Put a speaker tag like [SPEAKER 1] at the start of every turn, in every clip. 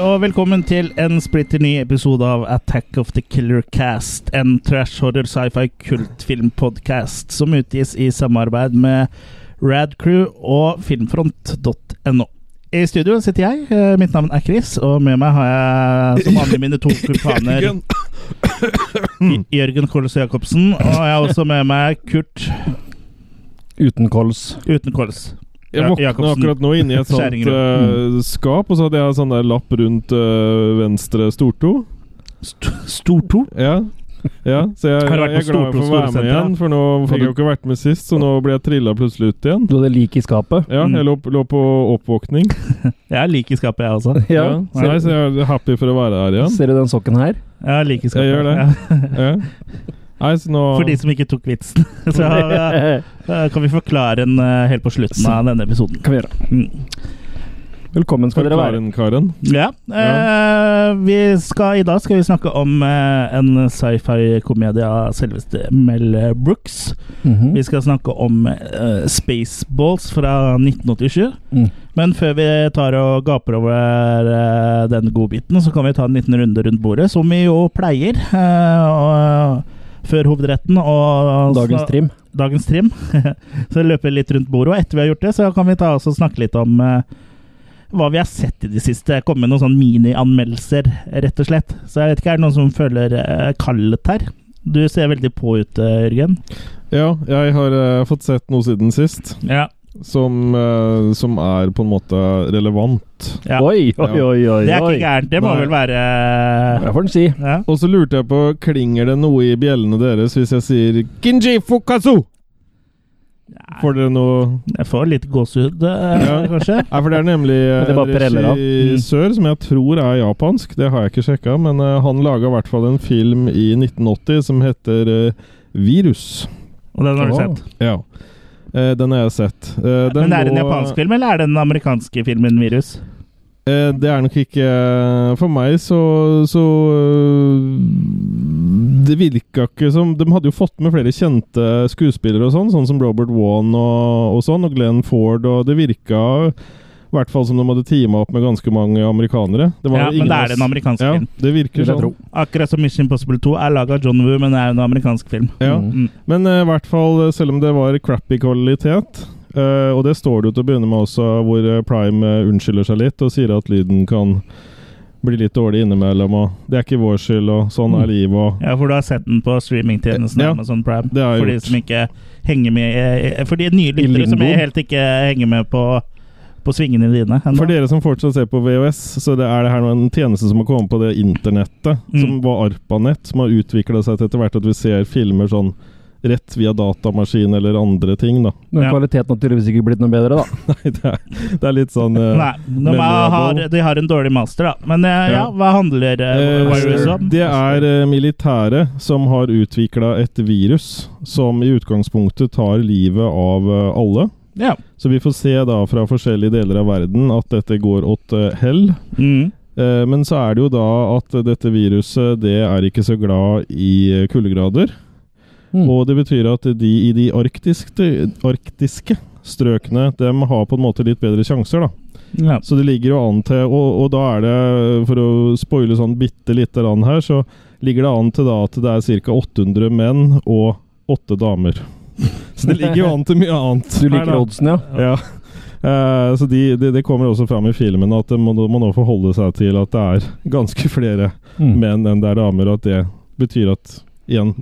[SPEAKER 1] og velkommen til en splitter ny episode av Attack of the Killer Cast. En trash horror sci-fi kultfilmpodcast som utgis i samarbeid med Radcrew og filmfront.no. I studio sitter jeg. eh, Mitt navn er Chris, og med meg har jeg som vanlig mine to kumpaner
[SPEAKER 2] Jørgen.
[SPEAKER 1] Jørgen Kols Jacobsen. Og jeg har også med meg Kurt
[SPEAKER 3] Uten kols.
[SPEAKER 1] uten kols.
[SPEAKER 2] Jeg
[SPEAKER 1] Ja,
[SPEAKER 2] våkna
[SPEAKER 1] Jacobsen.
[SPEAKER 2] akkurat nå inni et sånt
[SPEAKER 1] Skjæringer.
[SPEAKER 2] eh, skap, og så hadde jeg sånn der lapp rundt eh, venstre stortå.
[SPEAKER 1] St Storto.
[SPEAKER 2] Ja. ja, så jeg,
[SPEAKER 1] Har du vært på
[SPEAKER 2] jeg er glad for å
[SPEAKER 1] Stortå
[SPEAKER 2] være med
[SPEAKER 1] Storsenter,
[SPEAKER 2] igjen, for nå fikk jeg jo ikke vært med sist, så nå ble jeg trilla plutselig ut igjen.
[SPEAKER 3] Du hadde lik i skapet.
[SPEAKER 2] Ja,
[SPEAKER 1] Mm.
[SPEAKER 2] jeg lå, lå på oppvåkning.
[SPEAKER 1] Jeg er lik i skapet, jeg også.
[SPEAKER 2] Ja.
[SPEAKER 3] Ser,
[SPEAKER 2] Nei, så jeg er happy for å være her igjen.
[SPEAKER 3] ser du den sokken her?
[SPEAKER 1] Jeg er lik i skapet.
[SPEAKER 2] gjør det.
[SPEAKER 1] Ja.
[SPEAKER 2] Ja. Nei, så nå
[SPEAKER 1] For de som ikke tok vitsen. Så eh, eh, kan vi forklare den eh, helt på slutten
[SPEAKER 3] Sånn.
[SPEAKER 1] av denne episoden.
[SPEAKER 3] kan vi gjøre.
[SPEAKER 1] Mm.
[SPEAKER 3] Velkommen skal dere være.
[SPEAKER 2] Karen, Karen.
[SPEAKER 1] Ja. eh, vi skal, I dag skal vi snakke om eh, en sci-fi-komedie av selveste Mel Brooks.
[SPEAKER 3] Mhm.
[SPEAKER 1] Vi skal snakke om eh, Spaceballs fra 1987.
[SPEAKER 3] Mm.
[SPEAKER 1] Men før vi tar og gaper over eh, den godbiten, så kan vi ta en liten runde rundt bordet, som vi jo pleier. eh, og, før hovedretten og
[SPEAKER 3] Dagens trim.
[SPEAKER 1] dagens trim. så løper vi litt rundt bordet, og etter vi har gjort det, så kan vi ta oss og snakke litt om eh, hva vi har sett i det siste. Komme med noen sånn minianmeldelser, rett og slett. Så jeg vet ikke, er det noen som føler eh, kallet her? Du ser veldig på ut, eh, Jørgen.
[SPEAKER 2] Ja, jeg har eh, fått sett noe siden sist
[SPEAKER 1] Ja.
[SPEAKER 2] som, eh, som er på en måte relevant.
[SPEAKER 1] Ja.
[SPEAKER 3] Oi, oi,
[SPEAKER 2] Ja.
[SPEAKER 3] oi, oi.
[SPEAKER 1] Det er
[SPEAKER 3] oi.
[SPEAKER 1] ikke gærent, det må
[SPEAKER 2] Nei.
[SPEAKER 1] vel være
[SPEAKER 3] Det får den si.
[SPEAKER 1] ja.
[SPEAKER 2] Og så lurte jeg på, klinger det noe i bjellene deres hvis jeg sier Kinji Fukasu? Får dere noe
[SPEAKER 1] Jeg får litt gåsehud, eh,
[SPEAKER 2] Ja.
[SPEAKER 1] kanskje.
[SPEAKER 2] Nei, for det er nemlig eh,
[SPEAKER 3] Men det
[SPEAKER 2] en
[SPEAKER 3] bare preller av. Mm.
[SPEAKER 2] regissør som jeg tror er japansk, det har jeg ikke sjekka, men eh, han laga i hvert fall en film i 1980 som heter eh, Virus.
[SPEAKER 1] Og den har du
[SPEAKER 3] Åh.
[SPEAKER 1] sett.
[SPEAKER 2] Ja. Eh, den har jeg sett. Eh, den
[SPEAKER 1] Men det er en
[SPEAKER 2] lå-
[SPEAKER 1] japansk film, eller er det den amerikanske filmen Virus?
[SPEAKER 2] Eh, det er nok ikke eh, For meg så, så eh, Det virka ikke som De hadde jo fått med flere kjente skuespillere og sånn, sånn som Robert Wan og, og sånn, og Glenn Ford, og det virka i hvert fall som de hadde teama opp med ganske mange amerikanere. Det var
[SPEAKER 1] Ja,
[SPEAKER 2] ingen
[SPEAKER 1] men det
[SPEAKER 2] av
[SPEAKER 1] er den
[SPEAKER 2] oss-
[SPEAKER 1] amerikanske
[SPEAKER 2] ja,
[SPEAKER 1] filmen.
[SPEAKER 2] det virker
[SPEAKER 3] Vil jeg
[SPEAKER 2] sånn.
[SPEAKER 3] tro.
[SPEAKER 1] Akkurat som Mission Impossible 2 er laga av John Woo, men det er en amerikansk film.
[SPEAKER 2] Ja.
[SPEAKER 3] Mm.
[SPEAKER 1] Mm.
[SPEAKER 2] Men eh, i hvert fall, eh, selv om det var crappy kvalitet eh, Og det står det jo til å begynne med også, hvor eh, Prime eh, unnskylder seg litt og sier at lyden kan bli litt dårlig innimellom, og det er ikke vår skyld, og sånn
[SPEAKER 1] Mm.
[SPEAKER 2] er livet, og
[SPEAKER 1] Ja, for du har sett den på streamingtjenesten
[SPEAKER 2] Ja,
[SPEAKER 1] Amazon Prime.
[SPEAKER 2] det har jeg
[SPEAKER 1] For de
[SPEAKER 2] gjort.
[SPEAKER 1] som ikke henger med eh, For de nye lyttere som
[SPEAKER 3] limboen.
[SPEAKER 1] helt ikke henger med på, på svingene dine. ennå.
[SPEAKER 2] For dere som fortsatt ser på VHS, så det er det her nå en tjeneste som har kommet på det internettet,
[SPEAKER 1] Mm.
[SPEAKER 2] som var ARPANET, som har utvikla seg til etter hvert at vi ser filmer sånn rett via datamaskin eller andre ting, da.
[SPEAKER 3] Men
[SPEAKER 1] Ja.
[SPEAKER 3] kvaliteten har tydeligvis ikke blitt noe bedre, da.
[SPEAKER 2] Nei, det er, det er litt sånn eh,
[SPEAKER 1] Nei, de
[SPEAKER 2] Memorable.
[SPEAKER 1] har, de har en dårlig master, da. Men eh, ja,
[SPEAKER 2] Ja.
[SPEAKER 1] hva handler eh,
[SPEAKER 2] Eh,
[SPEAKER 1] Virus om?
[SPEAKER 2] Det er eh, militære som har utvikla et virus som i utgangspunktet tar livet av eh, alle.
[SPEAKER 1] Ja.
[SPEAKER 2] Så vi får se da fra forskjellige deler av verden at dette går åt eh, hell.
[SPEAKER 1] Mm.
[SPEAKER 2] Eh, Men så er det jo da at dette viruset det er ikke så glad i eh, kuldegrader.
[SPEAKER 3] Mm.
[SPEAKER 2] Og det betyr at de i de arktiske, arktiske strøkene dem har på en måte litt bedre sjanser, da.
[SPEAKER 1] Ja.
[SPEAKER 2] Så det ligger jo an til Og, og da er det, for å spoile sånn bitte lite grann her, så ligger det an til da at det er ca. 800 menn og åtte damer. Så det ligger jo an til mye annet.
[SPEAKER 3] Du liker
[SPEAKER 2] her, da.
[SPEAKER 3] oddsen, ja?
[SPEAKER 2] Ja. Eh, så de, de, det kommer også fram i filmen at man må nå forholde seg til at det er ganske flere
[SPEAKER 3] Mm.
[SPEAKER 2] menn enn det er damer, og at det betyr at Igjen.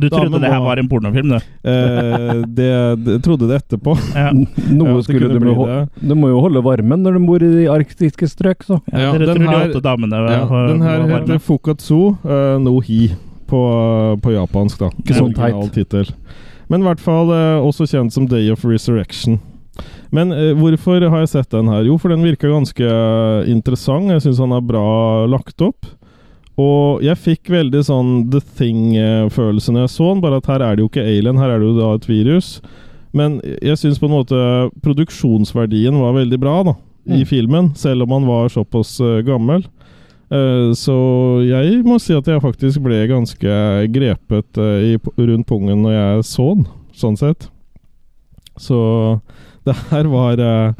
[SPEAKER 1] Du trodde
[SPEAKER 2] Damen
[SPEAKER 1] det her
[SPEAKER 2] må-
[SPEAKER 1] var en pornofilm, du?
[SPEAKER 2] Eh, det, det trodde det etterpå.
[SPEAKER 1] Ja.
[SPEAKER 2] Ja,
[SPEAKER 3] Noe
[SPEAKER 2] at det
[SPEAKER 3] skulle
[SPEAKER 2] kunne
[SPEAKER 3] du bli
[SPEAKER 2] bli
[SPEAKER 3] ho-
[SPEAKER 2] det.
[SPEAKER 3] Du må jo holde varmen når du bor i de arktiske strøk, så.
[SPEAKER 1] Ja,
[SPEAKER 2] Ja,
[SPEAKER 1] Dere
[SPEAKER 2] den
[SPEAKER 1] tror de
[SPEAKER 2] her-
[SPEAKER 1] åtte damene
[SPEAKER 2] Ja,
[SPEAKER 1] var-
[SPEAKER 2] den her
[SPEAKER 1] var varme.
[SPEAKER 2] heter Fukatsu eh, no hi på, på japansk, da.
[SPEAKER 1] Ikke sånn
[SPEAKER 2] Original tittel. Men i hvert fall eh, også kjent som Day of Resurrection. Men eh, hvorfor har jeg sett den her? Jo, for den virka ganske eh, interessant. Jeg syns han er bra lagt opp. Og jeg fikk veldig sånn The Thing-følelse når jeg så den, bare at her er det jo ikke alien, her er det jo da et virus. Men jeg syns på en måte produksjonsverdien var veldig bra da, i
[SPEAKER 3] Mm.
[SPEAKER 2] filmen, selv om han var såpass eh, gammel. Eh, Så jeg må si at jeg faktisk ble ganske grepet eh, i, p- rundt pungen når jeg så den, sånn sett. Så eh, det her var eh,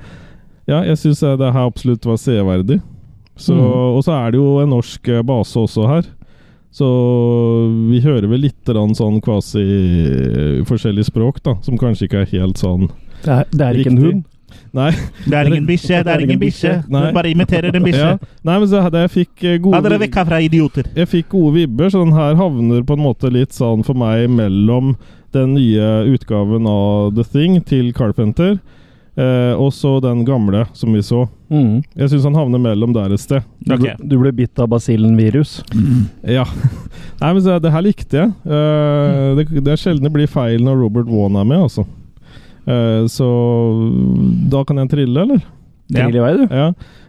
[SPEAKER 2] Ja, jeg syns det her absolutt var severdig. Så,
[SPEAKER 3] Mhm.
[SPEAKER 1] Mm.
[SPEAKER 2] Og så er det jo en norsk eh, base også her. Så vi hører vel litt grann sånn kvasi eh, forskjellig språk, da. Som kanskje ikke er helt sånn
[SPEAKER 3] Det er, det er ikke en
[SPEAKER 2] Riktig.
[SPEAKER 3] hund.
[SPEAKER 2] Nei.
[SPEAKER 1] Det er ingen bikkje, det er ingen bikkje. Du
[SPEAKER 2] Nei.
[SPEAKER 1] bare imiterer en bikkje.
[SPEAKER 2] Ja. Nei, men så, hadde jeg fikk eh,
[SPEAKER 1] Ha dere
[SPEAKER 2] gode
[SPEAKER 1] vekk herfra, idioter.
[SPEAKER 2] Jeg fikk gode vibber, så den her havner på en måte litt sånn for meg mellom den nye utgaven av The Thing til Carpenter, eh, og så den gamle som vi så.
[SPEAKER 3] Mm.
[SPEAKER 2] Jeg syns han havner mellom der et sted.
[SPEAKER 3] Du,
[SPEAKER 1] Ok.
[SPEAKER 3] ble- du ble bitt av basillen-virus.
[SPEAKER 2] Ja. Nei, men så, det her likte jeg. Eh, det, det er sjelden det blir feil når Robert Wann er med, altså. Eh, så da kan jeg trille, eller?
[SPEAKER 1] Ja.
[SPEAKER 3] Trill i vei, du.
[SPEAKER 2] Ja.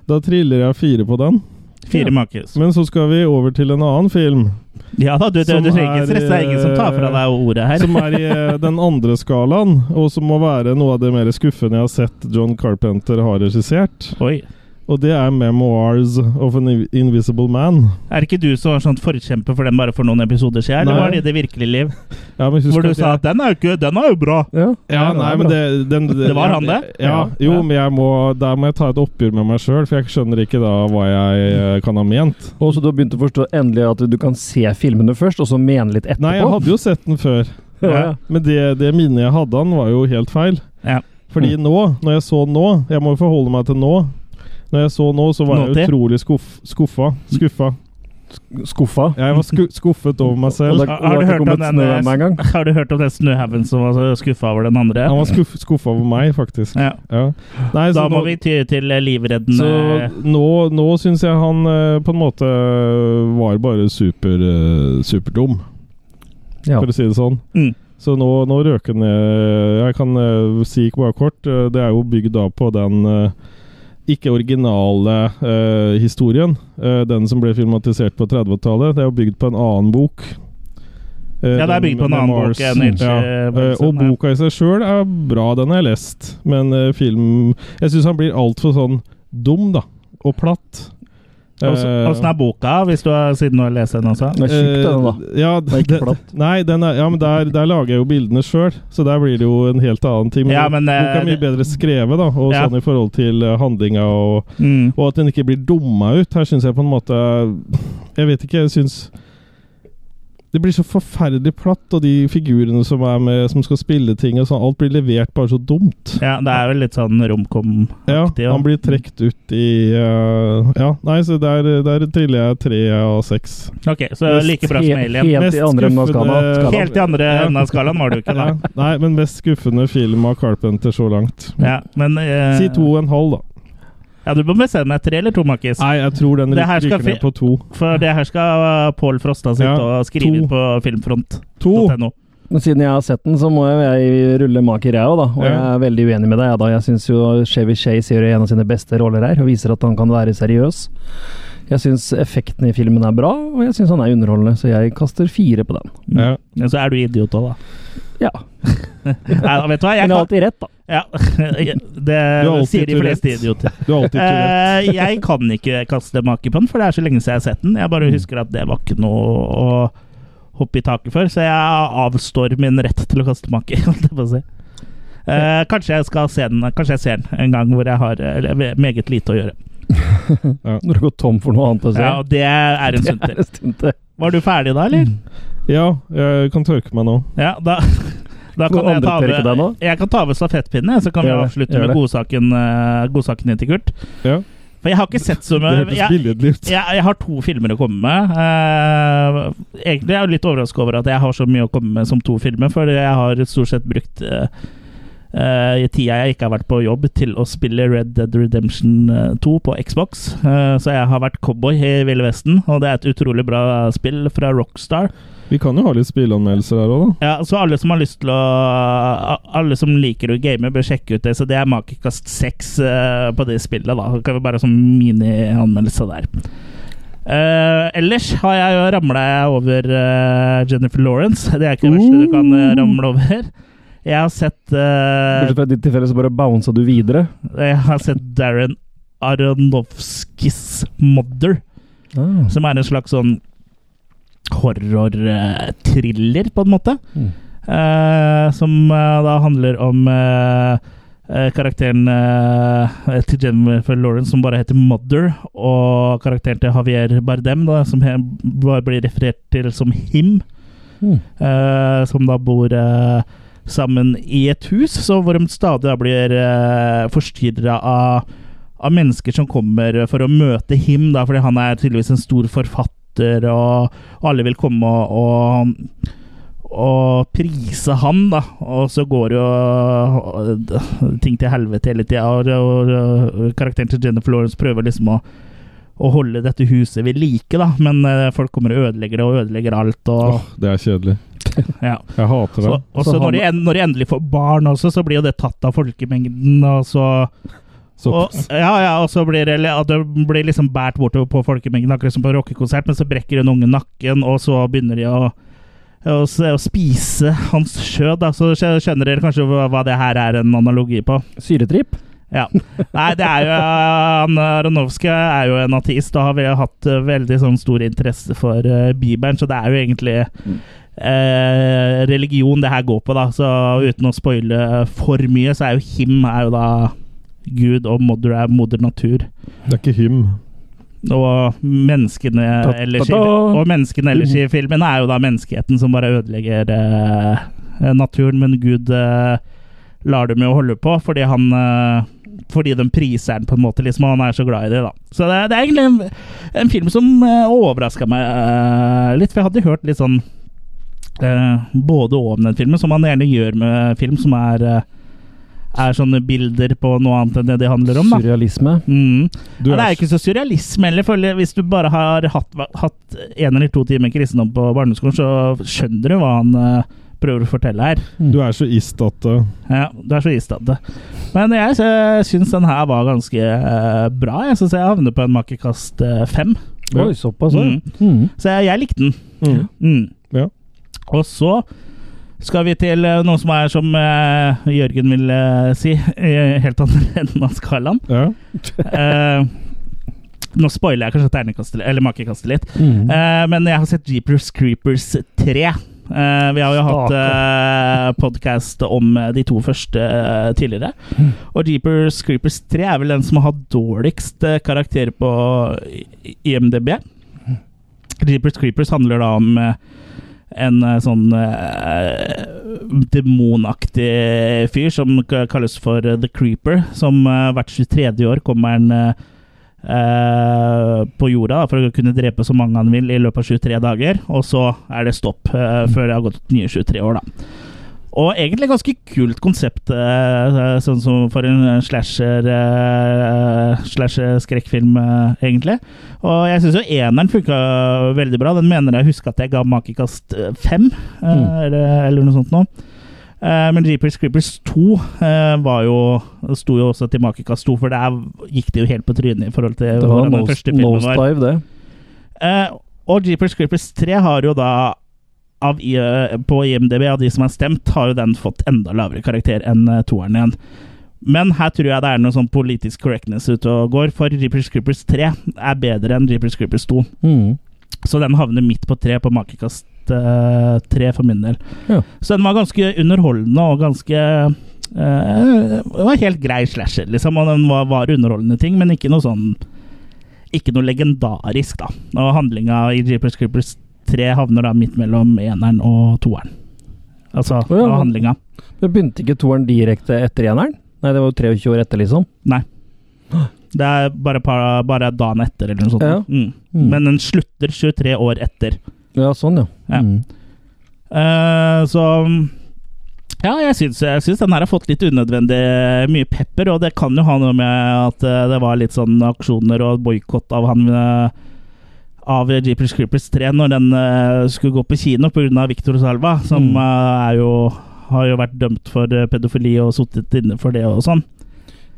[SPEAKER 2] Da triller jeg fire på den.
[SPEAKER 1] Fire makes.
[SPEAKER 2] Men så skal vi over til en annen film.
[SPEAKER 1] Ja da, du, du,
[SPEAKER 2] Som
[SPEAKER 1] du trenger ikke
[SPEAKER 2] er,
[SPEAKER 1] stresse. Det er ingen som tar fra deg ordet her.
[SPEAKER 2] Som er i eh, den andre skalaen, og som må være noe av det mer skuffende jeg har sett John Carpenter har regissert.
[SPEAKER 1] Oi.
[SPEAKER 2] Og det er 'Memoirs of an Inv- Invisible Man'.
[SPEAKER 1] Er ikke du som var sånn forkjemper for den bare for noen episoder siden? Eller
[SPEAKER 2] Nei.
[SPEAKER 1] var det i det virkelige liv?
[SPEAKER 2] Ja, men husk
[SPEAKER 1] Hvor du
[SPEAKER 2] at
[SPEAKER 1] sa at
[SPEAKER 2] jeg-
[SPEAKER 1] den er jo ikke Den er jo bra!
[SPEAKER 3] Ja,
[SPEAKER 2] ja, nei, men det, den,
[SPEAKER 1] Det var han, det?
[SPEAKER 2] Ja,
[SPEAKER 3] Ja.
[SPEAKER 2] jo, men jeg må, der må jeg ta et oppgjør med meg sjøl, for jeg skjønner ikke da hva jeg eh, kan ha ment.
[SPEAKER 3] Og så du har begynt å forstå endelig at du kan se filmene først, og så mene litt etterpå?
[SPEAKER 2] Nei, jeg hadde jo sett den før,
[SPEAKER 3] ja, ja.
[SPEAKER 2] men det, det minnet jeg hadde han, var jo helt feil.
[SPEAKER 1] Ja. Mm.
[SPEAKER 2] Fordi nå, når jeg så nå Jeg må jo forholde meg til nå. Når jeg så nå, så var jeg
[SPEAKER 1] Nåtid.
[SPEAKER 2] utrolig skuff, skuffa. Skuffa.
[SPEAKER 3] Skuffa.
[SPEAKER 2] Jeg var sku skuffet over meg
[SPEAKER 3] Og
[SPEAKER 2] selv.
[SPEAKER 3] det
[SPEAKER 1] Har-
[SPEAKER 3] og
[SPEAKER 1] har
[SPEAKER 3] det
[SPEAKER 1] du
[SPEAKER 3] har
[SPEAKER 1] hørt
[SPEAKER 3] ikke
[SPEAKER 1] om
[SPEAKER 3] kommet
[SPEAKER 1] den,
[SPEAKER 3] snø
[SPEAKER 1] eh,
[SPEAKER 3] med en gang.
[SPEAKER 1] Har du hørt om den snøhaugen som var skuffa over den andre?
[SPEAKER 2] Han var skuff, skuffa over meg, faktisk.
[SPEAKER 1] Ja.
[SPEAKER 2] Ja. Nei,
[SPEAKER 1] Da
[SPEAKER 2] så
[SPEAKER 1] må
[SPEAKER 2] nå-
[SPEAKER 1] vi ty til eh, livreddende
[SPEAKER 2] så nå, nå syns jeg han eh, på en måte var bare super, eh, superdum,
[SPEAKER 3] Ja.
[SPEAKER 2] for å si det sånn.
[SPEAKER 1] Mm.
[SPEAKER 2] Så nå, nå røk han eh, Jeg kan eh, si bare kort. eh, Det er jo bygd da på den eh, ikke originale eh, historien. Eh, den som ble filmatisert på 30-tallet. Det er jo bygd på en annen bok. Eh,
[SPEAKER 1] Ja, det er
[SPEAKER 2] den
[SPEAKER 1] bygd på en
[SPEAKER 2] med
[SPEAKER 1] annen bok
[SPEAKER 2] Mars.
[SPEAKER 1] enn H.G.
[SPEAKER 2] eh,
[SPEAKER 1] Wilson,
[SPEAKER 2] og
[SPEAKER 1] ja.
[SPEAKER 2] boka i seg sjøl er bra, den har jeg lest. Men eh, film Jeg syns han blir altfor sånn dum, da. Og platt.
[SPEAKER 1] Åssen er boka, hvis du har siden du har lest den også?
[SPEAKER 3] Den er tjukk, den, da.
[SPEAKER 2] Eh, Ja,
[SPEAKER 3] Den er ikke
[SPEAKER 2] det-
[SPEAKER 3] platt.
[SPEAKER 2] Nei, den er, ja, men der, der lager jeg jo bildene sjøl, så der blir det jo en helt annen ting. Men,
[SPEAKER 1] Ja, men, eh,
[SPEAKER 2] boka er mye
[SPEAKER 1] det-
[SPEAKER 2] bedre skrevet, da, og
[SPEAKER 1] Ja.
[SPEAKER 2] sånn i forhold til eh, handlinga, og,
[SPEAKER 1] Mm.
[SPEAKER 2] og at den ikke blir dumma ut. Her syns jeg på en måte eh, Jeg vet ikke, jeg syns det blir så forferdelig platt, og de figurene som er med Som skal spille ting og sånn, alt blir levert bare så dumt.
[SPEAKER 1] Ja, det er jo litt sånn
[SPEAKER 2] Ja,
[SPEAKER 1] romcom-aktig.
[SPEAKER 2] Han blir trukket ut i eh, Ja, nei, så der, der triller jeg tre av seks.
[SPEAKER 1] Ok, så like bra som
[SPEAKER 3] Helt-
[SPEAKER 1] Alien.
[SPEAKER 3] Helt i andre enden av skala- skalaen.
[SPEAKER 1] Helt i andre
[SPEAKER 2] Ja.
[SPEAKER 1] enden av skalaen var det jo ikke, da.
[SPEAKER 2] Ja. Nei, men mest skuffende film av Carpenter så langt.
[SPEAKER 1] Ja, men eh,
[SPEAKER 2] Si to og en halv, da.
[SPEAKER 1] Ja, du må bestemme deg. Tre eller to, Markis?
[SPEAKER 2] Nei, jeg tror den
[SPEAKER 1] Det her
[SPEAKER 2] rykker
[SPEAKER 1] skal
[SPEAKER 2] rykker ned
[SPEAKER 1] fi-
[SPEAKER 2] på to.
[SPEAKER 1] For det her skal eh, Pål Frosta sitte
[SPEAKER 2] Ja,
[SPEAKER 1] og skrive
[SPEAKER 2] to.
[SPEAKER 1] inn på filmfront.no.
[SPEAKER 2] To!
[SPEAKER 3] Men siden jeg har sett den, så må jo jeg rulle maker, jeg òg, da. Og
[SPEAKER 2] Ja.
[SPEAKER 3] jeg er veldig uenig med deg, jeg, da. Jeg syns jo Chevy Chase gjør en av sine beste roller her, og viser at han kan være seriøs. Jeg syns effekten i filmen er bra, og jeg syns han er underholdende, så jeg kaster fire på den.
[SPEAKER 2] Ja.
[SPEAKER 1] Mm. Men så er du idiot òg, da.
[SPEAKER 3] Ja.
[SPEAKER 1] Nei, da, vet du hva? Jeg
[SPEAKER 3] Men jeg har
[SPEAKER 1] kan
[SPEAKER 3] alltid rett, da.
[SPEAKER 1] ja, Det
[SPEAKER 2] Du har alltid
[SPEAKER 1] sier de fleste
[SPEAKER 2] Tourette.
[SPEAKER 1] idioter.
[SPEAKER 2] Du har alltid Tourette.
[SPEAKER 1] Eh, jeg kan ikke kaste make på den, for det er så lenge siden jeg har sett den. Jeg
[SPEAKER 2] Mm.
[SPEAKER 1] bare husker at det var ikke noe å hoppe i taket for, så jeg avstår min rett til å kaste make. holdt jeg på å si. Eh, kanskje jeg skal se den Kanskje jeg ser den en gang hvor jeg har eh, eller, meget lite å gjøre.
[SPEAKER 3] Når du går tom for noe annet å se.
[SPEAKER 1] Ja, og Det er en stund
[SPEAKER 3] det er
[SPEAKER 1] til.
[SPEAKER 3] en stund til.
[SPEAKER 1] Var du ferdig da, eller?
[SPEAKER 2] Ja, jeg kan tørke meg nå.
[SPEAKER 1] Ja, da, da
[SPEAKER 3] Noen
[SPEAKER 1] kan jeg
[SPEAKER 3] andre
[SPEAKER 1] ta
[SPEAKER 3] tørke deg
[SPEAKER 1] over,
[SPEAKER 3] nå?
[SPEAKER 1] jeg kan ta over stafettpinnen, jeg, så kan vi
[SPEAKER 3] Gjør det,
[SPEAKER 1] avslutte
[SPEAKER 3] gjør
[SPEAKER 1] med
[SPEAKER 3] det.
[SPEAKER 1] godsaken, eh, godsaken til Kurt.
[SPEAKER 2] Ja.
[SPEAKER 1] For jeg har ikke sett så
[SPEAKER 2] Det
[SPEAKER 1] mye
[SPEAKER 2] hørtes
[SPEAKER 1] jeg-
[SPEAKER 2] billedlig ut.
[SPEAKER 1] jeg, jeg har to filmer å komme med. Eh, egentlig er jeg jo litt overrasket over at jeg har så mye å komme med som to filmer, for jeg har stort sett brukt eh, eh, tida jeg ikke har vært på jobb, til å spille Red Dead Redemption eh, 2 på Xbox. Eh, så jeg har vært cowboy i Ville Vesten, og det er et utrolig bra spill fra Rockstar.
[SPEAKER 2] Vi kan jo ha litt spilleanmeldelser her òg, da.
[SPEAKER 1] Ja, så alle som har lyst til å Alle som liker å game, bør sjekke ut det. Så det er Makekast 6 eh, på det spillet, da. Så kan vi bare ha sånn minianmeldelse der. Eh, ellers har jeg jo ramla over eh, Jennifer Lawrence. Det er ikke det verste du kan eh, ramle over. Jeg har sett eh,
[SPEAKER 3] Bortsett fra ditt tilfelle, så bare bounsa du videre.
[SPEAKER 1] Jeg har sett Darren Aronofskys Mother.
[SPEAKER 3] Ah.
[SPEAKER 1] Som er en slags sånn horror-thriller, på en måte.
[SPEAKER 3] Mm.
[SPEAKER 1] Eh, som eh, da handler om eh, eh, karakteren eh, til Jennifer Lawrence som bare heter Mother, og karakteren til Javier Bardem, da, som he, bare blir referert til som Him,
[SPEAKER 3] Mm.
[SPEAKER 1] eh, som da bor eh, sammen i et hus, så hvor de stadig da blir eh, forstyrra av, av mennesker som kommer for å møte Him, da, fordi han er tydeligvis en stor forfatter, og alle vil komme og, og og prise han, da. Og så går jo øh, ting til helvete hele tida. Og, og, og karakteren til Jennifer Lawrence prøver liksom å å holde dette huset ved like, da, men øh, folk kommer og ødelegger det og ødelegger alt. Og,
[SPEAKER 2] Åh, det er kjedelig.
[SPEAKER 1] ja.
[SPEAKER 2] Jeg hater
[SPEAKER 1] så,
[SPEAKER 2] det.
[SPEAKER 1] og så
[SPEAKER 3] Så
[SPEAKER 1] når,
[SPEAKER 3] han-
[SPEAKER 1] de, en- når de endelig får barn også, så blir jo det tatt av folkemengden, og så og,
[SPEAKER 2] Såpass.
[SPEAKER 1] ja, ja, og så blir det, at det blir liksom båret bortover på folkemengden, akkurat som på rockekonsert, men så brekker en unge nakken, og så begynner de å, å, s- å spise hans skjød. da. Så skjø- skjønner dere kanskje hva hva det her er en analogi på.
[SPEAKER 3] Syretripp.
[SPEAKER 1] Ja. Nei, det er jo han, Aronofsky er jo en ateist, og har vel hatt eh, veldig sånn stor interesse for eh, Bibelen, så det er jo egentlig eh, religion det her går på, da. Så uten å spoile for mye, så er jo Him er jo da Gud, og Mother er moder natur.
[SPEAKER 2] Det er ikke hym.
[SPEAKER 1] Og menneskene,
[SPEAKER 3] Ta- ta-
[SPEAKER 1] ellers, i,
[SPEAKER 3] ta!
[SPEAKER 1] og menneskene ellers i filmen er jo da menneskeheten som bare ødelegger eh, naturen, men Gud eh, lar dem jo holde på fordi han eh, fordi de priser den på en måte, liksom, og han er så glad i det. da. Så det, det er egentlig en, en film som uh, overraska meg eh, litt, for jeg hadde hørt litt sånn eh, både og om den filmen, som man gjerne gjør med film som er, eh, er sånne bilder på noe annet enn det de handler om. da.
[SPEAKER 3] Surrealisme.
[SPEAKER 1] Mm. Ja,
[SPEAKER 2] Du
[SPEAKER 1] det er
[SPEAKER 2] er,
[SPEAKER 1] jo ikke så surrealisme heller. føler jeg. Hvis du bare har hatt, hatt en eller to timer kristendom på barneskolen, så skjønner du hva han eh, prøver å fortelle her.
[SPEAKER 3] Hmm.
[SPEAKER 2] du er så ist at eh,
[SPEAKER 1] Ja, du er så istadde. Men jeg sy- syns den her var ganske eh, bra. Jeg syns jeg havner på en makekast eh, fem.
[SPEAKER 2] Ja.
[SPEAKER 3] Oi, såpass, ja.
[SPEAKER 1] Mm.
[SPEAKER 3] Mm.
[SPEAKER 1] Så jeg, jeg likte den.
[SPEAKER 2] mm.
[SPEAKER 1] Mm.
[SPEAKER 2] Ja.
[SPEAKER 1] Og så skal vi til eh, noe som er, som eh, Jørgen vil eh, si, eh, helt andre enden av skalaen.
[SPEAKER 2] ja.
[SPEAKER 1] Eh, nå spoiler jeg kanskje ternekastet, eller makekastet litt.
[SPEAKER 3] Mm.
[SPEAKER 1] Eh, men jeg har sett Jeepers Creepers 3. Eh, vi har jo hatt uh, podkast om eh, de to første eh, tidligere. Og Jeepers Creepers 3 er vel den som har dårligst eh, karakter på I- IMDb. Jeepers Creepers handler da om eh, en eh, sånn eh, demonaktig fyr som k- kalles for eh, The Creeper, som eh, hvert 23. år kommer han eh, eh, på jorda da, for å kunne drepe så mange han vil i løpet av 23 dager. Og så er det stopp eh, før det har gått nye 23 år, da. Og egentlig ganske kult konsept, eh, sånn som for en slasher eh, slasher-skrekkfilm, eh, egentlig. Og jeg syns jo eneren funka veldig bra. Den mener jeg husker at jeg ga makekast eh, fem, eh,
[SPEAKER 3] Mm.
[SPEAKER 1] eller, eller noe sånt nå. Eh, Men Jeepers Creepers 2 eh, var jo, sto jo også til makekast 2, for der gikk det jo helt på trynet i forhold til
[SPEAKER 3] Det var
[SPEAKER 1] hvordan den første filmen var.
[SPEAKER 3] nosedive, det.
[SPEAKER 1] Eh, og Jeepers Creepers 3 har jo da av, i- eh, på IMDb, av de som har stemt, har jo den fått enda lavere karakter enn eh, toeren igjen. Men her tror jeg det er noe sånn politisk correctness ute og går, for Jeepers Creepers 3 er bedre enn Jeepers Creepers 2.
[SPEAKER 3] Mm.
[SPEAKER 1] Så den havner midt på tre på makekast eh, tre for min del.
[SPEAKER 3] Ja.
[SPEAKER 1] Så den var ganske underholdende og ganske eh, Det var helt grei slasher, liksom. Og den var, var underholdende ting, men ikke noe sånn Ikke noe legendarisk, da. Og handlinga i Jeepers Creepers 3 havner da midt mellom eneren og toeren. Altså
[SPEAKER 3] Å ja.
[SPEAKER 1] og handlinga.
[SPEAKER 3] Men begynte ikke toeren direkte etter eneren? Nei, det var jo 23 år etter, liksom.
[SPEAKER 1] Det er bare, par, bare dagen etter, eller noe sånt.
[SPEAKER 3] Ja.
[SPEAKER 1] Mm.
[SPEAKER 3] Mm.
[SPEAKER 1] Men den slutter 23 år etter.
[SPEAKER 3] Ja, sånn, ja.
[SPEAKER 1] Ja.
[SPEAKER 3] Mm.
[SPEAKER 1] Eh, så ja, jeg syns, jeg syns den her har fått litt unødvendig mye pepper, og det kan jo ha noe med at eh, det var litt sånn aksjoner og boikott av han eh, av Jeepers Creepers 3 når den eh, skulle gå på kino pga. Victor Salva, som
[SPEAKER 3] Mm.
[SPEAKER 1] eh, er jo har jo vært dømt for eh, pedofili og sittet inne for det og sånn.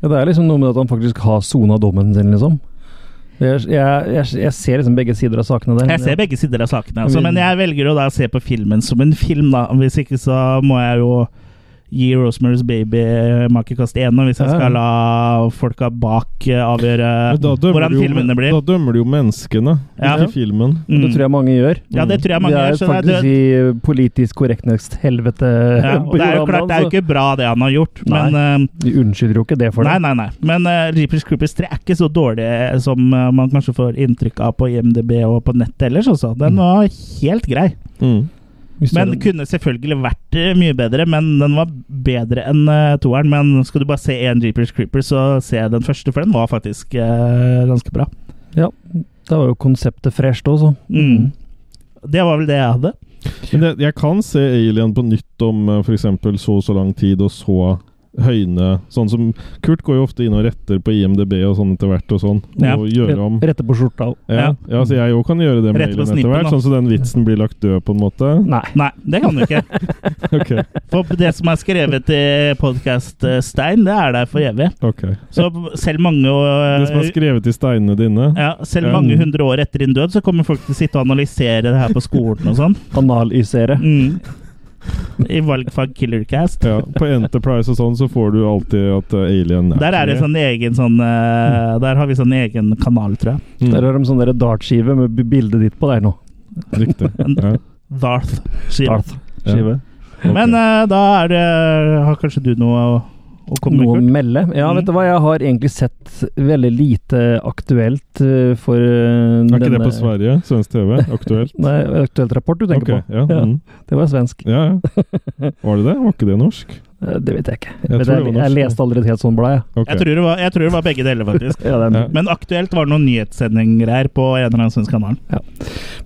[SPEAKER 3] ja. Det er liksom noe med at han faktisk har sona dommen sin, liksom. Jeg, jeg, jeg, jeg ser liksom begge sider av sakene der.
[SPEAKER 1] Jeg ser begge sider av sakene, altså,
[SPEAKER 3] eh, Men-
[SPEAKER 1] men jeg velger jo da å se på filmen som en film, da. Hvis ikke så må jeg jo gi Rosemary's Baby makekast én, og hvis jeg
[SPEAKER 2] Ja.
[SPEAKER 1] skal la folka bak eh, avgjøre
[SPEAKER 2] Men da dømmer
[SPEAKER 1] hvordan
[SPEAKER 2] du jo-
[SPEAKER 1] filmene blir. Mm.
[SPEAKER 2] Da dømmer du jo menneskene,
[SPEAKER 1] Ja.
[SPEAKER 2] ikke filmen.
[SPEAKER 1] Mm.
[SPEAKER 3] Det tror jeg mange gjør.
[SPEAKER 1] ja, det tror jeg
[SPEAKER 3] Vi
[SPEAKER 1] mange
[SPEAKER 3] er
[SPEAKER 1] gjør. så det
[SPEAKER 3] faktisk
[SPEAKER 1] er- det-
[SPEAKER 3] i eh, politisk korrektness-helvete.
[SPEAKER 1] Ja, og det er jo klart, det er jo ikke bra, det han har gjort,
[SPEAKER 3] Nei.
[SPEAKER 1] men eh,
[SPEAKER 3] altså. Vi unnskylder jo ikke det for
[SPEAKER 1] Nei,
[SPEAKER 3] det.
[SPEAKER 1] nei, nei. Men uh, Reapers Creepers 3 er ikke så dårlig eh, som eh, man kanskje får inntrykk av på IMDb og på nettet ellers. Også. Den
[SPEAKER 3] Mm.
[SPEAKER 1] var helt grei.
[SPEAKER 2] Mm.
[SPEAKER 3] Hvis
[SPEAKER 1] Men
[SPEAKER 3] det-
[SPEAKER 1] kunne selvfølgelig vært eh, mye bedre, men den var bedre enn eh, toeren. Men skal du bare se én Reapers Creepers, så se den første, for den var faktisk eh, ganske bra.
[SPEAKER 3] Ja, det var jo konseptet fresht Hmm. òg, så.
[SPEAKER 1] Mm. Det var vel det jeg hadde.
[SPEAKER 2] Men det, jeg kan se Alien på nytt om f.eks. så og så lang tid, og så høyne Sånn som Kurt går jo ofte inn og retter på IMDb og sånn etter hvert, og sånn. Og
[SPEAKER 1] Ja.
[SPEAKER 2] gjøre om.
[SPEAKER 3] Rette på skjorta òg.
[SPEAKER 2] Ja,
[SPEAKER 1] Ja.
[SPEAKER 2] ja, så jeg òg kan gjøre det med
[SPEAKER 1] Rette på
[SPEAKER 2] Alien etter
[SPEAKER 1] snippen,
[SPEAKER 2] hvert.
[SPEAKER 1] da.
[SPEAKER 2] Sånn så den vitsen blir lagt død, på en måte.
[SPEAKER 3] Nei.
[SPEAKER 1] Nei, det kan du ikke.
[SPEAKER 2] Ok,
[SPEAKER 1] For det som er skrevet i podkast-stein, det er der for evig.
[SPEAKER 2] ok.
[SPEAKER 1] Så selv mange eh,
[SPEAKER 2] Det som er skrevet i steinene dine
[SPEAKER 1] Ja, selv
[SPEAKER 2] Ja.
[SPEAKER 1] mange hundre år etter din død, så kommer folk til å sitte og analysere det her på skolen og sånn.
[SPEAKER 3] Analysere.
[SPEAKER 1] Mm. I valgfag Killercast.
[SPEAKER 2] ja, På Enterprise og sånn så får du alltid at eh, Alien
[SPEAKER 1] Der er det sånn egen sånn eh, Der har vi sånn egen kanal, tror jeg.
[SPEAKER 2] Mm,
[SPEAKER 3] Der har de sånn der dartskive med b- bildet ditt på der nå.
[SPEAKER 2] Riktig. Ja,
[SPEAKER 1] Darth. sier jeg.
[SPEAKER 3] Dartskive.
[SPEAKER 2] ok.
[SPEAKER 1] Men eh, da er det Har kanskje du noe å, å komme
[SPEAKER 3] Noe å
[SPEAKER 1] med, Kurt?
[SPEAKER 3] melde? Ja,
[SPEAKER 1] Mm.
[SPEAKER 3] vet du hva, jeg har egentlig sett veldig lite aktuelt eh, for eh,
[SPEAKER 2] er ikke det på Sverige? Svensk TV? Aktuelt?
[SPEAKER 3] Nei, aktuelt rapport du tenker
[SPEAKER 2] Ok, Ja,
[SPEAKER 3] Ja.
[SPEAKER 2] mm.
[SPEAKER 3] på. Det var svensk.
[SPEAKER 2] ja, ja. Var det det? Var ikke det norsk?
[SPEAKER 3] Eh, Det vet jeg ikke.
[SPEAKER 2] Jeg tror
[SPEAKER 3] Men jeg,
[SPEAKER 2] det
[SPEAKER 3] jeg,
[SPEAKER 2] var norsk, ja.
[SPEAKER 3] leste aldri et helt sånt blad, jeg.
[SPEAKER 2] Ok.
[SPEAKER 1] Jeg, tror det var, jeg tror det var begge deler, faktisk.
[SPEAKER 3] Ja, det er
[SPEAKER 2] Ja.
[SPEAKER 1] Men aktuelt var det noen nyhetssendinger her på en eller annen svensk kanal.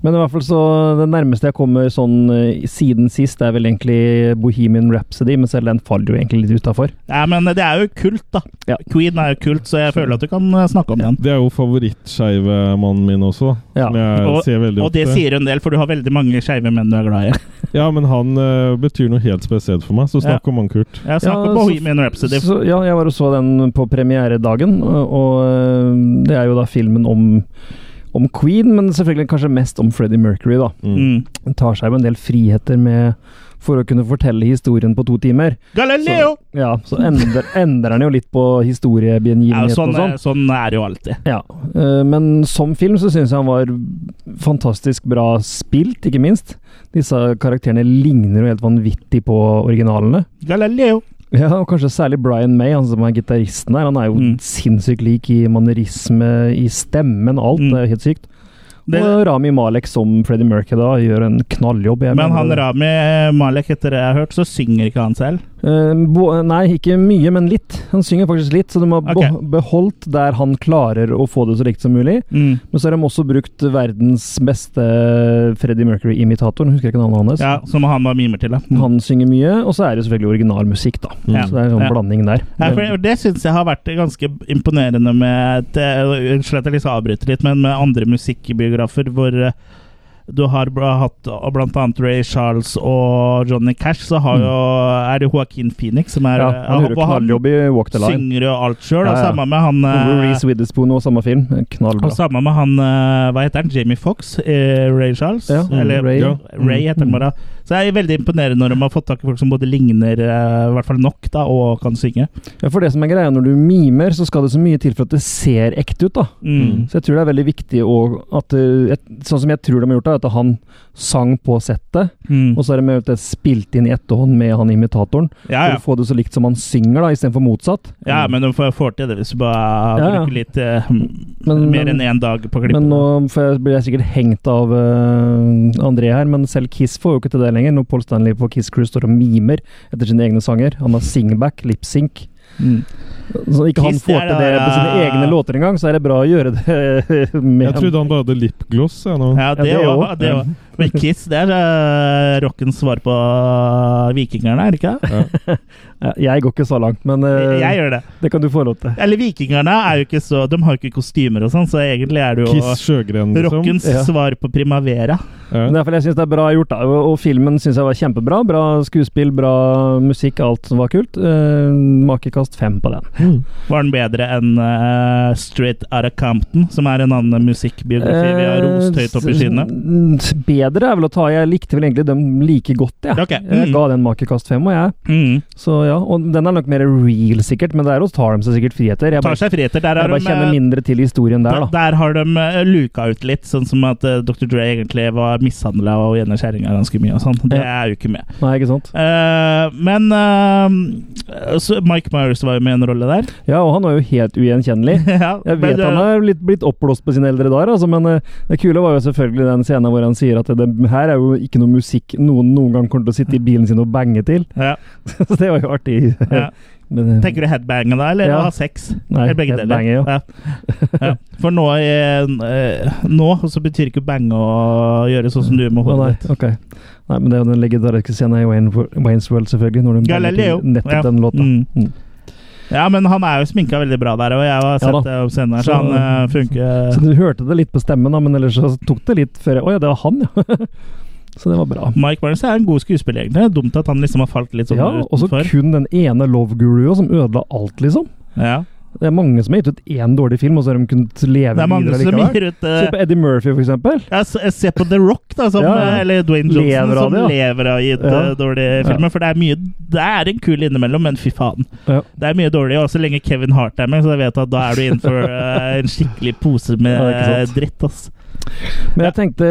[SPEAKER 3] Men i hvert fall så det nærmeste jeg kommer sånn eh, siden sist, er vel egentlig Bohemian Rhapsody, men selv den faller jo egentlig litt utafor.
[SPEAKER 1] Nei, men det er jo kult, da.
[SPEAKER 3] Ja.
[SPEAKER 1] Queen er jo kult, så jeg føler at du kan eh, snakke om den.
[SPEAKER 2] Det er jo favorittskeive mannen min også,
[SPEAKER 3] Ja.
[SPEAKER 2] som jeg
[SPEAKER 1] Og-
[SPEAKER 2] ser veldig
[SPEAKER 1] Og det
[SPEAKER 3] eh.
[SPEAKER 2] ofte.
[SPEAKER 1] sier en del, for du har veldig mange skeive menn du er glad i.
[SPEAKER 2] Ja, men han eh, betyr noe helt spesielt for meg, så snakk om han, Kurt.
[SPEAKER 1] Jeg snakker
[SPEAKER 3] Ja,
[SPEAKER 1] på
[SPEAKER 3] så-
[SPEAKER 1] Bohemian Rhapsody.
[SPEAKER 3] Så, ja, jeg var og så den på premieredagen, og, og eh, det er jo da filmen om om Queen, men selvfølgelig kanskje mest om Freddie Mercury, da.
[SPEAKER 2] Mm.
[SPEAKER 1] Mm.
[SPEAKER 3] Den tar seg jo en del friheter med for å kunne fortelle historien på to timer.
[SPEAKER 1] Galileo!
[SPEAKER 3] Ja, så endrer, endrer den jo litt på
[SPEAKER 1] Ja,
[SPEAKER 3] historiebegivenheten
[SPEAKER 1] sånn,
[SPEAKER 3] og sånn.
[SPEAKER 1] er- sånn er det jo alltid.
[SPEAKER 3] Ja, eh, men som film så syns jeg han var fantastisk bra spilt, ikke minst. Disse karakterene ligner jo helt vanvittig på originalene.
[SPEAKER 1] Galileo.
[SPEAKER 3] Ja, og kanskje særlig Brian May, han som er gitaristen her. Han er jo
[SPEAKER 1] Mm.
[SPEAKER 3] sinnssykt lik i manerisme, i stemmen, alt.
[SPEAKER 1] Mm.
[SPEAKER 3] Det er jo helt sykt.
[SPEAKER 1] Det,
[SPEAKER 3] og Rami Malek som Freddie Mercury da, gjør en knalljobb. Jeg
[SPEAKER 1] men
[SPEAKER 3] mener
[SPEAKER 1] han
[SPEAKER 3] det.
[SPEAKER 1] Rami eh, Malek, etter det jeg har hørt, så synger ikke han selv.
[SPEAKER 3] Eh, bo, nei, ikke mye, men litt. Han synger faktisk litt, så de har
[SPEAKER 1] Ok.
[SPEAKER 3] bo- beholdt der han klarer å få det så likt som mulig. Men så har de også brukt verdens beste Freddie Mercury-imitator. Husker ikke navnet hans.
[SPEAKER 1] Ja, Som han var mimer til. da. Mm.
[SPEAKER 3] Han synger mye, og så er det selvfølgelig original musikk, da.
[SPEAKER 2] Mm.
[SPEAKER 3] Så det er en sånn
[SPEAKER 1] Ja.
[SPEAKER 3] blanding der.
[SPEAKER 1] Ja, for det syns jeg har vært ganske imponerende med det- Unnskyld at eh, jeg liksom avbryter litt, men med andre musikkbiografer hvor eh, du har bl- hatt og blant annet Ray Charles og Johnny Cash, så har jo, er det Joaquin Phoenix som er
[SPEAKER 3] Mm.
[SPEAKER 1] eh,
[SPEAKER 3] ja, han gjør jo
[SPEAKER 1] og han
[SPEAKER 3] knalljobb i Walk the Line.
[SPEAKER 1] synger jo alt sjøl.
[SPEAKER 3] Ja,
[SPEAKER 1] Og
[SPEAKER 3] ja.
[SPEAKER 1] samme med han
[SPEAKER 3] Og
[SPEAKER 1] eh,
[SPEAKER 3] Reece Witherspoon og samme film. Knallbra.
[SPEAKER 1] Og samme med han eh, Hva heter han? Jamie Fox? eh, Ray Charles?
[SPEAKER 3] Ja, Mm,
[SPEAKER 1] Eller
[SPEAKER 3] Ray. Mm.
[SPEAKER 1] Ray,
[SPEAKER 2] Ja.
[SPEAKER 1] heter han bare. Så jeg er veldig imponerende når de har fått tak i folk som både ligner eh, i hvert fall nok, da, og kan synge.
[SPEAKER 3] Ja, for det som er greia, når du mimer, så skal det så mye til for at det ser ekte ut, da.
[SPEAKER 1] Mm.
[SPEAKER 3] Så jeg tror det er veldig viktig å at eh, et, Sånn som jeg tror de har gjort det, er at han sang på settet,
[SPEAKER 1] Mm.
[SPEAKER 3] og så er det med at det er spilt inn i etterhånd med han imitatoren.
[SPEAKER 1] Ja, ja.
[SPEAKER 3] For å få det så likt som han synger, da, istedenfor motsatt.
[SPEAKER 1] ja, men de får, får til det hvis du bare
[SPEAKER 3] Ja, ja.
[SPEAKER 1] bruker litt eh,
[SPEAKER 3] Men-
[SPEAKER 1] mer
[SPEAKER 3] men-
[SPEAKER 1] enn én dag på klippet.
[SPEAKER 3] Men nå får jeg, blir jeg sikkert hengt av eh, André her, men selv Kiss får jo ikke til det lenger. Når Paul Stanley på Kiss Crew står og mimer etter sine egne sanger. Han har singback, lipsync.
[SPEAKER 1] mm.
[SPEAKER 3] Så ikke han
[SPEAKER 1] Kiss, det
[SPEAKER 3] får
[SPEAKER 1] er da-
[SPEAKER 3] til det på sine egne låter engang, så er det bra å gjøre det med
[SPEAKER 2] Jeg trodde han bare hadde lipgloss, jeg nå.
[SPEAKER 1] Ja, det
[SPEAKER 3] det
[SPEAKER 1] òg.
[SPEAKER 3] også.
[SPEAKER 1] det også. Men Kiss, det er eh, rockens svar på eh, vikingerne, er det ikke? det?
[SPEAKER 3] Ja, Jeg går ikke så langt, men eh,
[SPEAKER 1] Jeg gjør det.
[SPEAKER 3] det kan du få lov til.
[SPEAKER 1] Eller vikingerne er jo ikke så De har jo ikke kostymer og sånn, så egentlig er det jo
[SPEAKER 2] Kiss Sjøgren, liksom.
[SPEAKER 1] Rockens
[SPEAKER 3] Ja.
[SPEAKER 1] svar på Primavera.
[SPEAKER 2] Ja.
[SPEAKER 3] Men i hvert fall, jeg syns det er bra gjort, da. Og, og filmen syns jeg var kjempebra. Bra skuespill, bra musikk, alt som var kult. Eh, makekast fem på den.
[SPEAKER 2] Mm.
[SPEAKER 1] Var den bedre enn eh, Straight Outta Compton, som er en annen musikkbiografi vi har rost høyt opp i skyene?
[SPEAKER 3] Eh, s- Bedre Bedre er vel å ta Jeg likte vel egentlig dem like godt, jeg.
[SPEAKER 1] Ok,
[SPEAKER 3] Jeg
[SPEAKER 1] mm.
[SPEAKER 3] ga den makerkast fem, og jeg.
[SPEAKER 1] Mm.
[SPEAKER 3] Så ja, og den er nok mer real, sikkert, men der også tar de seg sikkert friheter. Jeg
[SPEAKER 1] Tar
[SPEAKER 3] bare,
[SPEAKER 1] seg friheter. Der,
[SPEAKER 3] jeg
[SPEAKER 1] er
[SPEAKER 3] bare
[SPEAKER 1] de,
[SPEAKER 3] kjenner
[SPEAKER 1] eh,
[SPEAKER 3] mindre til historien der,
[SPEAKER 1] der,
[SPEAKER 3] da.
[SPEAKER 1] der har de eh, luka ut litt, sånn som at eh, Dr. Dre egentlig var mishandla og gjennom kjerringa ganske mye og sånn. Det
[SPEAKER 3] Ja.
[SPEAKER 1] er jo ikke med.
[SPEAKER 3] Nei, ikke sant?
[SPEAKER 1] Eh, men eh, så Mike Myers var jo med i en rolle der.
[SPEAKER 3] Ja, og han er jo helt ugjenkjennelig.
[SPEAKER 1] Ja,
[SPEAKER 3] Jeg
[SPEAKER 1] men,
[SPEAKER 3] vet han
[SPEAKER 1] eh,
[SPEAKER 3] er litt, blitt oppblåst på sine eldre dager, altså, men eh, det kule var jo selvfølgelig den scenen hvor han sier at det her er jo ikke noe musikk noen noen gang kommer til å sitte i bilen sin og bange til.
[SPEAKER 1] ja,
[SPEAKER 3] Så det var jo artig.
[SPEAKER 1] ja.
[SPEAKER 3] Men, eh,
[SPEAKER 1] Tenker du headbange da, eller
[SPEAKER 3] Ja.
[SPEAKER 1] å ha sex?
[SPEAKER 3] nei,
[SPEAKER 1] eller begge deler.
[SPEAKER 3] headbanger, ja.
[SPEAKER 1] Ja. Ja. For nå, eh, nå så betyr ikke bange å gjøre sånn som du gjør med
[SPEAKER 3] Å,
[SPEAKER 1] hodet
[SPEAKER 3] nei,
[SPEAKER 1] ditt.
[SPEAKER 3] ok. Nei, men det er jo den legendariske scenen i Wayne, Wayne's World, selvfølgelig. Når de banger
[SPEAKER 1] Galileo.
[SPEAKER 3] til nettopp
[SPEAKER 1] Ja.
[SPEAKER 3] den låta.
[SPEAKER 1] Mm.
[SPEAKER 3] Mm.
[SPEAKER 1] Ja, men han er jo sminka veldig bra der, og jeg har sett
[SPEAKER 3] da.
[SPEAKER 1] det på scenen, her, så
[SPEAKER 3] Så-
[SPEAKER 1] han eh, funker
[SPEAKER 3] Så du hørte det litt på stemmen, da, men ellers så tok det litt før jeg Å ja, det var han, ja. så det var bra.
[SPEAKER 1] Mike Barnes er en god skuespiller, egentlig. Det er Dumt at han liksom har falt litt sånn
[SPEAKER 3] Ja, og så
[SPEAKER 1] utenfor.
[SPEAKER 3] kun den ene Love Gurua som ødela alt, liksom.
[SPEAKER 1] Ja.
[SPEAKER 3] Det er mange som har gitt ut én dårlig film, og så har de kunnet leve
[SPEAKER 1] Det er mange
[SPEAKER 3] videre
[SPEAKER 1] som
[SPEAKER 3] likevel.
[SPEAKER 1] gir ut
[SPEAKER 3] Se
[SPEAKER 1] eh,
[SPEAKER 3] på Eddie Murphy, for eksempel.
[SPEAKER 1] ja, s- jeg ser på The Rock, da, som,
[SPEAKER 3] Ja, ja.
[SPEAKER 1] eh, eller Dwayne Johnson,
[SPEAKER 3] Lever av
[SPEAKER 1] som
[SPEAKER 3] det, ja.
[SPEAKER 1] lever av å gi ut
[SPEAKER 3] Ja.
[SPEAKER 1] eh, dårlige
[SPEAKER 3] Ja.
[SPEAKER 1] filmer. For det er mye Det er en kul innimellom, men fy faen.
[SPEAKER 3] Ja.
[SPEAKER 1] Det er mye dårlig. Og så lenge Kevin Hart er med, så jeg vet at da er du innenfor eh, en skikkelig pose med
[SPEAKER 3] Ja, ikke
[SPEAKER 1] eh,
[SPEAKER 3] sant.
[SPEAKER 1] dritt, ass.
[SPEAKER 3] Men jeg tenkte,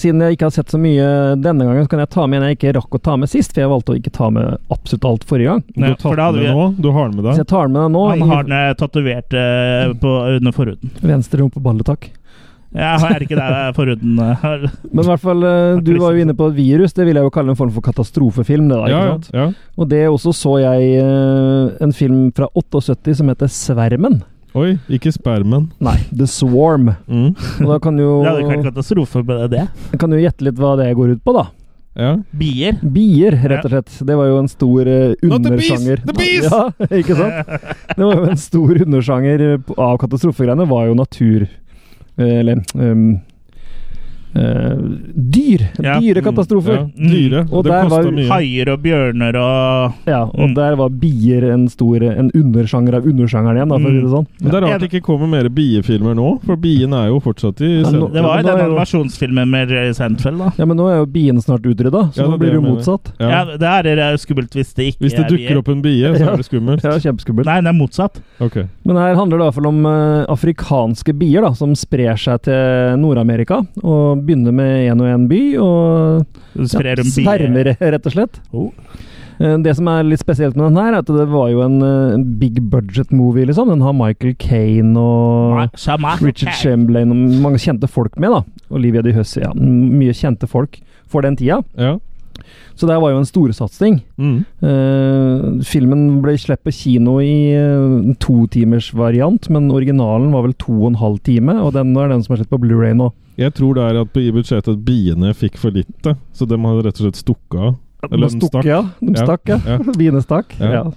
[SPEAKER 3] siden jeg ikke har sett så mye denne gangen, så kan jeg ta med en jeg ikke rakk å ta med sist, for jeg valgte å ikke ta med absolutt alt forrige gang.
[SPEAKER 2] Du
[SPEAKER 1] Ja, for
[SPEAKER 2] har tatt
[SPEAKER 1] da hadde
[SPEAKER 2] den med
[SPEAKER 1] vi-
[SPEAKER 2] nå? Du har den med
[SPEAKER 3] Så
[SPEAKER 2] deg?
[SPEAKER 3] jeg tar med den nå.
[SPEAKER 1] Han
[SPEAKER 3] i
[SPEAKER 1] har den eh, tatovert eh, på- under forhuden.
[SPEAKER 3] Venstre rumpeballe, takk.
[SPEAKER 1] Ja, er ikke det forhuden eh, har
[SPEAKER 3] Men i hvert fall, eh, du var jo inne på et virus. Det vil jeg jo kalle en form for katastrofefilm. det da, ikke
[SPEAKER 2] Ja,
[SPEAKER 3] sant?
[SPEAKER 2] ja, ja.
[SPEAKER 3] Og det også så jeg eh, en film fra 78 som heter Svermen.
[SPEAKER 2] Oi, ikke spermen.
[SPEAKER 3] Nei, The Swarm.
[SPEAKER 2] Mm.
[SPEAKER 3] Og da kan jo,
[SPEAKER 1] Det hadde ikke vært katastrofe med det.
[SPEAKER 3] kan jo gjette litt hva det går ut på, da.
[SPEAKER 2] Ja.
[SPEAKER 1] Bier.
[SPEAKER 3] Bier, rett og slett. Det var jo en stor eh,
[SPEAKER 2] Not the bees,
[SPEAKER 3] undersjanger.
[SPEAKER 2] the bees!
[SPEAKER 3] Ja, ikke sant? Det var jo en stor undersjanger eh, på- av katastrofegreiene, var jo natur... eh, Eller um, eh, Dyr!
[SPEAKER 1] Ja.
[SPEAKER 3] Dyrekatastrofer.
[SPEAKER 2] Ja. Mm,
[SPEAKER 1] Mm.
[SPEAKER 2] Dyre.
[SPEAKER 3] Og
[SPEAKER 2] det
[SPEAKER 3] der var-
[SPEAKER 2] kosta mye.
[SPEAKER 1] Haier og bjørner og
[SPEAKER 3] Ja, og
[SPEAKER 1] Mm.
[SPEAKER 3] der var bier en stor En undersjanger av undersjangeren igjen, da, for å si det sånn.
[SPEAKER 2] Men det er rart det ikke kommer mer biefilmer nå, for bien er jo fortsatt i
[SPEAKER 3] Ja, nå-
[SPEAKER 2] sentrum.
[SPEAKER 1] Det var jo
[SPEAKER 3] men
[SPEAKER 1] den
[SPEAKER 3] da er jo-
[SPEAKER 1] animasjonsfilmen med Jerry Sandfeld, da.
[SPEAKER 3] Ja, men nå er jo biene snart utrydda, så
[SPEAKER 2] Ja, det
[SPEAKER 3] nå
[SPEAKER 2] er det
[SPEAKER 3] blir det jo
[SPEAKER 2] jeg mener.
[SPEAKER 3] motsatt.
[SPEAKER 1] Ja.
[SPEAKER 2] Ja.
[SPEAKER 1] det er det er skummelt hvis det ikke
[SPEAKER 2] Hvis det dukker opp en bie, så
[SPEAKER 3] Ja.
[SPEAKER 2] er det skummelt.
[SPEAKER 3] Ja, kjempeskummelt.
[SPEAKER 1] Nei, det er motsatt.
[SPEAKER 2] Ok.
[SPEAKER 3] Men her handler det i hvert fall om eh, afrikanske bier da, som sprer seg til Nord-Amerika. Og begynner med én og én by, og
[SPEAKER 1] Du
[SPEAKER 3] ja,
[SPEAKER 1] sprer en bie.
[SPEAKER 3] svermer, rett og slett.
[SPEAKER 1] Oh.
[SPEAKER 3] Eh, Det som er litt spesielt med den her, er at det var jo en eh, en big budget-movie, liksom. Den har Michael Kane
[SPEAKER 1] Nei,
[SPEAKER 3] og
[SPEAKER 1] samme.
[SPEAKER 3] Richard
[SPEAKER 1] Ok.
[SPEAKER 3] Chamberlain og mange kjente folk med, da. Olivia de Hussey, ja. M- Mye kjente folk for den tida.
[SPEAKER 2] Ja.
[SPEAKER 3] Så det her var jo en storsatsing.
[SPEAKER 2] Mm.
[SPEAKER 3] Eh, filmen ble sluppet på kino i uh, to timers variant, men originalen var vel to og en halv time, og den er den som er sett på Blu-ray nå.
[SPEAKER 2] Jeg tror det er at i budsjettet at biene fikk for lite, så de har rett og slett stukket av. Eller
[SPEAKER 3] De
[SPEAKER 2] de stakk.
[SPEAKER 3] Ja, de
[SPEAKER 2] Ja,
[SPEAKER 3] stakk, ja.
[SPEAKER 2] ja.
[SPEAKER 3] Biene stakk.
[SPEAKER 2] Ja.
[SPEAKER 3] Ja.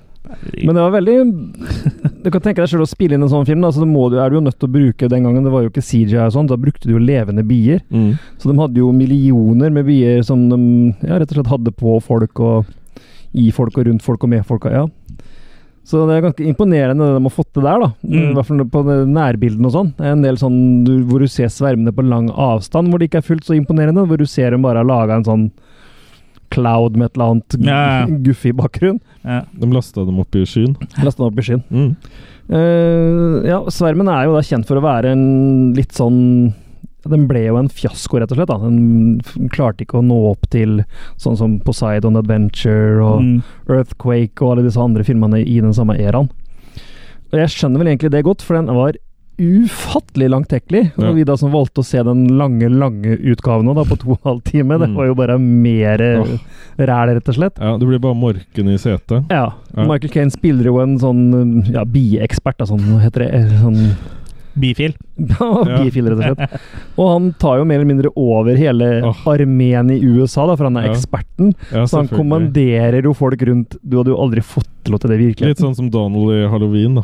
[SPEAKER 3] Men det var veldig Du kan tenke deg selv å spille inn en sånn film, da, så det må du, er du jo nødt til å bruke den gangen. Det var jo ikke CGI og sånn, da brukte du jo levende bier.
[SPEAKER 2] Mm.
[SPEAKER 3] Så de hadde jo millioner med bier som de ja, rett og slett hadde på folk og i folk og rundt folk og med folk. og- Ja. Så det er ganske imponerende det de har fått til der, da.
[SPEAKER 1] Mm.
[SPEAKER 3] I hvert fall på det nærbildene og sånn. Det er en del sånn du, hvor du ser svermene på lang avstand hvor det ikke er fullt så imponerende. Hvor du ser dem bare har laga en sånn cloud med et eller annet
[SPEAKER 1] Ja, ja.
[SPEAKER 3] guffig bakgrunn.
[SPEAKER 1] Ja.
[SPEAKER 2] De lasta dem opp i skyen.
[SPEAKER 3] Lasta opp i skyen.
[SPEAKER 2] Mm.
[SPEAKER 3] Eh, ja, Svermen er jo da kjent for å være en litt sånn Den ble jo en fiasko, rett og slett. da Den f- klarte ikke å nå opp til sånn som Poseidon Adventure og
[SPEAKER 1] Mm.
[SPEAKER 3] Earthquake og alle disse andre filmene i den samme eraen. Og jeg skjønner vel egentlig det godt, for den var ufattelig langtekkelig.
[SPEAKER 2] Ja.
[SPEAKER 3] Og vi da som valgte å se den lange, lange utgaven nå, da, på to og en halv time, det
[SPEAKER 2] Mm.
[SPEAKER 3] var jo bare mer eh,
[SPEAKER 2] Åh.
[SPEAKER 3] ræl, rett og slett.
[SPEAKER 2] Ja, det blir bare morken i setet.
[SPEAKER 3] Ja.
[SPEAKER 2] Ja.
[SPEAKER 3] Michael Kane spiller jo en sånn ja, bieekspert, da, sånn, hva heter det Eh, sånn,
[SPEAKER 1] Bifil.
[SPEAKER 2] Ja.
[SPEAKER 3] Bifil, rett og slett. Og han tar jo mer eller mindre over hele
[SPEAKER 2] Åh.
[SPEAKER 3] armeen i USA, da, for han er
[SPEAKER 2] Ja.
[SPEAKER 3] eksperten.
[SPEAKER 2] Ja,
[SPEAKER 3] Så han
[SPEAKER 2] selvfølgelig.
[SPEAKER 3] kommanderer jo folk rundt. Du hadde jo aldri fått til å til det virkelig.
[SPEAKER 2] Litt sånn som Donald i halloween, da.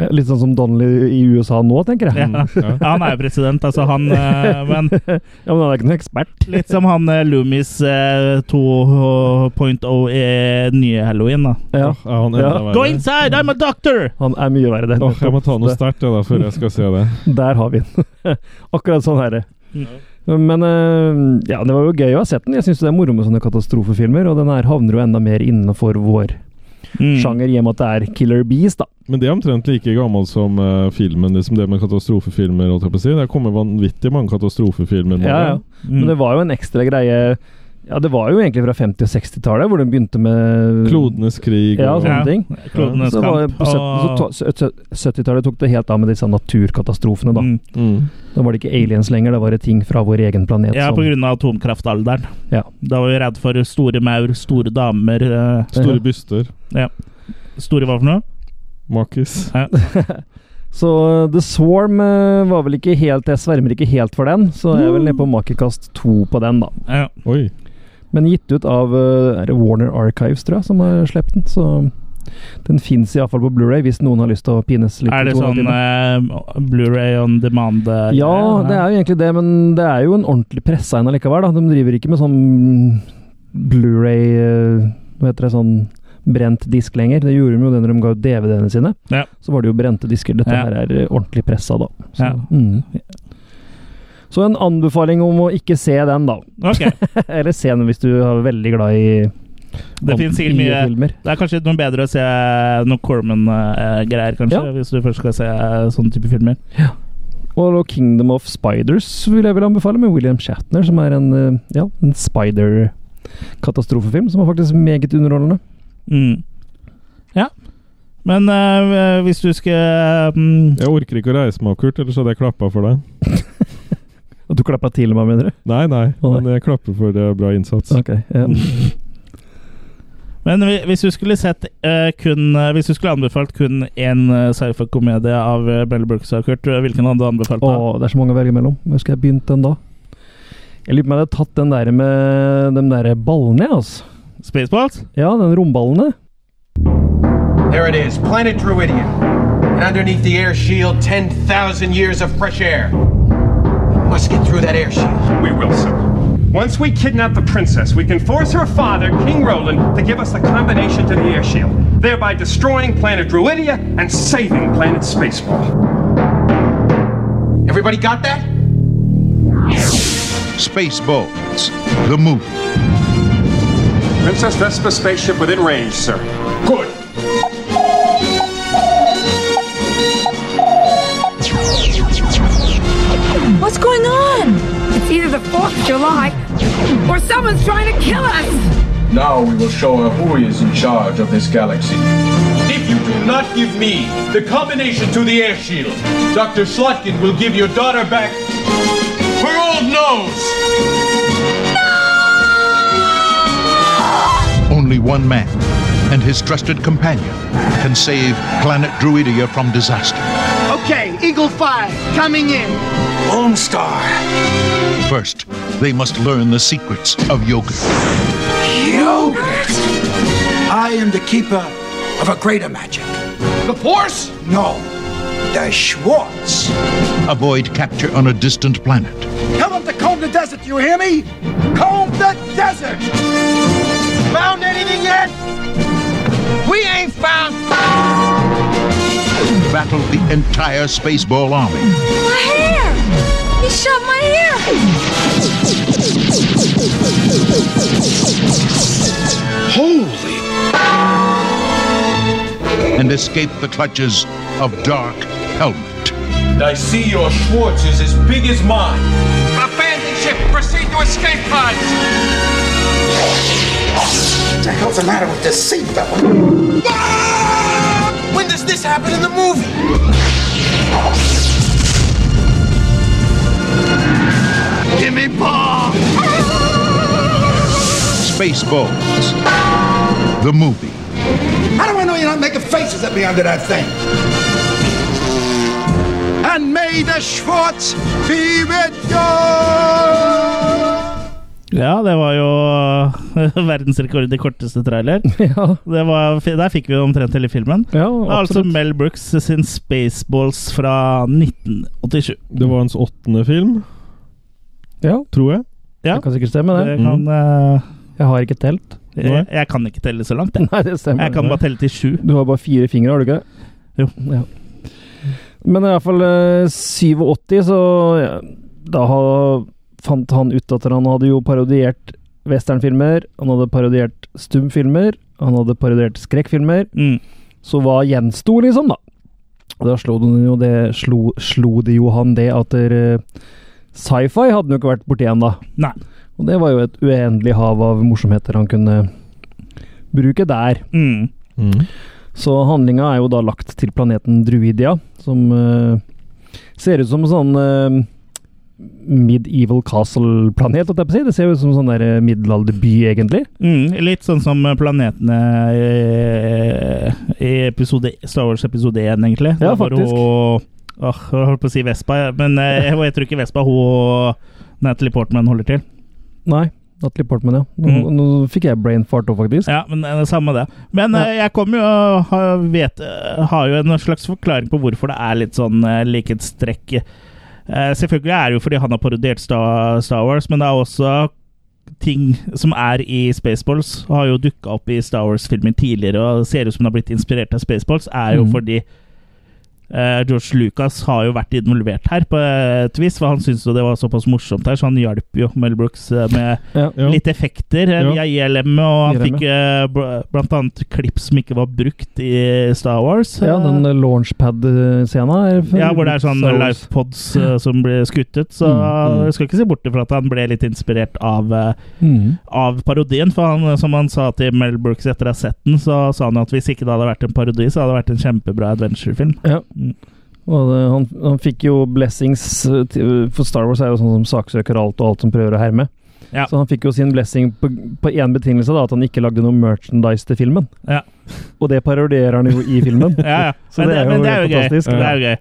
[SPEAKER 3] Eh, Litt sånn som Donnelly i USA nå, tenker jeg.
[SPEAKER 1] Ja.
[SPEAKER 2] Mm. Ja.
[SPEAKER 1] Ja, han er jo president, altså han eh, Men
[SPEAKER 3] Ja, Men han er ikke noen ekspert.
[SPEAKER 1] litt som han eh, Loomis eh, 2.0 i eh, nye halloween, da.
[SPEAKER 3] Ja.
[SPEAKER 2] Åh, er han enda
[SPEAKER 3] Ja.
[SPEAKER 1] Go
[SPEAKER 2] verre?
[SPEAKER 1] inside, I'm a doctor!
[SPEAKER 3] Han er mye verre, det.
[SPEAKER 2] Åh, jeg må ta noe
[SPEAKER 3] Det-
[SPEAKER 2] sterkt jeg, da, før jeg skal se det.
[SPEAKER 3] Der har vi den. Akkurat sånn er det.
[SPEAKER 2] Mm.
[SPEAKER 3] Men eh, ja, det var jo gøy å ha sett den. Jeg syns det er moro med sånne katastrofefilmer, og den her havner jo enda mer innenfor vår
[SPEAKER 1] Mm.
[SPEAKER 3] sjanger, i og med at det er Killer Bees, da.
[SPEAKER 2] Men det er omtrent like gammel som eh, filmen, liksom det med katastrofefilmer. holdt jeg på å si. Det kommer vanvittig mange katastrofefilmer. nå,
[SPEAKER 3] Ja, ja.
[SPEAKER 1] Mm.
[SPEAKER 3] Men det var jo en ekstra greie Ja, det var jo egentlig fra 50- og 60-tallet, hvor den begynte med
[SPEAKER 2] Klodenes krig
[SPEAKER 3] Ja,
[SPEAKER 2] og sånn.
[SPEAKER 3] sånne ting.
[SPEAKER 1] Klodenes
[SPEAKER 3] Så var det
[SPEAKER 1] kamp
[SPEAKER 3] på
[SPEAKER 1] og-
[SPEAKER 3] 70- så ta- 70-tallet tok det helt av med disse naturkatastrofene, da.
[SPEAKER 1] Mm.
[SPEAKER 2] mm.
[SPEAKER 3] Da var det ikke aliens lenger, da var det ting fra vår egen planet.
[SPEAKER 1] Ja,
[SPEAKER 3] som-
[SPEAKER 1] på grunn av atomkraftalderen.
[SPEAKER 3] sånn. Ja.
[SPEAKER 1] Da var vi redd for store maur, store damer eh,
[SPEAKER 2] Store byster.
[SPEAKER 1] Store hva for noe?
[SPEAKER 2] Makis.
[SPEAKER 3] Så uh, The Swarm eh, var vel ikke helt Jeg svermer ikke helt for den, så jeg er vel nede på makekast to på den, da.
[SPEAKER 1] Ja.
[SPEAKER 2] Oi.
[SPEAKER 3] Men gitt ut av eh, er det Warner Archives, tror jeg, som har sluppet den. Så den fins iallfall på Blu-ray hvis noen har lyst til å pines litt.
[SPEAKER 1] Er
[SPEAKER 3] i
[SPEAKER 1] det
[SPEAKER 3] to
[SPEAKER 1] sånn
[SPEAKER 3] timer.
[SPEAKER 1] eh, Blu-ray on demand? eh,
[SPEAKER 3] Ja, det er jo egentlig det, men det er jo en ordentlig pressa en allikevel. Da. De driver ikke med sånn Blu-ray eh, Hva heter det, sånn brent disk lenger. Det gjorde de jo det når de ga ut DVD-ene sine.
[SPEAKER 1] Ja.
[SPEAKER 3] Så var det jo brente disker. Dette
[SPEAKER 1] Ja.
[SPEAKER 3] her er eh, ordentlig pressa, da. Så,
[SPEAKER 1] Ja.
[SPEAKER 3] mm. Så en anbefaling om å ikke se den, da.
[SPEAKER 1] Ok.
[SPEAKER 3] Eller se den hvis du er veldig glad i
[SPEAKER 1] Det finnes sikkert
[SPEAKER 3] i
[SPEAKER 1] mye
[SPEAKER 3] filmer.
[SPEAKER 1] Det er kanskje noe bedre å se eh, noe Corman-greier, kanskje,
[SPEAKER 3] Ja.
[SPEAKER 1] hvis du først skal se eh, sånne type filmer.
[SPEAKER 3] Og 'Kingdom of Spiders' vil jeg vel anbefale, med William Shatner, som er en, eh, ja, en spider-katastrofefilm, som er faktisk meget underholdende.
[SPEAKER 1] Mm. Ja. Men eh, hvis du skal mm,
[SPEAKER 2] Jeg orker ikke å reise meg opp, Kurt, ellers hadde jeg klappa for deg.
[SPEAKER 3] Og du klappa til meg, mener du?
[SPEAKER 2] Nei, nei,
[SPEAKER 3] Å, nei.
[SPEAKER 2] men jeg klapper for eh, bra innsats.
[SPEAKER 3] Ok. Ja.
[SPEAKER 1] Mm. Men hvi- hvis du skulle sett eh, kun eh, Hvis du skulle anbefalt kun én eh, sci-fi-komedie av eh, Mel Brooks og Kurt, eh, hvilken hadde du anbefalt? da?
[SPEAKER 3] Å, det er så mange å velge mellom. Hvor skal jeg begynt den da? Jeg lurer på om jeg hadde tatt den der med de der ballene, jeg, altså.
[SPEAKER 1] Spaceballs?
[SPEAKER 3] Ja, den romballene.
[SPEAKER 4] There it is, planet Druidian. And underneath the air shield, 10,000 years of fresh air. Must get through that air shield.
[SPEAKER 5] We will, sir. Once we kidnap the princess, we can force her father, King Roland, to give us the combination to the air shield, thereby destroying planet Druidia and saving planet Spaceball.
[SPEAKER 4] Everybody got that?
[SPEAKER 6] Spaceballs, the movie.
[SPEAKER 5] Princess Vespa spaceship within range, sir. Good.
[SPEAKER 7] What's going on? It's either the 4th of July or someone's trying to kill us.
[SPEAKER 8] Now we will show her who is in charge of this galaxy.
[SPEAKER 4] If you do not give me the combination to the air shield, Dr. Slotkin will give your daughter back her old nose.
[SPEAKER 6] Only one man and his trusted companion can save planet Druidia from disaster.
[SPEAKER 9] Okay, Eagle 5, coming in.
[SPEAKER 5] Lone Star.
[SPEAKER 6] First, they must learn the secrets of yogurt.
[SPEAKER 10] I am the keeper of a greater magic.
[SPEAKER 4] The force?
[SPEAKER 10] No, the Schwartz.
[SPEAKER 6] Avoid capture on a distant planet.
[SPEAKER 10] Tell them to comb the desert, you hear me? Comb the desert!
[SPEAKER 4] Found anything yet? We ain't found.
[SPEAKER 6] Battle the entire Spaceball army.
[SPEAKER 7] My hair! He shot my hair!
[SPEAKER 6] and escape the clutches of Dark Helmet.
[SPEAKER 4] I see your Schwartz is as big as mine. Abandon ship, proceed to escape pods.
[SPEAKER 10] What the hell's the matter with this seat belt?
[SPEAKER 4] When does this happen in the movie?
[SPEAKER 6] Spaceballs, the movie.
[SPEAKER 10] How do I know you're not making faces at me under that thing? And may the Schwartz be with you!
[SPEAKER 1] Ja, det var jo verdensrekord i korteste trailer.
[SPEAKER 3] ja,
[SPEAKER 1] Det var, der fikk vi jo omtrent hele filmen. Det
[SPEAKER 3] ja,
[SPEAKER 1] er altså
[SPEAKER 3] absolutt.
[SPEAKER 1] Mel Brooks sin Spaceballs fra 1987.
[SPEAKER 2] Det var hans åttende film,
[SPEAKER 3] Ja,
[SPEAKER 2] tror jeg.
[SPEAKER 1] Ja.
[SPEAKER 3] det kan sikkert stemme,
[SPEAKER 1] Det
[SPEAKER 3] det.
[SPEAKER 1] kan, eh,
[SPEAKER 3] Jeg har ikke telt.
[SPEAKER 1] jeg, jeg kan ikke telle så langt, jeg.
[SPEAKER 3] Nei, det stemmer.
[SPEAKER 1] Jeg kan bare telle til sju.
[SPEAKER 3] Du har bare fire fingre, har du ikke?
[SPEAKER 1] Jo.
[SPEAKER 3] Ja. Men i hvert fall eh, 87, så ja, da har fant han ut at han hadde jo parodiert westernfilmer, han hadde parodiert stumfilmer, han hadde parodiert skrekkfilmer.
[SPEAKER 1] Mm,
[SPEAKER 3] Så hva gjensto, liksom, da? Og da slo det jo det Slo, slo det jo han det at eh, sci-fi hadde han jo ikke vært borti ennå.
[SPEAKER 1] Nei.
[SPEAKER 3] Og det var jo et uendelig hav av morsomheter han kunne bruke der.
[SPEAKER 1] Mm.
[SPEAKER 3] Så handlinga er jo da lagt til planeten Druidia, som eh, ser ut som en sånn eh, medieval castle-planet, holdt jeg på å si. Det ser jo ut som en sånn der eh, middelalderby, egentlig.
[SPEAKER 1] Mm, litt sånn som planetene eh, i episode, Star Wars episode 1, egentlig.
[SPEAKER 3] Ja,
[SPEAKER 1] Da var
[SPEAKER 3] faktisk.
[SPEAKER 1] Hun, åh, jeg holdt på å si Vespa, ja, men eh, jeg, jeg tror ikke Vespa hun Natalie Portman holder til.
[SPEAKER 3] Nei, Natalie Portman, ja. Nå,
[SPEAKER 1] Mm.
[SPEAKER 3] nå fikk jeg brain fart òg, faktisk.
[SPEAKER 1] Ja, men eh, samme det. Men
[SPEAKER 3] Ja.
[SPEAKER 1] eh, jeg kommer jo og har- vet, eh, har jo en slags forklaring på hvorfor det er litt sånn eh, likhetstrekk. Eh, Selvfølgelig er det jo fordi han har parodiert Star, Star Wars, men det er også ting som er i Spaceballs, har jo dukka opp i Star Wars-filmer tidligere og ser ut som den har blitt inspirert av Spaceballs, er jo
[SPEAKER 3] Mm.
[SPEAKER 1] fordi eh, George Lucas har jo vært involvert her på et vis, for han syntes jo det var såpass morsomt her, så han hjalp jo Mel Brooks eh, med
[SPEAKER 3] Ja. E
[SPEAKER 2] Ja.
[SPEAKER 1] litt effekter eh,
[SPEAKER 2] Ja.
[SPEAKER 1] via ILM, og han
[SPEAKER 3] ILM,
[SPEAKER 1] fikk eh, bl- blant annet klipp som ikke var brukt i Star Wars.
[SPEAKER 3] Ja, den
[SPEAKER 1] eh,
[SPEAKER 3] eh, launchpad-scena. er fra-
[SPEAKER 1] ja, hvor det er sånn
[SPEAKER 3] Star Wars.
[SPEAKER 1] life pods eh, som blir skuttet, så
[SPEAKER 3] Mm, mm.
[SPEAKER 1] jeg skal ikke se bort fra at han ble litt inspirert av, eh,
[SPEAKER 3] Mm.
[SPEAKER 1] av parodien. For han, eh, som han sa til Mel Brooks etter å ha sett den, så sa han at hvis ikke det hadde vært en parodi, så hadde det vært en kjempebra adventurefilm.
[SPEAKER 3] Ja.
[SPEAKER 1] Mm.
[SPEAKER 3] Og det, han, han fikk jo blessings eh, til- For Star Wars er jo sånn som saksøker alt og alt som prøver å herme.
[SPEAKER 1] Ja.
[SPEAKER 3] Så han fikk jo sin blessing på på én betingelse, da, at han ikke lagde noe merchandise til filmen.
[SPEAKER 1] Ja.
[SPEAKER 3] Og det parodierer han jo i filmen.
[SPEAKER 1] Ja, ja.
[SPEAKER 3] Så
[SPEAKER 1] Men, det, men det er jo gøy.
[SPEAKER 3] fantastisk.
[SPEAKER 1] Det er jo gøy.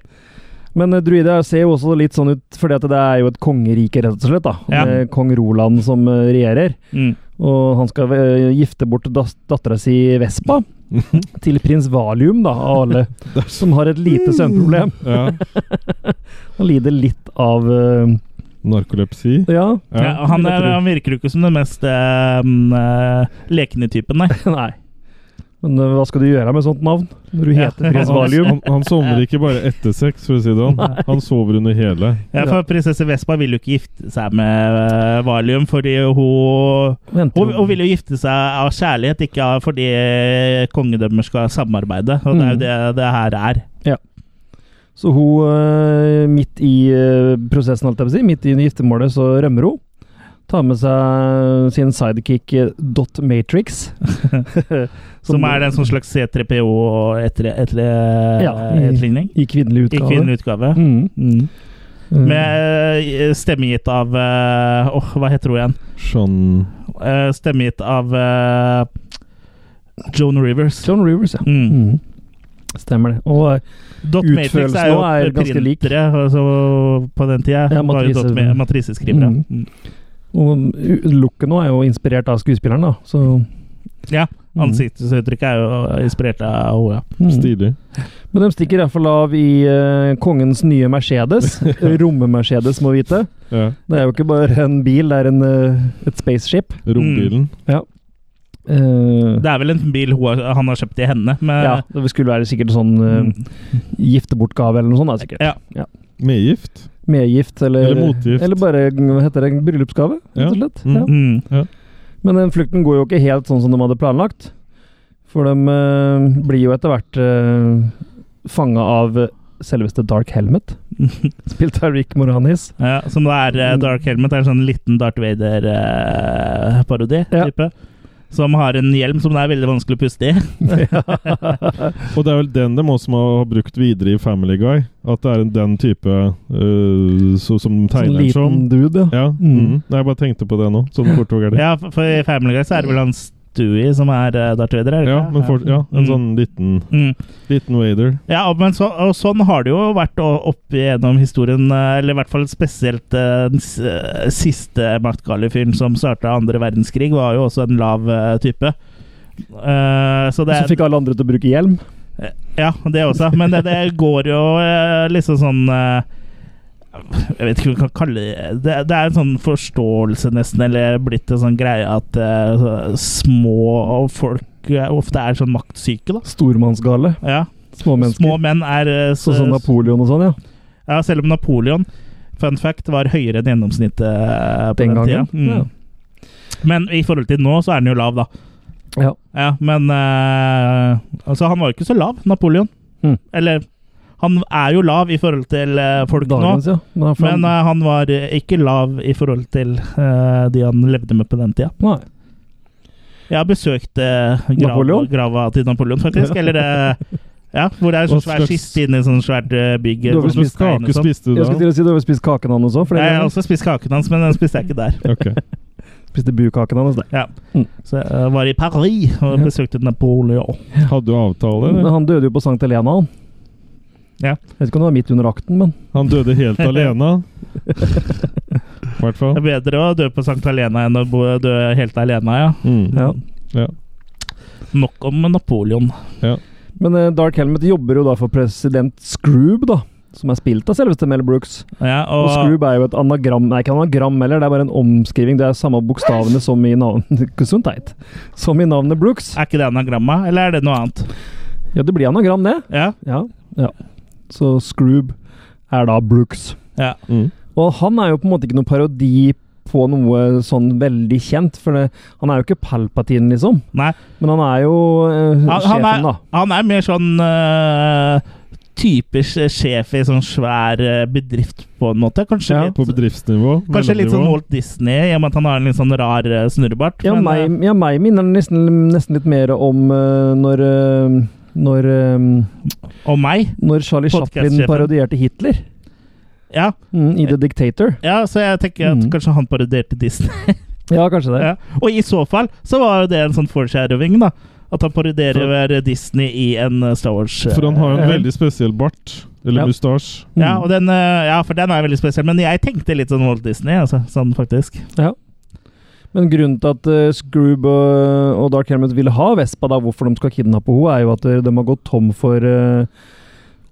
[SPEAKER 3] Men eh, druider ser jo også litt sånn ut, fordi at det er jo et kongerike, rett og slett. da.
[SPEAKER 1] Ja.
[SPEAKER 3] Med kong Roland som eh, regjerer.
[SPEAKER 1] Mm.
[SPEAKER 3] Og han skal eh, gifte bort das- dattera si Vespa til prins Valium, da, av alle. Som har et
[SPEAKER 1] Mm.
[SPEAKER 3] lite søvnproblem.
[SPEAKER 2] Ja.
[SPEAKER 3] Han lider litt av eh,
[SPEAKER 2] Narkolepsi.
[SPEAKER 3] Ja,
[SPEAKER 1] Ja, han, er, han virker jo ikke som den mest eh, mm, eh, lekne typen, nei.
[SPEAKER 3] nei. Men eh, hva skal du gjøre med sånt navn? Når du
[SPEAKER 1] Ja.
[SPEAKER 3] heter prins
[SPEAKER 1] Han-
[SPEAKER 3] Valium?
[SPEAKER 2] Han, han sovner ikke bare etter sex, for å si det sånn. Han sover under hele.
[SPEAKER 1] Ja, for prinsesse Vespa vil jo ikke gifte seg med eh, Valium, fordi hun
[SPEAKER 3] Venter
[SPEAKER 1] hun,
[SPEAKER 3] jo-
[SPEAKER 1] hun vil jo gifte seg av kjærlighet, ikke av fordi kongedømmer skal samarbeide. Og det er jo
[SPEAKER 3] Mm.
[SPEAKER 1] det det her er.
[SPEAKER 3] Så hun, eh, midt i eh, prosessen, holdt jeg på å si, midt i giftermålet, så rømmer hun. Tar med seg sin sidekick eh, Dot Matrix.
[SPEAKER 1] Som, er den som slags
[SPEAKER 3] mm.
[SPEAKER 1] E
[SPEAKER 3] Ja, i-
[SPEAKER 1] C3PO-etterligning.
[SPEAKER 3] I
[SPEAKER 1] eh,
[SPEAKER 3] kvinnelig
[SPEAKER 1] I
[SPEAKER 3] utgave.
[SPEAKER 1] kvinnelig utgave.
[SPEAKER 3] Mm.
[SPEAKER 1] Mm.
[SPEAKER 3] Eh,
[SPEAKER 1] Med eh, stemme gitt av eh, Åh, hva heter hun igjen?
[SPEAKER 2] Sånn
[SPEAKER 1] Eh, Stemme gitt av eh, Joan Rivers.
[SPEAKER 3] John Rivers, ja.
[SPEAKER 1] Mm.
[SPEAKER 3] Mm. Stemmer det. Og eh,
[SPEAKER 1] Dot Matrix er jo
[SPEAKER 3] Utførelsen er ganske lik.
[SPEAKER 1] printere altså, på den tida.
[SPEAKER 3] Ja,
[SPEAKER 1] var jo
[SPEAKER 3] matrise-
[SPEAKER 1] dot ma- matriseskrivere.
[SPEAKER 3] Mm.
[SPEAKER 1] Mm.
[SPEAKER 3] Og u- looket nå er jo inspirert av skuespilleren, da. Så
[SPEAKER 1] Ja,
[SPEAKER 3] Mm.
[SPEAKER 1] Ansiktsuttrykket er jo uh, inspirert av henne. ja.
[SPEAKER 3] mm.
[SPEAKER 2] stilig.
[SPEAKER 3] Men de stikker iallfall av i eh, kongens nye Mercedes. Romme-Mercedes, må vite.
[SPEAKER 2] Ja.
[SPEAKER 3] Det er jo ikke bare en bil, det er en, eh, et spaceship.
[SPEAKER 2] Rombilen.
[SPEAKER 3] Mm. Eh,
[SPEAKER 1] Det er vel en bil hun har, han har kjøpt til henne. Men, mm.
[SPEAKER 3] ja, det skulle være sikkert sånn eh, giftebortgave eller noe sånt. Da, sikkert.
[SPEAKER 1] Ja.
[SPEAKER 2] Medgift.
[SPEAKER 3] Medgift eller
[SPEAKER 2] Eller motgift.
[SPEAKER 3] Eller bare hva heter det, bryllupsgave, rett og
[SPEAKER 2] Ja.
[SPEAKER 3] slett.
[SPEAKER 2] Mm.
[SPEAKER 3] Ja.
[SPEAKER 1] Mm.
[SPEAKER 3] Men den flukten går jo ikke helt sånn som de hadde planlagt. For de eh, blir jo etter hvert uh, fanga av selveste Dark Helmet, spilt av Rick Moranis.
[SPEAKER 1] Ja, som det er
[SPEAKER 3] Mm.
[SPEAKER 1] eh, Dark Helmet, er en sånn liten Darth Vader-parodi.
[SPEAKER 3] Ja.
[SPEAKER 1] type Som har en hjelm som det er veldig vanskelig å puste i.
[SPEAKER 2] Og det er vel den de også må ha brukt videre i Family Guy. At det er en- den type øh, så, som de
[SPEAKER 3] Sånn
[SPEAKER 2] tegner den som.
[SPEAKER 3] liten dude, ja.
[SPEAKER 2] Ja.
[SPEAKER 3] Mm.
[SPEAKER 2] Mm. Nei, jeg bare tenkte på det nå. Sånn fort tok jeg det.
[SPEAKER 1] Ja, for for i Family Guy så er det vel han Stewie som er eh, Darth Vader? er det
[SPEAKER 2] Ja,
[SPEAKER 1] ikke?
[SPEAKER 2] men fort, ja, en
[SPEAKER 1] Mm.
[SPEAKER 2] sånn liten,
[SPEAKER 1] Mm.
[SPEAKER 2] liten Wader.
[SPEAKER 1] Ja, og- men så, og sånn har det jo vært o- opp gjennom historien, eh, eller i hvert fall spesielt eh, den s- eh, siste maktgale fyren som starta andre verdenskrig, var jo også en lav eh, type. Eh, så
[SPEAKER 3] Som
[SPEAKER 1] det
[SPEAKER 3] fikk alle andre til å bruke hjelm.
[SPEAKER 1] Ja, det også. Men det, det går jo eh, liksom sånn eh, Jeg vet ikke hva vi kan kalle det Det, det er en sånn forståelse, nesten, eller blitt en sånn greie at eh, små folk eh, ofte er sånn maktsyke, da.
[SPEAKER 3] Stormannsgale.
[SPEAKER 1] Ja.
[SPEAKER 3] Små mennesker.
[SPEAKER 1] Små menn er eh, s-
[SPEAKER 3] Sånn som Napoleon og sånn, ja.
[SPEAKER 1] Ja, selv om Napoleon fun fact, var høyere enn gjennomsnittet eh, på den,
[SPEAKER 3] Den
[SPEAKER 1] tida.
[SPEAKER 3] gangen? Ja.
[SPEAKER 1] Mm. Men i forhold til nå, så er den jo lav, da.
[SPEAKER 3] Ja.
[SPEAKER 1] Ja, men eh, Altså, han var jo ikke så lav, Napoleon.
[SPEAKER 3] Mm.
[SPEAKER 1] Eller Han er jo lav i forhold til eh, folk
[SPEAKER 3] Dagens,
[SPEAKER 1] nå,
[SPEAKER 3] ja. Men, han-
[SPEAKER 1] men eh, han var eh, ikke lav i forhold til eh, de han levde med på den tida.
[SPEAKER 3] Nei.
[SPEAKER 1] Jeg har besøkt eh, grava,
[SPEAKER 3] Napoleon?
[SPEAKER 1] grava til Napoleon, faktisk. Eller eh, Ja, hvor det er sånn
[SPEAKER 2] Hva
[SPEAKER 1] svær
[SPEAKER 2] slags-
[SPEAKER 1] kiste inne i sånn svært eh, bygg.
[SPEAKER 3] Du har vel
[SPEAKER 1] sånn med
[SPEAKER 2] Hvilken
[SPEAKER 1] stein og
[SPEAKER 2] kake
[SPEAKER 1] sånn.
[SPEAKER 2] spiste du
[SPEAKER 3] Jeg
[SPEAKER 2] da?
[SPEAKER 3] skulle til å si du har vel spist kaken hans også? For
[SPEAKER 1] Nei, altså-
[SPEAKER 3] det
[SPEAKER 1] Jeg har også spist kaken hans, men den spiste jeg ikke der.
[SPEAKER 2] Ok.
[SPEAKER 3] spiste bukaken hans. Der.
[SPEAKER 1] Ja.
[SPEAKER 3] Mm.
[SPEAKER 1] Så jeg eh, var i Paris og
[SPEAKER 3] Ja.
[SPEAKER 1] besøkte Napoleon.
[SPEAKER 2] Hadde du avtale?
[SPEAKER 3] Men
[SPEAKER 2] eller?
[SPEAKER 3] han døde jo på Sankt Helena, han.
[SPEAKER 1] Ja.
[SPEAKER 3] Jeg vet ikke om det var midt under akten, men
[SPEAKER 2] Han døde helt alene. I hvert fall.
[SPEAKER 1] Det er bedre å dø på Sankt Helena enn å bo- dø helt alene, ja.
[SPEAKER 2] Mm.
[SPEAKER 3] ja.
[SPEAKER 1] Nok om Napoleon.
[SPEAKER 3] Men eh, Dark Helmet jobber jo da for president Scroob, da. Som er spilt av selveste Mel Brooks.
[SPEAKER 1] Ja,
[SPEAKER 3] Og
[SPEAKER 1] og,
[SPEAKER 3] Scroob er jo et anagram Nei, ikke anagram heller, det er bare en omskriving. Det er samme bokstavene som i navnet Gesundheit. Som i navnet Brooks.
[SPEAKER 1] er ikke det anagramma, eller er det noe annet?
[SPEAKER 3] Ja, det blir anagram, det.
[SPEAKER 1] Ja,
[SPEAKER 3] Ja. ja. Så Scroob er da Brooks.
[SPEAKER 1] ja.
[SPEAKER 2] Mm.
[SPEAKER 3] Og han er jo på en måte ikke noen parodi på noe sånn veldig kjent, for det, han er jo ikke Palpatine, liksom.
[SPEAKER 1] Nei.
[SPEAKER 3] Men han er jo eh,
[SPEAKER 1] Han, han,
[SPEAKER 3] sjefen,
[SPEAKER 1] er,
[SPEAKER 3] da.
[SPEAKER 1] han er mer sånn øh, typisk sjef i sånn svær øh, bedrift, på en måte. Kanskje
[SPEAKER 3] Ja.
[SPEAKER 2] På
[SPEAKER 1] litt,
[SPEAKER 2] bedriftsnivå?
[SPEAKER 1] kanskje litt sånn
[SPEAKER 2] mellomnivå.
[SPEAKER 1] Walt Disney, i og med at han har en litt sånn rar øh, snurrebart.
[SPEAKER 3] Ja,
[SPEAKER 1] men,
[SPEAKER 3] meg,
[SPEAKER 1] øh,
[SPEAKER 3] ja, meg minner han nesten, nesten litt mer om eh, når eh, når, eh,
[SPEAKER 1] øh, og meg.
[SPEAKER 3] når Charlie Chaplin
[SPEAKER 1] Podcast-sjefen.
[SPEAKER 3] parodierte Hitler
[SPEAKER 1] Ja,
[SPEAKER 3] mm, i The Dictator.
[SPEAKER 1] ja, så jeg tenker at
[SPEAKER 3] Mm.
[SPEAKER 1] kanskje han parodierte Disney.
[SPEAKER 3] Ja, kanskje det.
[SPEAKER 1] ja. Og i så fall så var jo det en sånn foreshadowing, da. At han parodierer Disney i en øh, Star Wars. øh,
[SPEAKER 2] For han har jo en
[SPEAKER 1] ja.
[SPEAKER 2] veldig spesiell bart. Eller
[SPEAKER 3] Ja.
[SPEAKER 2] mustasje.
[SPEAKER 3] Mm.
[SPEAKER 1] Ja, og den, øh, ja, for den er veldig spesiell. Men jeg tenkte litt sånn Walt Disney, altså, sånn faktisk.
[SPEAKER 3] Men grunnen til at eh, Scroob og, og Dark Helmet ville ha Vespa, da, hvorfor de skal kidnappe henne, er jo at eh, de har gått tom for eh,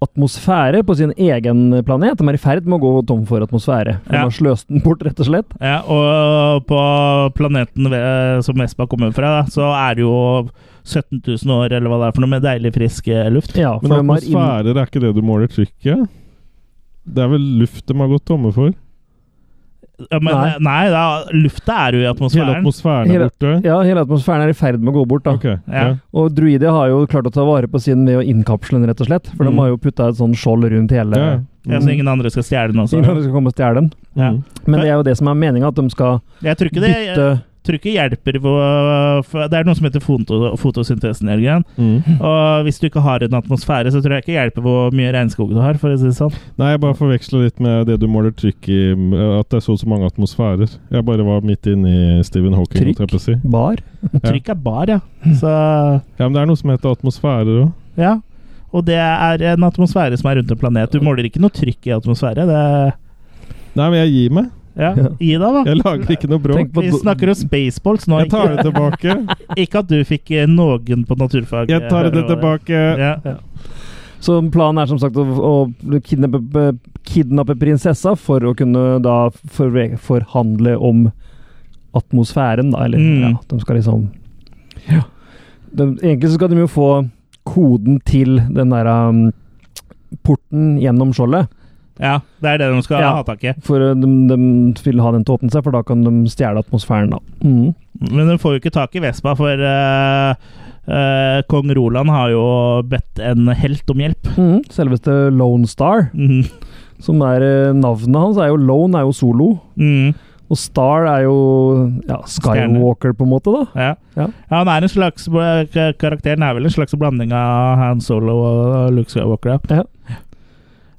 [SPEAKER 3] atmosfære på sin egen planet. De er i ferd med å gå tom for atmosfære. De
[SPEAKER 1] Ja.
[SPEAKER 3] har sløst den bort, rett og slett.
[SPEAKER 1] Ja, og eh, på planeten ve- som Vespa kommer fra, da, så er det jo 17 000 år eller hva det er for noe med deilig, frisk eh, luft.
[SPEAKER 3] Ja, for
[SPEAKER 2] Men
[SPEAKER 3] de har inn...
[SPEAKER 2] atmosfærer er ikke det du måler trykket? Det er vel luft de har gått tomme for?
[SPEAKER 1] Ja, Men nei,
[SPEAKER 3] Nei.
[SPEAKER 1] nei da, lufta er jo i
[SPEAKER 2] Hele
[SPEAKER 1] atmosfæren.
[SPEAKER 2] atmosfæren er
[SPEAKER 3] Hele-
[SPEAKER 2] borte?
[SPEAKER 3] Ja, hele atmosfæren er i ferd med å gå bort, da.
[SPEAKER 2] Ok,
[SPEAKER 1] Ja.
[SPEAKER 2] ja.
[SPEAKER 3] Og druider har jo klart å ta vare på sin ved å innkapsle den, rett og slett. For
[SPEAKER 2] Mm.
[SPEAKER 3] de har jo putta et sånn skjold rundt hele
[SPEAKER 2] Ja,
[SPEAKER 1] Ja, så ingen andre skal stjele den også.
[SPEAKER 3] Ingen andre skal komme og stjele den.
[SPEAKER 1] Ja.
[SPEAKER 2] Mm.
[SPEAKER 3] Men det er jo det som er meninga, at de skal
[SPEAKER 1] Jeg tror ikke det eh, jeg,
[SPEAKER 3] bytte
[SPEAKER 1] tror ikke hjelper på for Det er noe som heter foto, fotosyntesen, Jørgen.
[SPEAKER 2] Mm.
[SPEAKER 1] Og hvis du ikke har en atmosfære, så tror jeg ikke hjelper hvor mye regnskog du har, for å si det sånn.
[SPEAKER 2] Nei, jeg bare forveksla litt med det du måler trykk i At det er så og så mange atmosfærer. Jeg bare var midt inne i Stephen Hawking.
[SPEAKER 3] Trykk?
[SPEAKER 2] holdt Jeg på å si.
[SPEAKER 3] bar.
[SPEAKER 1] Trykk er bar, ja. Så
[SPEAKER 2] Ja, Men det er noe som heter atmosfærer òg.
[SPEAKER 1] Ja. Og det er en atmosfære som er rundt en planet. Du måler ikke noe trykk i atmosfære. Det er
[SPEAKER 2] Nei, men jeg gir meg.
[SPEAKER 1] Ja, gi deg, da.
[SPEAKER 2] Jeg lager ikke noe bråk.
[SPEAKER 3] Tenk på
[SPEAKER 1] Vi
[SPEAKER 3] do-
[SPEAKER 1] snakker om spaceballs nå.
[SPEAKER 2] Jeg tar det
[SPEAKER 1] Ikke,
[SPEAKER 2] tilbake.
[SPEAKER 1] ikke at du fikk eh, noen på naturfag.
[SPEAKER 2] Jeg tar det
[SPEAKER 1] eh,
[SPEAKER 2] tilbake.
[SPEAKER 1] Ja.
[SPEAKER 3] Så planen er som sagt å, å kidnappe, kidnappe prinsessa for å kunne da forve- forhandle om atmosfæren, da. Eller
[SPEAKER 1] Mm.
[SPEAKER 3] ja, de skal liksom Ja. De, egentlig så skal de jo få koden til den der um, porten gjennom skjoldet.
[SPEAKER 1] ja, det er det de skal
[SPEAKER 3] Ja.
[SPEAKER 1] ha tak i.
[SPEAKER 3] For uh, de, de vil ha den til å åpne seg, for da kan de stjele atmosfæren, da. Mm.
[SPEAKER 1] Men de får jo ikke tak i Vespa, for eh, eh, kong Roland har jo bedt en helt om hjelp.
[SPEAKER 3] Mm. Selveste Lone Star,
[SPEAKER 1] Mhm.
[SPEAKER 3] som er eh, navnet hans, er jo Lone, er jo solo.
[SPEAKER 1] Mhm.
[SPEAKER 3] Og Star er jo ja,
[SPEAKER 1] Stjerne.
[SPEAKER 3] Skywalker, på en måte, da.
[SPEAKER 1] Ja.
[SPEAKER 3] Ja.
[SPEAKER 1] ja, han er en slags Karakteren er vel en slags blanding av Han Solo og Luke Skywalker. ja.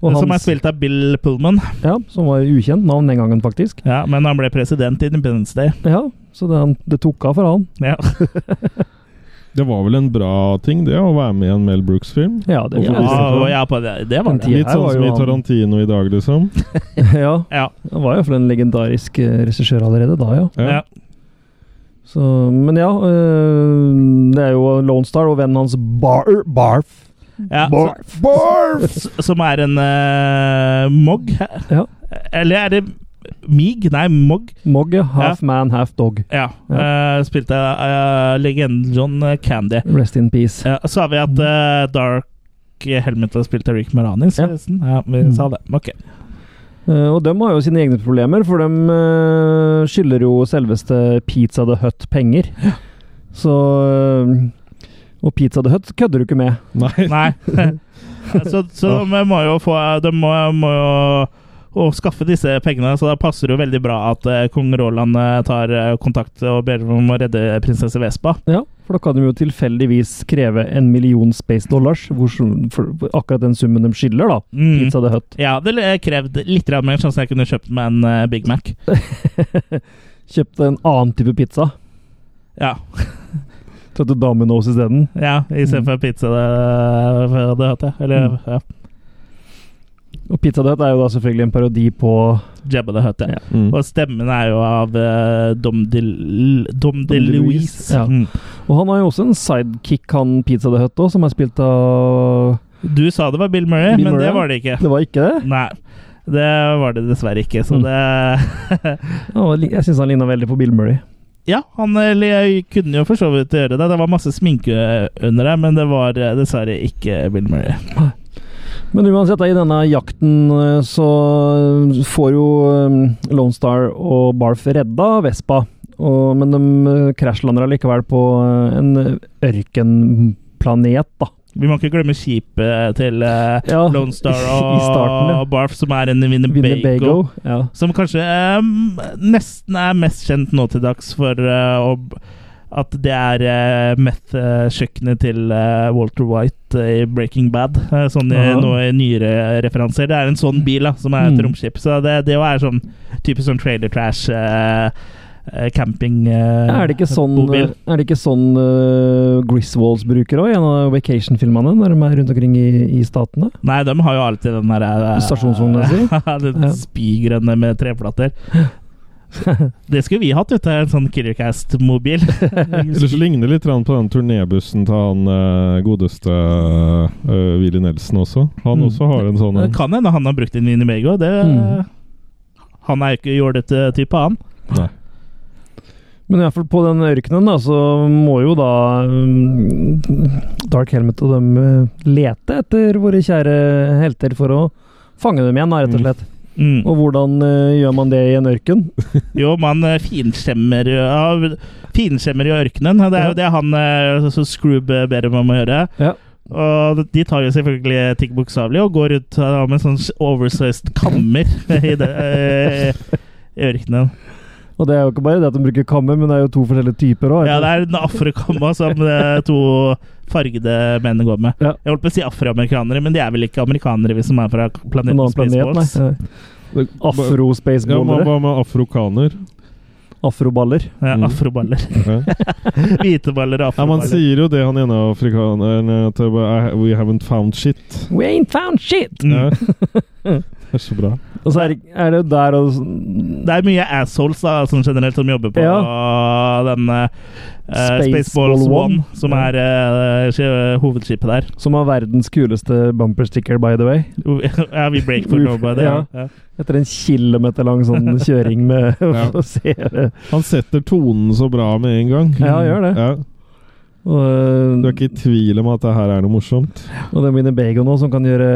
[SPEAKER 3] Og
[SPEAKER 1] Som er
[SPEAKER 3] hans-
[SPEAKER 1] spilt av Bill Pullman.
[SPEAKER 3] Ja, som var ukjent navn den gangen, faktisk.
[SPEAKER 1] Ja, men han ble president i Independence Day.
[SPEAKER 3] Ja, Så det, han, det tok av for han.
[SPEAKER 1] Ja.
[SPEAKER 2] Det var vel en bra ting, det, å være med i en Mel Brooks-film?
[SPEAKER 3] Ja, det
[SPEAKER 2] Hvorfor
[SPEAKER 3] ja,
[SPEAKER 1] Ja, og ja, på det, det var
[SPEAKER 3] Men
[SPEAKER 1] det.
[SPEAKER 3] Ja,
[SPEAKER 2] Litt
[SPEAKER 3] her
[SPEAKER 2] sånn
[SPEAKER 3] var
[SPEAKER 2] som
[SPEAKER 3] jo
[SPEAKER 2] i
[SPEAKER 3] han-
[SPEAKER 2] Tarantino i dag, liksom.
[SPEAKER 3] ja,
[SPEAKER 1] Ja,
[SPEAKER 3] han var jo for en legendarisk eh, regissør allerede da, ja.
[SPEAKER 1] ja.
[SPEAKER 2] Ja.
[SPEAKER 3] Så, men ja, eh, det er jo Lone Star og vennen hans Bar Barf.
[SPEAKER 1] ja.
[SPEAKER 3] Barf!
[SPEAKER 1] S- Som er en eh, Mog?
[SPEAKER 3] Ja.
[SPEAKER 1] Eller er det Mig? Nei, Mog.
[SPEAKER 3] Mog, ja. Half man, half dog.
[SPEAKER 1] Ja. Eh, spilte av eh, legenden John Candy.
[SPEAKER 3] Rest in peace.
[SPEAKER 1] Ja, så har vi at eh, Dark Helmet har spilt av Rick Maranis,
[SPEAKER 3] Ja. Mm.
[SPEAKER 1] forresten. Ja, vi sa det. Ok.
[SPEAKER 3] Eh, Og de har jo sine egne problemer, for de eh, skylder jo selveste Pizza The Hut penger. Så eh, Og Pizza The Hut kødder du ikke med.
[SPEAKER 2] Nei.
[SPEAKER 1] Nei. så så de må jo få De må, må jo å skaffe disse pengene, så da passer det jo veldig bra at eh, kong Roland eh, tar eh, kontakt og ber om å redde prinsesse Vespa.
[SPEAKER 3] Ja, for da kan de jo tilfeldigvis kreve en million space dollars, hvor, som- for akkurat den summen de skylder, da.
[SPEAKER 1] Mm.
[SPEAKER 3] Pizza The Hut.
[SPEAKER 1] Jeg hadde eh, krevd litt grann mer, sånn at jeg kunne kjøpt meg en eh, Big Mac.
[SPEAKER 3] Kjøpte en annen type pizza.
[SPEAKER 1] Ja,
[SPEAKER 3] Kjøpte Domino's isteden.
[SPEAKER 1] ja istedenfor pizza. Det, det hørte jeg. Eller
[SPEAKER 3] Mm.
[SPEAKER 1] ja,
[SPEAKER 3] Og Pizza The Hut er jo da selvfølgelig en parodi på
[SPEAKER 1] Jabba det hørte jeg.
[SPEAKER 2] Mm.
[SPEAKER 1] Og stemmen er jo av eh, Dom de, Dom de Louise.
[SPEAKER 3] Ja.
[SPEAKER 1] Mm.
[SPEAKER 3] Og han har jo også en sidekick, han Pizza The Hut òg, som er spilt av
[SPEAKER 1] Du sa det var Bill Murray,
[SPEAKER 3] Bill
[SPEAKER 1] men
[SPEAKER 3] Murray,
[SPEAKER 1] det
[SPEAKER 3] ja.
[SPEAKER 1] var det ikke.
[SPEAKER 3] Det var ikke det?
[SPEAKER 1] Nei. Det var det dessverre ikke, så
[SPEAKER 3] Mm.
[SPEAKER 1] det
[SPEAKER 3] Ja, Jeg syns han ligna veldig på Bill Murray.
[SPEAKER 1] Ja, han eller jeg kunne jo for så vidt gjøre det. Det var masse sminke under der, men det var eh, dessverre ikke Bill Murray.
[SPEAKER 3] Men uansett, da, i denne jakten eh, så får jo eh, Lone Star og Barf redda Vespa. Og, men de eh, krasjlander allikevel på eh, en ørkenplanet, da.
[SPEAKER 1] Vi må ikke glemme skipet til eh,
[SPEAKER 3] Ja,
[SPEAKER 1] Lone Star
[SPEAKER 3] i
[SPEAKER 1] og
[SPEAKER 3] starten, ja.
[SPEAKER 1] Barf, som er en Winnebago.
[SPEAKER 3] Winnebago. Ja.
[SPEAKER 1] Som kanskje eh, nesten er mest kjent nå til dags for eh, å b- at det er eh, meth-kjøkkenet til eh, Walter White eh, i Breaking Bad. eh, sånn i,
[SPEAKER 3] Ja.
[SPEAKER 1] nå i nyere referanser. Det er en sånn bil da, som er et
[SPEAKER 3] Mm.
[SPEAKER 1] romskip. Så det, det jo er sånn typisk sånn trailer trash, eh, eh, camping eh,
[SPEAKER 3] Er det ikke sånn,
[SPEAKER 1] bobil.
[SPEAKER 3] er det ikke sånn eh, Griswolds bruker òg, i en av vacation-filmene? Når de er rundt omkring i, i statene?
[SPEAKER 1] Nei, de har jo alltid den der eh,
[SPEAKER 3] Stasjonsvogna si?
[SPEAKER 1] den
[SPEAKER 3] Ja.
[SPEAKER 1] spygrønne med treplater. Det skulle vi hatt, vet du. En sånn Killercast-mobil.
[SPEAKER 2] Eller så ligner det litt grann på den turnébussen til han eh, godeste eh, Willy Nelson også. Han
[SPEAKER 3] Mm.
[SPEAKER 2] også har en sånn
[SPEAKER 1] Det
[SPEAKER 2] en.
[SPEAKER 1] kan hende han har brukt en Winnebago. Det,
[SPEAKER 3] Mm.
[SPEAKER 1] Han er jo ikke jålete type, han.
[SPEAKER 2] Nei.
[SPEAKER 3] Men i hvert fall på den ørkenen da, så må jo da mm, Dark Helmet og dem eh, lete etter våre kjære helter for å fange dem igjen, da, rett og slett.
[SPEAKER 1] Mm.
[SPEAKER 3] Og hvordan eh, gjør man det i en ørken?
[SPEAKER 1] Jo, man eh, finskjemmer jo- ja, Finskjemmer i ørkenen. Det er jo det han eh, så- så Scroob eh, ber om å gjøre.
[SPEAKER 3] Ja.
[SPEAKER 1] Og de tar jo selvfølgelig ting bokstavelig og går ut eh, med sånn oversized kammer i, det, eh, i ørkenen.
[SPEAKER 3] Og det er jo ikke bare det at de bruker kammer, men det er jo to forskjellige typer òg.
[SPEAKER 1] Ja, det er en afrokamma som eh, to fargede menn går med.
[SPEAKER 3] Ja.
[SPEAKER 1] Jeg holdt på å si afroamerikanere, men de er vel ikke amerikanere hvis de er fra
[SPEAKER 3] en
[SPEAKER 1] planeten
[SPEAKER 3] annen planet,
[SPEAKER 1] Spaceballs?
[SPEAKER 3] nei. Eh,
[SPEAKER 2] Det- Ja, hva
[SPEAKER 3] Afro-spaceballere.
[SPEAKER 2] hva med afrokaner?
[SPEAKER 3] Afroballer.
[SPEAKER 1] Ja,
[SPEAKER 2] Mm.
[SPEAKER 1] afroballer.
[SPEAKER 2] Ja.
[SPEAKER 1] Hviteballer og
[SPEAKER 2] Ja, man
[SPEAKER 1] afroballer.
[SPEAKER 2] sier jo det, han ene afrikaneren eh, til I- We haven't found shit.
[SPEAKER 3] We ain't found shit!
[SPEAKER 2] Ja.
[SPEAKER 1] Mm.
[SPEAKER 2] Det er så bra.
[SPEAKER 3] Og så er, det- er det jo der og
[SPEAKER 1] Det er mye assholes da, sånn generelt som jobber på den eh, eh,
[SPEAKER 3] Spaceball
[SPEAKER 1] Spaceballs
[SPEAKER 3] One.
[SPEAKER 1] One, som er eh, skje- hovedskipet der.
[SPEAKER 3] Som har verdens kuleste bumpersticker, by the way.
[SPEAKER 1] ja, vi break for
[SPEAKER 3] Vi-
[SPEAKER 1] nobody. Ja. Ja.
[SPEAKER 3] Etter en kilometer lang sånn kjøring med
[SPEAKER 2] Ja.
[SPEAKER 3] å se det.
[SPEAKER 2] Han setter tonen så bra med en gang.
[SPEAKER 3] Ja, han gjør det.
[SPEAKER 2] Ja.
[SPEAKER 3] Og, eh,
[SPEAKER 2] Du er ikke i tvil om at det her er noe morsomt?
[SPEAKER 3] og det er Winnebago nå som kan gjøre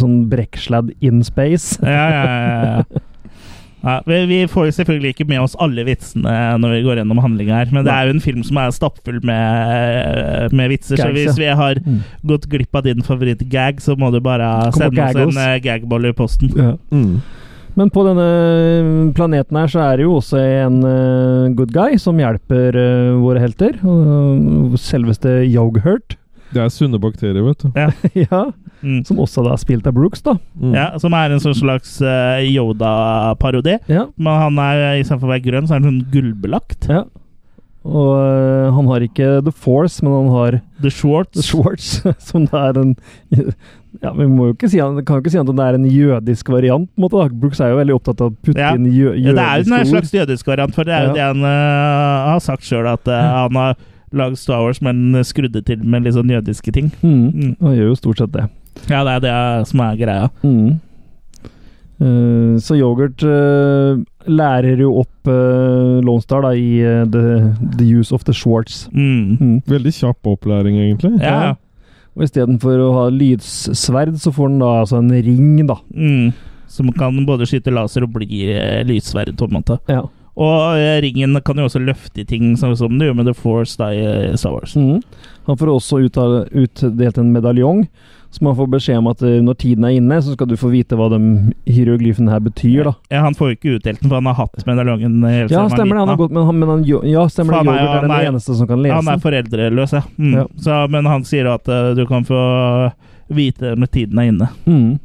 [SPEAKER 3] sånn brekksladd in space.
[SPEAKER 1] Ja, ja, ja, ja. Ja, vi, vi får jo selvfølgelig ikke med oss alle vitsene når vi går gjennom handlinga her, men det
[SPEAKER 3] Nei.
[SPEAKER 1] er jo en film som er stappfull med, med vitser, så
[SPEAKER 3] Gags,
[SPEAKER 1] hvis vi har
[SPEAKER 3] Mm.
[SPEAKER 1] gått glipp av din favorittgag, så må du bare
[SPEAKER 3] Kom og
[SPEAKER 1] sende
[SPEAKER 3] gag oss.
[SPEAKER 1] oss en eh, gagboll i posten.
[SPEAKER 2] Mm.
[SPEAKER 3] Men på denne eh, planeten her så er det jo også en eh, good guy som hjelper eh, våre helter. og eh, selveste Yoghurt.
[SPEAKER 2] Det er sunne bakterier, vet du.
[SPEAKER 3] ja,
[SPEAKER 1] Mm.
[SPEAKER 3] som også da er spilt av Brooks, da.
[SPEAKER 2] Mm.
[SPEAKER 1] Ja, som er en sånn slags eh, Yoda-parodi.
[SPEAKER 3] Ja.
[SPEAKER 1] Men han er istedenfor å være grønn, så er han sånn gullbelagt.
[SPEAKER 3] ja. Og eh, han har ikke The Force, men han har
[SPEAKER 1] The Shorts.
[SPEAKER 3] Schwartz, som det er en ja, Vi må jo ikke si, han- kan jo ikke si at det er en jødisk variant. på en måte da. Brooks er jo veldig opptatt av å putte
[SPEAKER 1] Ja.
[SPEAKER 3] inn jø,
[SPEAKER 1] Ja, det er jo
[SPEAKER 3] jødiske
[SPEAKER 1] en
[SPEAKER 3] ord.
[SPEAKER 1] slags jødisk variant, for det er jo
[SPEAKER 3] Ja.
[SPEAKER 1] det han eh, har sagt sjøl, at eh, han har lagd Star Wars, men skrudde til med litt sånn jødiske ting.
[SPEAKER 3] Mm.
[SPEAKER 1] Mm.
[SPEAKER 3] Han gjør jo stort sett det.
[SPEAKER 1] Ja, det er det som er greia.
[SPEAKER 3] Mm. Eh, så yoghurt eh, lærer jo opp uh, Lone Star da, i eh, the, the use of the Schwartz.
[SPEAKER 1] Mm.
[SPEAKER 3] Mm.
[SPEAKER 2] Veldig kjapp opplæring, egentlig.
[SPEAKER 1] Ja.
[SPEAKER 3] Og istedenfor å ha lyssverd, så får han da altså en ring, da.
[SPEAKER 1] Mm. Som kan både skyte laser og bli eh, lyssverd. på en måte.
[SPEAKER 3] Ja.
[SPEAKER 1] Og eh, ringen kan jo også løfte ting, sånn som det gjør med The Force da, i eh, Star Wars.
[SPEAKER 3] Mhm. Han får også uttale- utdelt en medaljong, som han får beskjed om at eh, når tiden er inne, så skal du få vite hva de hieroglyfene her betyr, da.
[SPEAKER 1] Ja, han får jo ikke utdelt den, for han har hatt medaljongen hele
[SPEAKER 3] Ja,
[SPEAKER 1] siden
[SPEAKER 3] stemmer det.
[SPEAKER 1] var liten.
[SPEAKER 3] Han har
[SPEAKER 1] da.
[SPEAKER 3] gått, men han, men han, jo- ja, stemmer det.
[SPEAKER 1] For han er-
[SPEAKER 3] Yoghurt er den
[SPEAKER 1] han er-
[SPEAKER 3] eneste som kan lese
[SPEAKER 1] Han er
[SPEAKER 3] den.
[SPEAKER 1] foreldreløs, ja. Mm.
[SPEAKER 3] Ja.
[SPEAKER 1] Så, men han sier at eh, du kan få vite når tiden er inne.
[SPEAKER 3] Mhm.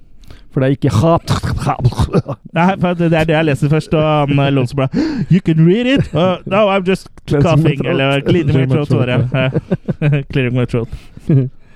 [SPEAKER 3] For det er ikke
[SPEAKER 1] Nei, for det det er det jeg leser først, og han eh, låter så bra You can read it! Uh, no, I'm just
[SPEAKER 3] Cleansing my
[SPEAKER 1] coughing.
[SPEAKER 3] throat.
[SPEAKER 1] Eller cleaning my throat, var det. ja. Clearing my throat.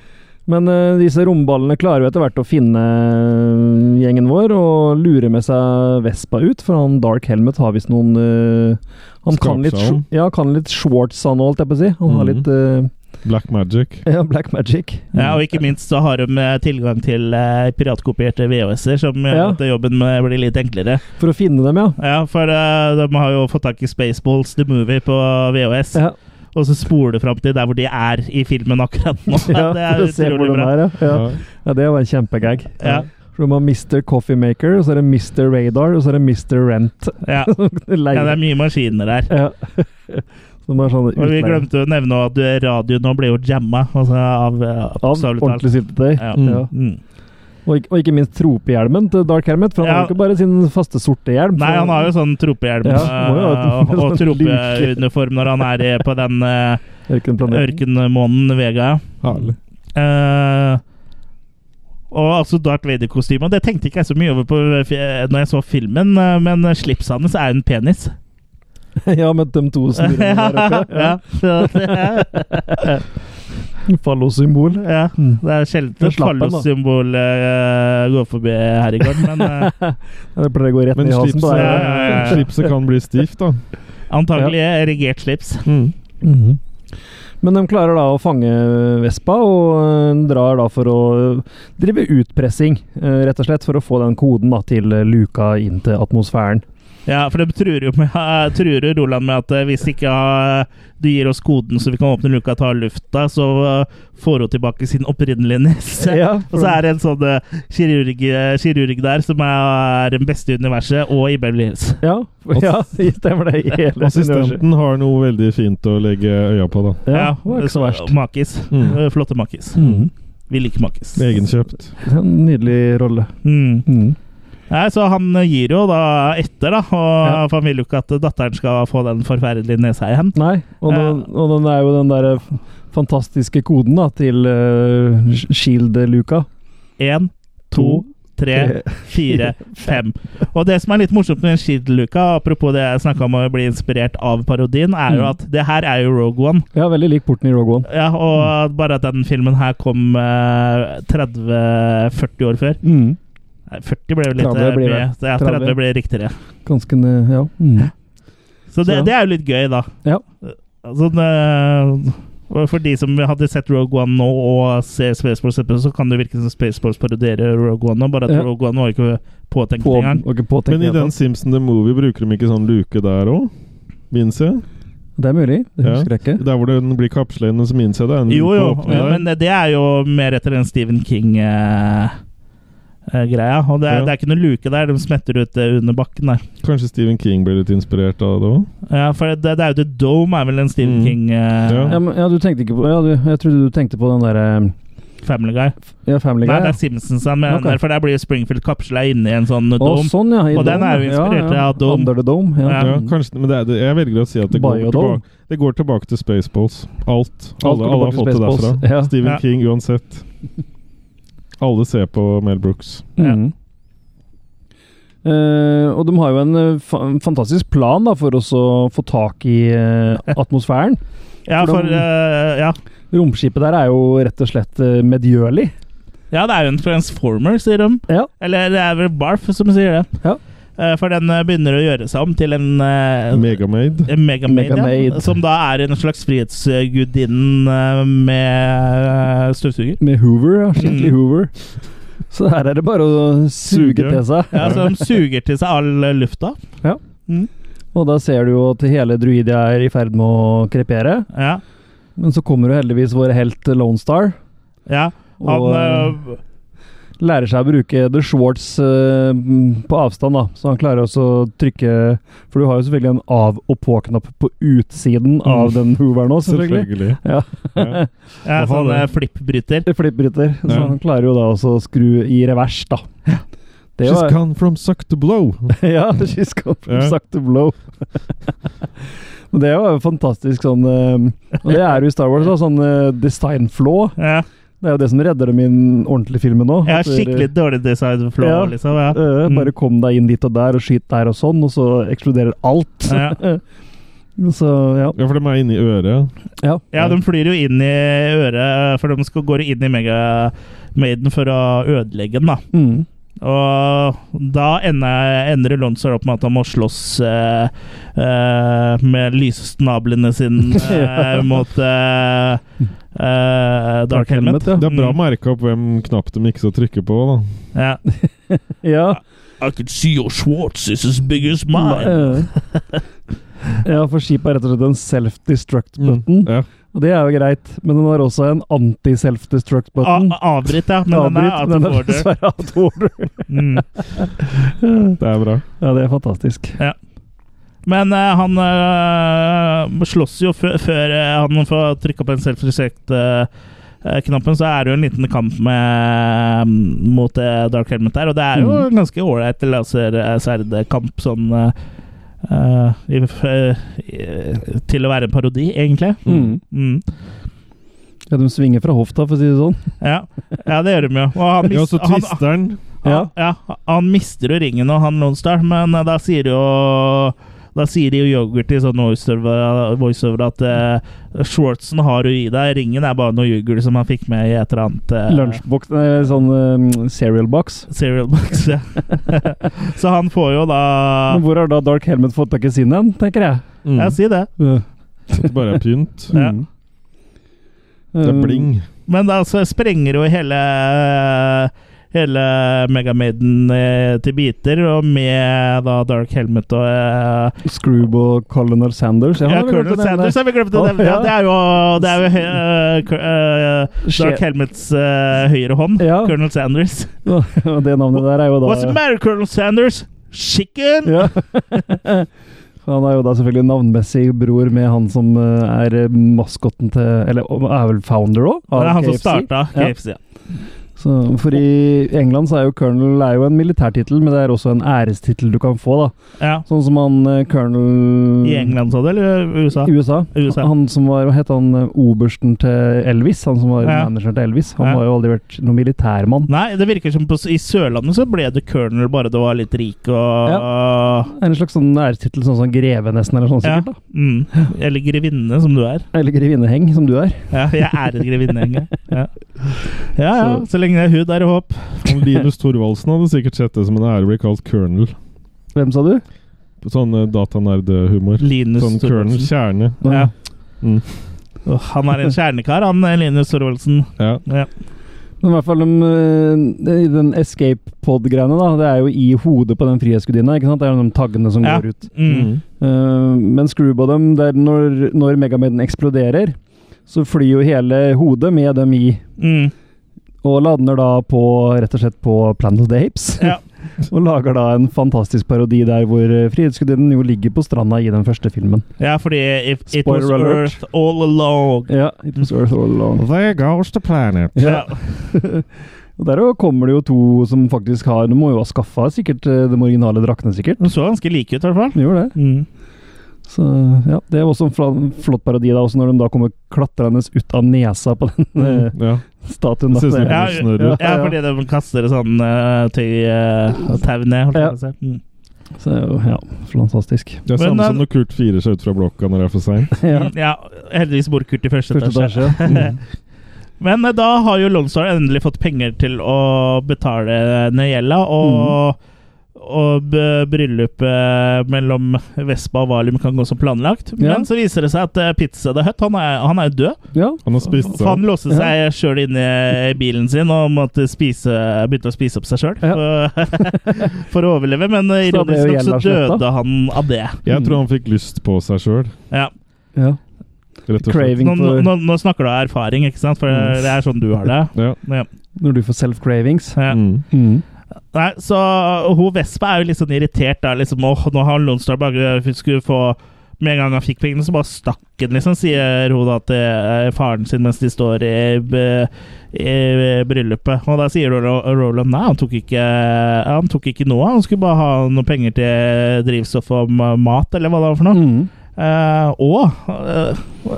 [SPEAKER 3] Men eh, disse romballene klarer jo etter hvert å finne eh, gjengen vår og lure med seg Vespa ut, for han Dark Helmet har visst noen eh, Han kan litt,
[SPEAKER 2] Skapsalen.
[SPEAKER 3] sh- ja, kan litt shorts, han holdt jeg på å si. Han
[SPEAKER 2] Mhm.
[SPEAKER 3] har litt eh,
[SPEAKER 2] Black Magic.
[SPEAKER 3] ja, black magic.
[SPEAKER 1] Mm. Ja, og ikke minst så har de eh, tilgang til eh, piratkopierte VHS-er, som gjør
[SPEAKER 3] Ja.
[SPEAKER 1] at jobben eh, blir litt enklere.
[SPEAKER 3] For å finne dem, ja.
[SPEAKER 1] Ja, for eh, de har jo fått tak i Spaceballs The Movie på VHS,
[SPEAKER 3] Ja,
[SPEAKER 1] og så spoler det fram til der hvor de er i filmen akkurat nå.
[SPEAKER 3] ja
[SPEAKER 1] det
[SPEAKER 3] for
[SPEAKER 1] er
[SPEAKER 3] å se hvor
[SPEAKER 1] utrolig
[SPEAKER 3] den
[SPEAKER 1] bra.
[SPEAKER 3] er, ja. ja.
[SPEAKER 2] Ja.
[SPEAKER 3] Ja, det var en kjempegag.
[SPEAKER 1] Ja.
[SPEAKER 3] For de har Mr. Coffee Maker, og så er det Mr. Radar, og så er det Mr. Rent.
[SPEAKER 1] Ja. ja, det
[SPEAKER 3] Leie.
[SPEAKER 1] er mye maskiner der.
[SPEAKER 3] Ja. Som er sånn
[SPEAKER 1] Og vi
[SPEAKER 3] utleie.
[SPEAKER 1] glemte å nevne at eh, radioen nå ble jo jamma altså av eh,
[SPEAKER 3] Av
[SPEAKER 1] absolutt alt.
[SPEAKER 3] ordentlig syltetøy.
[SPEAKER 1] Ja.
[SPEAKER 3] Ja.
[SPEAKER 1] Mm.
[SPEAKER 3] Og, ikke- og ikke minst tropehjelmen til Dark Helmet, for han
[SPEAKER 1] Ja.
[SPEAKER 3] har jo ikke bare sin faste sorte hjelm.
[SPEAKER 1] Nei, han har jo sånn tropehjelm
[SPEAKER 3] Ja,
[SPEAKER 1] eh,
[SPEAKER 3] må jo ha et-
[SPEAKER 1] og- og
[SPEAKER 3] sånn luke.
[SPEAKER 1] tropeuniform når han er eh, på den eh,
[SPEAKER 3] ørkenplaneten.
[SPEAKER 1] ørkenmånen Vega.
[SPEAKER 2] Herlig.
[SPEAKER 1] Eh, og altså Darth Vader-kostyme. Og det tenkte ikke jeg så mye over på eh, fi- når jeg så filmen, eh, men slipset hans er en penis.
[SPEAKER 3] ja, med de to snurrene der oppe.
[SPEAKER 1] ja,
[SPEAKER 3] Ja.
[SPEAKER 1] så det,
[SPEAKER 3] Fallosymbol.
[SPEAKER 1] ja, det er sjelden
[SPEAKER 3] Den
[SPEAKER 1] et
[SPEAKER 3] Mm. slapp han, da.
[SPEAKER 1] fallossymbol eh, går forbi her i gården, men eh,
[SPEAKER 3] Det pleier å gå rett
[SPEAKER 2] Men
[SPEAKER 3] ned i halsen på
[SPEAKER 2] slipset,
[SPEAKER 3] deg.
[SPEAKER 1] Ja, ja, ja, ja.
[SPEAKER 2] slipset kan bli stivt, da. Mm.
[SPEAKER 1] antagelig erigert slips.
[SPEAKER 3] Mhm. Men de klarer da å fange Vespa, og øh, drar da for å drive utpressing, øh, rett og slett, for å få den koden da til øh, luka inn til atmosfæren.
[SPEAKER 1] Ja, for de truer jo med, truer jo Roland med at eh, hvis ikke eh, du gir oss koden så vi kan åpne luka og ta lufta, så eh, får hun tilbake sin opprinnelige nese.
[SPEAKER 3] Ja,
[SPEAKER 1] og
[SPEAKER 3] for
[SPEAKER 1] så
[SPEAKER 3] det-
[SPEAKER 1] er det en sånn eh, kirurg, eh, kirurg der som er den beste i universet, og i Beverly Hills.
[SPEAKER 3] Ja, for- ja stemmer det. i Hele universet.
[SPEAKER 2] Assistenten har noe veldig fint å legge øya på, da.
[SPEAKER 3] Ja, det var ikke så
[SPEAKER 1] så-
[SPEAKER 3] verst.
[SPEAKER 1] Makis.
[SPEAKER 2] Mm.
[SPEAKER 1] Eh, Flotte makis.
[SPEAKER 3] Mhm.
[SPEAKER 1] Vi liker makis.
[SPEAKER 2] Egenkjøpt.
[SPEAKER 3] Det er En nydelig rolle.
[SPEAKER 1] Mm.
[SPEAKER 3] Mhm.
[SPEAKER 1] Nei, så han eh, gir jo da etter, da. Og
[SPEAKER 3] Ja.
[SPEAKER 1] for han vil jo ikke at datteren skal få den forferdelige nesa igjen.
[SPEAKER 3] Nei, og,
[SPEAKER 1] Ja.
[SPEAKER 3] den, og den er jo den der øh, fantastiske koden da, til øh, Shield-luka.
[SPEAKER 1] Én, to, tre, fire, fem. Og det som er litt morsomt med Skidluka, apropos det jeg snakka om å bli inspirert av parodien, er jo
[SPEAKER 3] Mm.
[SPEAKER 1] at det her er jo Rogue One.
[SPEAKER 3] Ja, veldig lik porten i Rogue One.
[SPEAKER 1] Ja,
[SPEAKER 3] Mm.
[SPEAKER 1] og bare at den filmen her kom eh, 30-40 år før.
[SPEAKER 3] Mhm.
[SPEAKER 1] Nei, 40 ble jo litt
[SPEAKER 3] 30
[SPEAKER 1] eh,
[SPEAKER 3] blir
[SPEAKER 1] mye.
[SPEAKER 3] det.
[SPEAKER 1] Ja,
[SPEAKER 3] 30
[SPEAKER 1] 30 ble riktigere.
[SPEAKER 3] Ganske nø- Ja. Mhm.
[SPEAKER 1] Så det,
[SPEAKER 3] Så-
[SPEAKER 1] det er jo litt gøy, da.
[SPEAKER 3] Ja.
[SPEAKER 1] Altså, det- og for de som hadde sett Rogue One nå og ser Spaceballs, så kan det virke som Spaceballs parodierer Rogue One nå, bare at
[SPEAKER 3] Ja.
[SPEAKER 1] Rogue One var jo ikke påtenkt
[SPEAKER 3] På,
[SPEAKER 1] engang.
[SPEAKER 3] og ikke påtenkt
[SPEAKER 2] Men i
[SPEAKER 3] det hele
[SPEAKER 2] den Simpson The Movie bruker de ikke sånn luke der òg? Minse?
[SPEAKER 3] tatt. Det er mulig. Det
[SPEAKER 2] Ja.
[SPEAKER 3] husker jeg ikke.
[SPEAKER 2] Der hvor den blir kapsla inn, og så minse det er en
[SPEAKER 1] Jo,
[SPEAKER 2] luke
[SPEAKER 1] jo,
[SPEAKER 2] åpne der.
[SPEAKER 1] men det er jo mer etter den Stephen King-greia. og det er,
[SPEAKER 2] Ja.
[SPEAKER 1] det er ikke noe luke der, de smetter ut det under bakken der.
[SPEAKER 2] Kanskje Stephen King ble litt inspirert av det òg?
[SPEAKER 1] Ja, for det, det er jo The Dome er vel en Stephen
[SPEAKER 2] Mm.
[SPEAKER 1] King eh,
[SPEAKER 3] Ja, men, ja, du tenkte ikke på Ja, du, jeg trodde du tenkte på den derre
[SPEAKER 1] Family Guy.
[SPEAKER 3] ja, Family
[SPEAKER 1] Nei,
[SPEAKER 3] Guy.
[SPEAKER 1] det er Simpsons han mener,
[SPEAKER 3] Ok.
[SPEAKER 1] for der blir jo Springfield kapsla inni en sånn
[SPEAKER 3] Å,
[SPEAKER 1] dome.
[SPEAKER 3] sånn, ja. i
[SPEAKER 1] Og den
[SPEAKER 3] Dome,
[SPEAKER 1] er jo
[SPEAKER 3] ja.
[SPEAKER 1] inspirert av Dome.
[SPEAKER 3] Under the Dome. Ja. Mm.
[SPEAKER 1] Ja.
[SPEAKER 2] Ja, kanskje, men det er, det- jeg velger å si at det går,
[SPEAKER 3] Biodome.
[SPEAKER 2] tilbake, det går tilbake til Spaceballs. Alt.
[SPEAKER 3] Alt
[SPEAKER 2] Alle,
[SPEAKER 3] går
[SPEAKER 2] alle har
[SPEAKER 3] tilbake
[SPEAKER 2] fått det
[SPEAKER 3] til Spaceballs.
[SPEAKER 2] derfra.
[SPEAKER 3] Ja.
[SPEAKER 2] Stephen
[SPEAKER 1] Ja.
[SPEAKER 2] King uansett. Alle ser på Mel Brooks.
[SPEAKER 3] Mhm. Eh, og de har jo en eh, fa fantastisk plan da, for oss å få tak i eh, atmosfæren.
[SPEAKER 1] Ja,
[SPEAKER 3] for
[SPEAKER 1] for
[SPEAKER 3] de-
[SPEAKER 1] eh, ja.
[SPEAKER 3] Romskipet der er jo rett og slett eh, medgjørlig.
[SPEAKER 1] ja, det er jo en Transformer, sier de.
[SPEAKER 3] Ja.
[SPEAKER 1] Eller det er vel Barf som sier det.
[SPEAKER 3] Ja.
[SPEAKER 1] Eh, for den eh, begynner å gjøre seg om til en eh,
[SPEAKER 2] Megamaid.
[SPEAKER 1] Megamaid,
[SPEAKER 3] Megamaid.
[SPEAKER 1] ja, som da er en slags frihetsgudinnen eh, med eh, støvsuger.
[SPEAKER 3] Med Hoover, ja. Skikkelig
[SPEAKER 1] Mm.
[SPEAKER 3] Hoover. Så her er det bare å suge
[SPEAKER 2] Suge.
[SPEAKER 3] til seg.
[SPEAKER 1] Ja, så de suger til seg all eh, lufta.
[SPEAKER 3] Og da ser du jo at hele druidia er i ferd med å krepere.
[SPEAKER 1] Ja.
[SPEAKER 3] Men så kommer jo heldigvis vår helt eh, Lone Star.
[SPEAKER 1] ja. Han
[SPEAKER 3] Og,
[SPEAKER 1] eh,
[SPEAKER 3] lærer seg å bruke The Schwartz eh, på avstand, da. Så han klarer også å trykke For du har jo selvfølgelig en av- og på-knapp på utsiden av den hooveren òg, selvfølgelig.
[SPEAKER 2] Mm. Selvfølgelig.
[SPEAKER 3] Ja.
[SPEAKER 1] Ja,
[SPEAKER 2] Ja. Hva
[SPEAKER 1] sånn
[SPEAKER 2] faen
[SPEAKER 1] eh,
[SPEAKER 2] er
[SPEAKER 1] flippbryter.
[SPEAKER 3] Det er Flippbryter. Så
[SPEAKER 2] Ja.
[SPEAKER 3] han klarer jo da også å skru i revers, da. Det
[SPEAKER 2] She's
[SPEAKER 3] var
[SPEAKER 2] gone from suck to blow.
[SPEAKER 3] Ja, she's come from
[SPEAKER 2] Ja.
[SPEAKER 3] suck to blow. Men det var jo fantastisk sånn eh, Og det er jo i Star Wars, da. Sånn eh, design flaw.
[SPEAKER 1] Ja.
[SPEAKER 3] Det er jo det som redder dem i den ordentlige filmen nå.
[SPEAKER 1] Ja,
[SPEAKER 3] At dere-
[SPEAKER 1] skikkelig dårlig design flow,
[SPEAKER 3] Ja.
[SPEAKER 1] liksom. Ja.
[SPEAKER 3] Eh,
[SPEAKER 1] Mm.
[SPEAKER 3] Bare kom deg inn dit og der, og skyt der og sånn, og så eksploderer alt.
[SPEAKER 1] Ja.
[SPEAKER 3] så ja.
[SPEAKER 2] Ja, for de er inni øret.
[SPEAKER 3] Ja.
[SPEAKER 1] Ja, de flyr jo inn i øret, eh, for de skal gå inn i Mega Maiden for å ødelegge den, da.
[SPEAKER 3] Mm.
[SPEAKER 1] Og da ender, ender Lonzo opp med at han må slåss eh, eh, med lysnablene sine eh, mot eh, eh, Dark Helmet.
[SPEAKER 3] ja.
[SPEAKER 2] Det er bra merka opp hvem knapp de ikke skal trykke på. da.
[SPEAKER 1] Ja.
[SPEAKER 3] Ja.
[SPEAKER 1] I could see your Schwartz is as big as
[SPEAKER 3] Eh, ja, for skipet er rett og slett en self-destruct-button,
[SPEAKER 2] Ja.
[SPEAKER 3] og det er jo greit, men den har også en anti-self-destruct-button.
[SPEAKER 1] Avbryt, ja. Ah, Men den er
[SPEAKER 3] Avbryt,
[SPEAKER 1] out of
[SPEAKER 3] men den er
[SPEAKER 1] order.
[SPEAKER 3] dessverre out of order.
[SPEAKER 1] Mm.
[SPEAKER 2] Det er bra.
[SPEAKER 3] Ja, det er fantastisk.
[SPEAKER 1] Men eh, han eh, slåss jo før, før eh, han får trykka på en self-resect-knappen, så er det jo en liten kamp med, mm, mot eh, Dark Helmet der. Og det er jo
[SPEAKER 3] Mm.
[SPEAKER 1] en ganske ålreit lasersverdkamp sånn eh, eh, i, f- eh, Til å være en parodi, egentlig.
[SPEAKER 3] Mm.
[SPEAKER 1] Mm.
[SPEAKER 3] Ja, de svinger fra hofta, for å si det sånn.
[SPEAKER 1] Ja. ja, det gjør de jo. Og han,
[SPEAKER 2] Ja,
[SPEAKER 1] mis
[SPEAKER 2] så
[SPEAKER 1] han,
[SPEAKER 2] twister han.
[SPEAKER 3] Ja.
[SPEAKER 1] han, ja, han mister jo ringen og han Lonestar, men eh, da sier jo da sier de jo yoghurt i sånn voiceover voiceover at eh, Schwartzen har jo i deg, ringen er bare noe yoghurt som han fikk med i et eller annet eh,
[SPEAKER 3] Lunsjboks, eh, sånn eh, cereal box.
[SPEAKER 1] cereal box. Ja. Så han får jo da
[SPEAKER 3] Men hvor har da Dark Helmet fått tak i sin hen, tenker jeg.
[SPEAKER 2] Mm.
[SPEAKER 1] Ja, si det.
[SPEAKER 2] Så det bare er pynt.
[SPEAKER 1] Ja.
[SPEAKER 3] Mm.
[SPEAKER 2] Det er
[SPEAKER 3] Um,
[SPEAKER 2] bling.
[SPEAKER 1] Men da så sprenger jo hele eh, Hele Megamaiden eh, til biter, og med da Dark Helmet og eh,
[SPEAKER 3] Scroob og Colonel Sanders.
[SPEAKER 1] Ja,
[SPEAKER 3] han har vi
[SPEAKER 1] Colonel
[SPEAKER 3] glemt å nevne.
[SPEAKER 1] Sanders har vi glemt å
[SPEAKER 3] Ja,
[SPEAKER 1] nevne. Ja,
[SPEAKER 3] ja.
[SPEAKER 1] det er jo, det er jo eh, Col- eh, Dark
[SPEAKER 3] Skje-
[SPEAKER 1] Helmets eh, høyre hånd.
[SPEAKER 3] Ja.
[SPEAKER 1] Colonel Sanders.
[SPEAKER 3] Og det navnet der er jo da
[SPEAKER 1] What's the matter, Colonel Sanders? Chicken!
[SPEAKER 3] ja. Han er jo da selvfølgelig navnmessig bror med han som eh, er maskotten til Eller er vel founder òg?
[SPEAKER 1] det er han som starta KFC. Ja.
[SPEAKER 3] Så, for i England så er jo colonel er jo en militærtittel, men det er også en ærestittel du kan få. da
[SPEAKER 1] Ja.
[SPEAKER 3] Sånn som han eh, colonel
[SPEAKER 1] I England, sa du, eller USA?
[SPEAKER 3] Mm. I USA.
[SPEAKER 1] USA.
[SPEAKER 3] Han som var, Hva het han eh, obersten til Elvis? Han som var
[SPEAKER 1] Ja.
[SPEAKER 3] manageren til Elvis. Han
[SPEAKER 1] Ja.
[SPEAKER 3] har jo aldri vært noen militærmann.
[SPEAKER 1] Nei, det virker som på, s- i Sørlandet så ble du colonel bare du var litt rik og
[SPEAKER 3] Det er En slags sånn ærestittel, sånn som greve nesten, eller sånn
[SPEAKER 1] Ja.
[SPEAKER 3] sikkert.
[SPEAKER 1] Mm. Eller grevinne, som du er.
[SPEAKER 3] da Eller grevinneheng, som du er.
[SPEAKER 1] Ja, jeg er en grevinne, egentlig. Ja. ja ja,
[SPEAKER 3] Så-
[SPEAKER 1] så lenge det er hud, er det håp.
[SPEAKER 2] Han Linus Thorvaldsen hadde sikkert sett det som en ære å bli kalt colonel.
[SPEAKER 3] Hvem sa du?
[SPEAKER 2] Sånn eh, datanerdhumor.
[SPEAKER 1] Linus
[SPEAKER 2] Sånn colonel
[SPEAKER 1] Thorvaldsen.
[SPEAKER 2] kjerne.
[SPEAKER 1] Ja.
[SPEAKER 2] Mm.
[SPEAKER 1] Åh, han er en kjernekar, han eh, Linus Thorvaldsen.
[SPEAKER 2] Ja.
[SPEAKER 3] Men i hvert fall om, eh, i den escape pod-greiene, da. Det er jo i hodet på den frihetsgudinna. ikke sant? Det er jo de taggene som
[SPEAKER 1] Ja.
[SPEAKER 3] går ut.
[SPEAKER 1] Mm.
[SPEAKER 2] Mm.
[SPEAKER 3] Eh, men Scroob og dem, det er når, når Megamaden eksploderer, så flyr jo hele hodet med dem i.
[SPEAKER 1] Mm.
[SPEAKER 3] Og lander da på, rett og slett på Planet of the Apes.
[SPEAKER 1] Ja.
[SPEAKER 3] og lager da en fantastisk parodi der hvor eh, Frihetsgudinnen jo ligger på stranda i den første filmen.
[SPEAKER 1] ja, fordi if it
[SPEAKER 3] Spoiler
[SPEAKER 1] was
[SPEAKER 3] alert.
[SPEAKER 1] Earth all along.
[SPEAKER 3] Ja, it was Earth all along.
[SPEAKER 2] There goes the planet.
[SPEAKER 1] Ja.
[SPEAKER 3] Og der jo kommer det jo to som faktisk har De må jo ha skaffa sikkert eh, de originale draktene, sikkert.
[SPEAKER 1] De så ganske like ut, i hvert fall.
[SPEAKER 3] De gjorde det.
[SPEAKER 1] Mm.
[SPEAKER 3] Så ja, Det er også en fla- flott parodi, da, også når de da kommer klatrende ut av nesa på den eh,
[SPEAKER 2] Ja.
[SPEAKER 3] statuen.
[SPEAKER 2] Det ser ut som
[SPEAKER 3] Da.
[SPEAKER 2] en
[SPEAKER 1] Mm. Ja,
[SPEAKER 2] snørre.
[SPEAKER 1] Ja, fordi de kaster sånn eh, tøy eh, og tau ned. holdt jeg på å si. Mm.
[SPEAKER 3] Så det er jo, ja, fantastisk.
[SPEAKER 2] Det er
[SPEAKER 1] Men,
[SPEAKER 2] samme
[SPEAKER 1] eh,
[SPEAKER 2] som når Kurt firer seg ut fra blokka når det er for seint.
[SPEAKER 3] Ja,
[SPEAKER 1] Ja, heldigvis bor Kurt i første
[SPEAKER 3] første
[SPEAKER 1] etasje.
[SPEAKER 3] etasje. ja. Mm.
[SPEAKER 1] Men eh, da har jo Lone Star endelig fått penger til å betale ned gjelda, og,
[SPEAKER 3] Mhm.
[SPEAKER 1] og b- bryllupet mellom Vespa og Valium kan gå som planlagt.
[SPEAKER 3] Ja.
[SPEAKER 1] Men så viser det seg at eh, Pizza the Hut, han er, han er jo død.
[SPEAKER 3] Ja,
[SPEAKER 2] Han har spist
[SPEAKER 1] For
[SPEAKER 2] seg opp.
[SPEAKER 1] han låste seg sjøl inne i bilen sin og måtte spise, begynte å spise opp seg sjøl for, for å overleve. Men eh,
[SPEAKER 3] Så det er
[SPEAKER 1] ironisk
[SPEAKER 3] jo
[SPEAKER 1] nok så
[SPEAKER 3] gjelda sletta.
[SPEAKER 1] døde han av det.
[SPEAKER 2] Jeg tror han fikk lyst på seg sjøl.
[SPEAKER 1] Ja.
[SPEAKER 3] ja.
[SPEAKER 2] Rett og slett.
[SPEAKER 3] Craving
[SPEAKER 1] Nå, nå,
[SPEAKER 3] for
[SPEAKER 1] nå, nå snakker du av erfaring, ikke sant? For
[SPEAKER 3] Mm.
[SPEAKER 1] det er sånn du har det.
[SPEAKER 2] Ja.
[SPEAKER 1] Ja.
[SPEAKER 3] Når du får self-cravings.
[SPEAKER 1] Ja.
[SPEAKER 2] Mm.
[SPEAKER 3] Mm.
[SPEAKER 1] Nei, så hun Vespa er jo litt sånn irritert da, liksom, og nå har Lone Star bare skulle få Med en gang han fikk pengene, så bare stakk han, liksom, sier hun da til eh, faren sin mens de står i, b- i bryllupet. Og da sier Ro- Roland nei, han tok ikke, han tok ikke noe, han skulle bare ha noen penger til drivstoff og ma- mat, eller hva det var for noe.
[SPEAKER 3] Mm.
[SPEAKER 1] Eh, og, eh,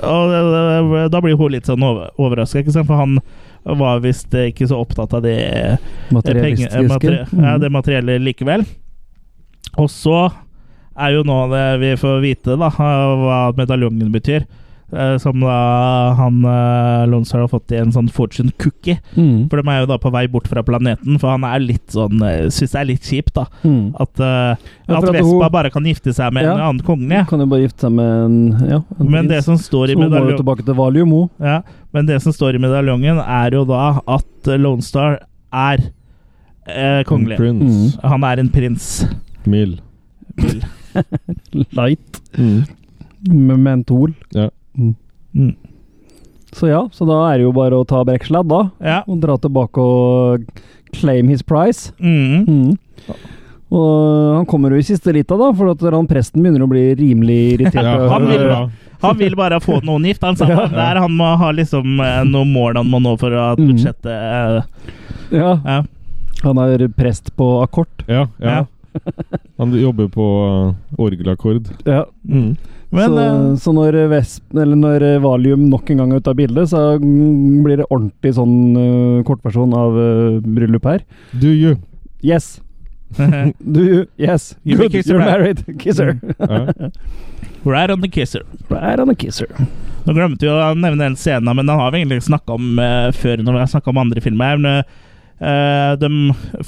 [SPEAKER 1] og eh, da blir hun litt sånn over, overraska, ikke sant, for han var visst eh, ikke så opptatt av det.
[SPEAKER 3] Materialistiske.
[SPEAKER 1] Penger- eh, materi-
[SPEAKER 3] Mm.
[SPEAKER 1] ja, det materielle likevel. Og så er jo nå det vi får vite, da, hva medaljongen betyr. Eh, Som da han eh, Lonsar har fått i en sånn fortune cookie.
[SPEAKER 3] Mm.
[SPEAKER 1] For de er jo da på vei bort fra planeten, for han er litt sånn eh, Syns det er litt kjipt, da.
[SPEAKER 3] Mm.
[SPEAKER 1] At, eh,
[SPEAKER 3] Ja,
[SPEAKER 1] at
[SPEAKER 3] for at
[SPEAKER 1] Vespa
[SPEAKER 3] hun-
[SPEAKER 1] bare kan gifte seg med en
[SPEAKER 3] Ja.
[SPEAKER 1] annen konge.
[SPEAKER 3] Kan jo bare gifte seg med en ja, en
[SPEAKER 1] Men det
[SPEAKER 3] prins.
[SPEAKER 1] som står i
[SPEAKER 3] Så hun må jo
[SPEAKER 1] medaljongen
[SPEAKER 3] tilbake til Valium, hun.
[SPEAKER 1] Ja, men det som står i medaljongen, er jo da at Lone Star er eh, kongelig.
[SPEAKER 2] Prince.
[SPEAKER 1] Han er en prins.
[SPEAKER 2] Mill.
[SPEAKER 3] Light.
[SPEAKER 2] Mm.
[SPEAKER 3] Med mentol.
[SPEAKER 2] Ja.
[SPEAKER 1] Mm.
[SPEAKER 3] Så ja, så da er det jo bare å ta breksladd, da.
[SPEAKER 1] Ja.
[SPEAKER 3] Og dra tilbake og claim his price.
[SPEAKER 1] Mm.
[SPEAKER 3] Mm. Og han kommer jo i siste lita, da, for at han presten begynner å bli rimelig irritert.
[SPEAKER 2] Ja,
[SPEAKER 1] han
[SPEAKER 2] det
[SPEAKER 1] vil-
[SPEAKER 2] er bra.
[SPEAKER 1] Han vil bare få noen gift. Han sa
[SPEAKER 3] Ja.
[SPEAKER 1] at der han må ha liksom eh, noen mål han må nå for at
[SPEAKER 3] Mm.
[SPEAKER 1] budsjettet eh,
[SPEAKER 3] ja,
[SPEAKER 1] ja.
[SPEAKER 3] han er prest på akkord.
[SPEAKER 2] Ja,
[SPEAKER 1] Ja.
[SPEAKER 2] ja. Han jobber på uh, orgelakkord.
[SPEAKER 3] Ja.
[SPEAKER 2] Mm.
[SPEAKER 1] Men
[SPEAKER 3] så,
[SPEAKER 1] eh,
[SPEAKER 3] så når, Vesp, eller når eh, Valium nok en gang er ute av bildet, så mm, blir det ordentlig sånn eh, kortversjon av eh, bryllup her.
[SPEAKER 2] Do you?
[SPEAKER 3] Yes!
[SPEAKER 1] eh,
[SPEAKER 3] Do you? Yes!
[SPEAKER 1] You
[SPEAKER 3] Good,
[SPEAKER 1] kiss her
[SPEAKER 3] you're
[SPEAKER 1] back.
[SPEAKER 3] married! Kisser!
[SPEAKER 2] Ja.
[SPEAKER 1] right on the kisser.
[SPEAKER 3] Right on a kisser.
[SPEAKER 1] Nå glemte vi å nevne den scenen, men den har vi egentlig snakka om eh, før når vi har snakket om andre filmer. her, Men, eh, de,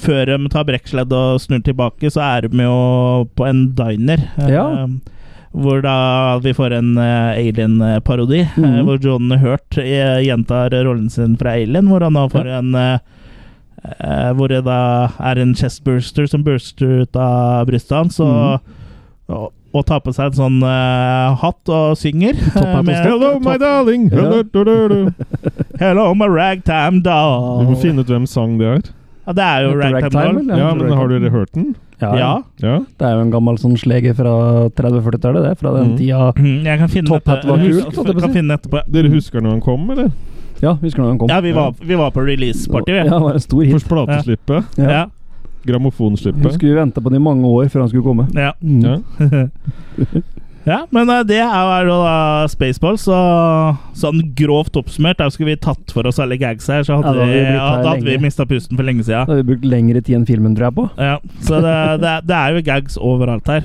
[SPEAKER 1] før de tar brekksledd og snur tilbake, så er de jo på en diner. eh,
[SPEAKER 3] Ja.
[SPEAKER 1] Hvor da vi får en eh, Alien-parodi, eh,
[SPEAKER 3] Mhm.
[SPEAKER 1] hvor John Hurt eh, gjentar rollen sin fra Alien. Hvor han da får en eh, eh, Hvor det da er en chestburster som burster ut av brystet hans. Og,
[SPEAKER 3] Mhm.
[SPEAKER 1] og, og tar på seg en sånn eh, hatt og synger.
[SPEAKER 3] Topphatt
[SPEAKER 1] eh,
[SPEAKER 3] og
[SPEAKER 1] med-
[SPEAKER 3] stopp.
[SPEAKER 2] Hello, my darling!
[SPEAKER 3] Ja.
[SPEAKER 2] Hello, do, do, do.
[SPEAKER 1] Hello, my ragtime
[SPEAKER 2] Du
[SPEAKER 1] doll.
[SPEAKER 2] må finne ut hvem sang det er.
[SPEAKER 1] Ja, det er jo
[SPEAKER 3] Heter
[SPEAKER 1] ragtime,
[SPEAKER 3] Ragtime,
[SPEAKER 1] doll.
[SPEAKER 3] eller?
[SPEAKER 2] Ja, men Har dere hørt den?
[SPEAKER 3] Ja,
[SPEAKER 1] Ja.
[SPEAKER 2] Ja.
[SPEAKER 3] Det er jo en gammel sånn slege fra 30-40-tallet, det. Fra den
[SPEAKER 2] Mm.
[SPEAKER 3] tida
[SPEAKER 1] Mm, Jeg kan finne
[SPEAKER 3] Top Hat var
[SPEAKER 1] jeg
[SPEAKER 3] kult,
[SPEAKER 1] husker-
[SPEAKER 3] holdt jeg på å
[SPEAKER 1] kan
[SPEAKER 3] si.
[SPEAKER 1] finne etterpå.
[SPEAKER 2] Dere husker når han kom, eller?
[SPEAKER 3] Ja, husker du når den kom?
[SPEAKER 1] Ja, vi var, vi var på release-party, vi.
[SPEAKER 3] Ja, det var en stor hit.
[SPEAKER 2] Først plateslippet.
[SPEAKER 3] Ja.
[SPEAKER 1] Ja.
[SPEAKER 2] Grammofonslippet.
[SPEAKER 3] Husker vi venta på den i mange år før han skulle komme.
[SPEAKER 1] Ja.
[SPEAKER 2] Ja.
[SPEAKER 1] ja, men eh, det er jo da Spaceballs, så sånn grovt oppsummert Da skulle vi tatt for oss alle gags her, så
[SPEAKER 3] Ja,
[SPEAKER 1] hadde
[SPEAKER 3] da hadde vi
[SPEAKER 1] vi,
[SPEAKER 3] blitt
[SPEAKER 1] ja,
[SPEAKER 3] her
[SPEAKER 1] da hadde vi
[SPEAKER 3] lenge.
[SPEAKER 1] mista pusten for lenge
[SPEAKER 3] Da
[SPEAKER 1] siden.
[SPEAKER 3] har vi brukt lengre tid enn filmen, tror jeg på.
[SPEAKER 1] Ja, så det, det, det er jo gags overalt her.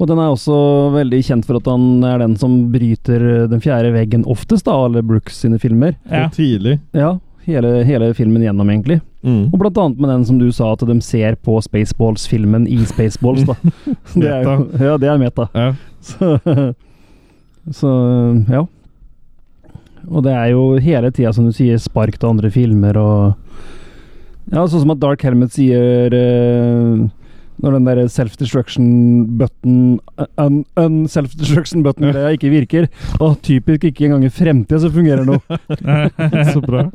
[SPEAKER 3] Og den er også veldig kjent for at han er den som bryter eh, den fjerde veggen oftest av alle Brooks sine filmer.
[SPEAKER 1] Ja.
[SPEAKER 2] Og tidlig.
[SPEAKER 3] Ja, hele, hele filmen gjennom, egentlig.
[SPEAKER 2] Mm.
[SPEAKER 3] Og blant annet med den som du sa, at de ser på Spaceballs-filmen i Spaceballs, da. Det er, jo- ja, det er meta.
[SPEAKER 2] Ja.
[SPEAKER 3] Så, så ja. Og det er jo hele tida, som du sier, spark til andre filmer og Ja, sånn som at Dark Helmet sier eh, når den der self-destruction button eh, un, un Self-destruction button det ikke virker. Og typisk ikke engang i fremtida så fungerer det noe.
[SPEAKER 2] Så bra.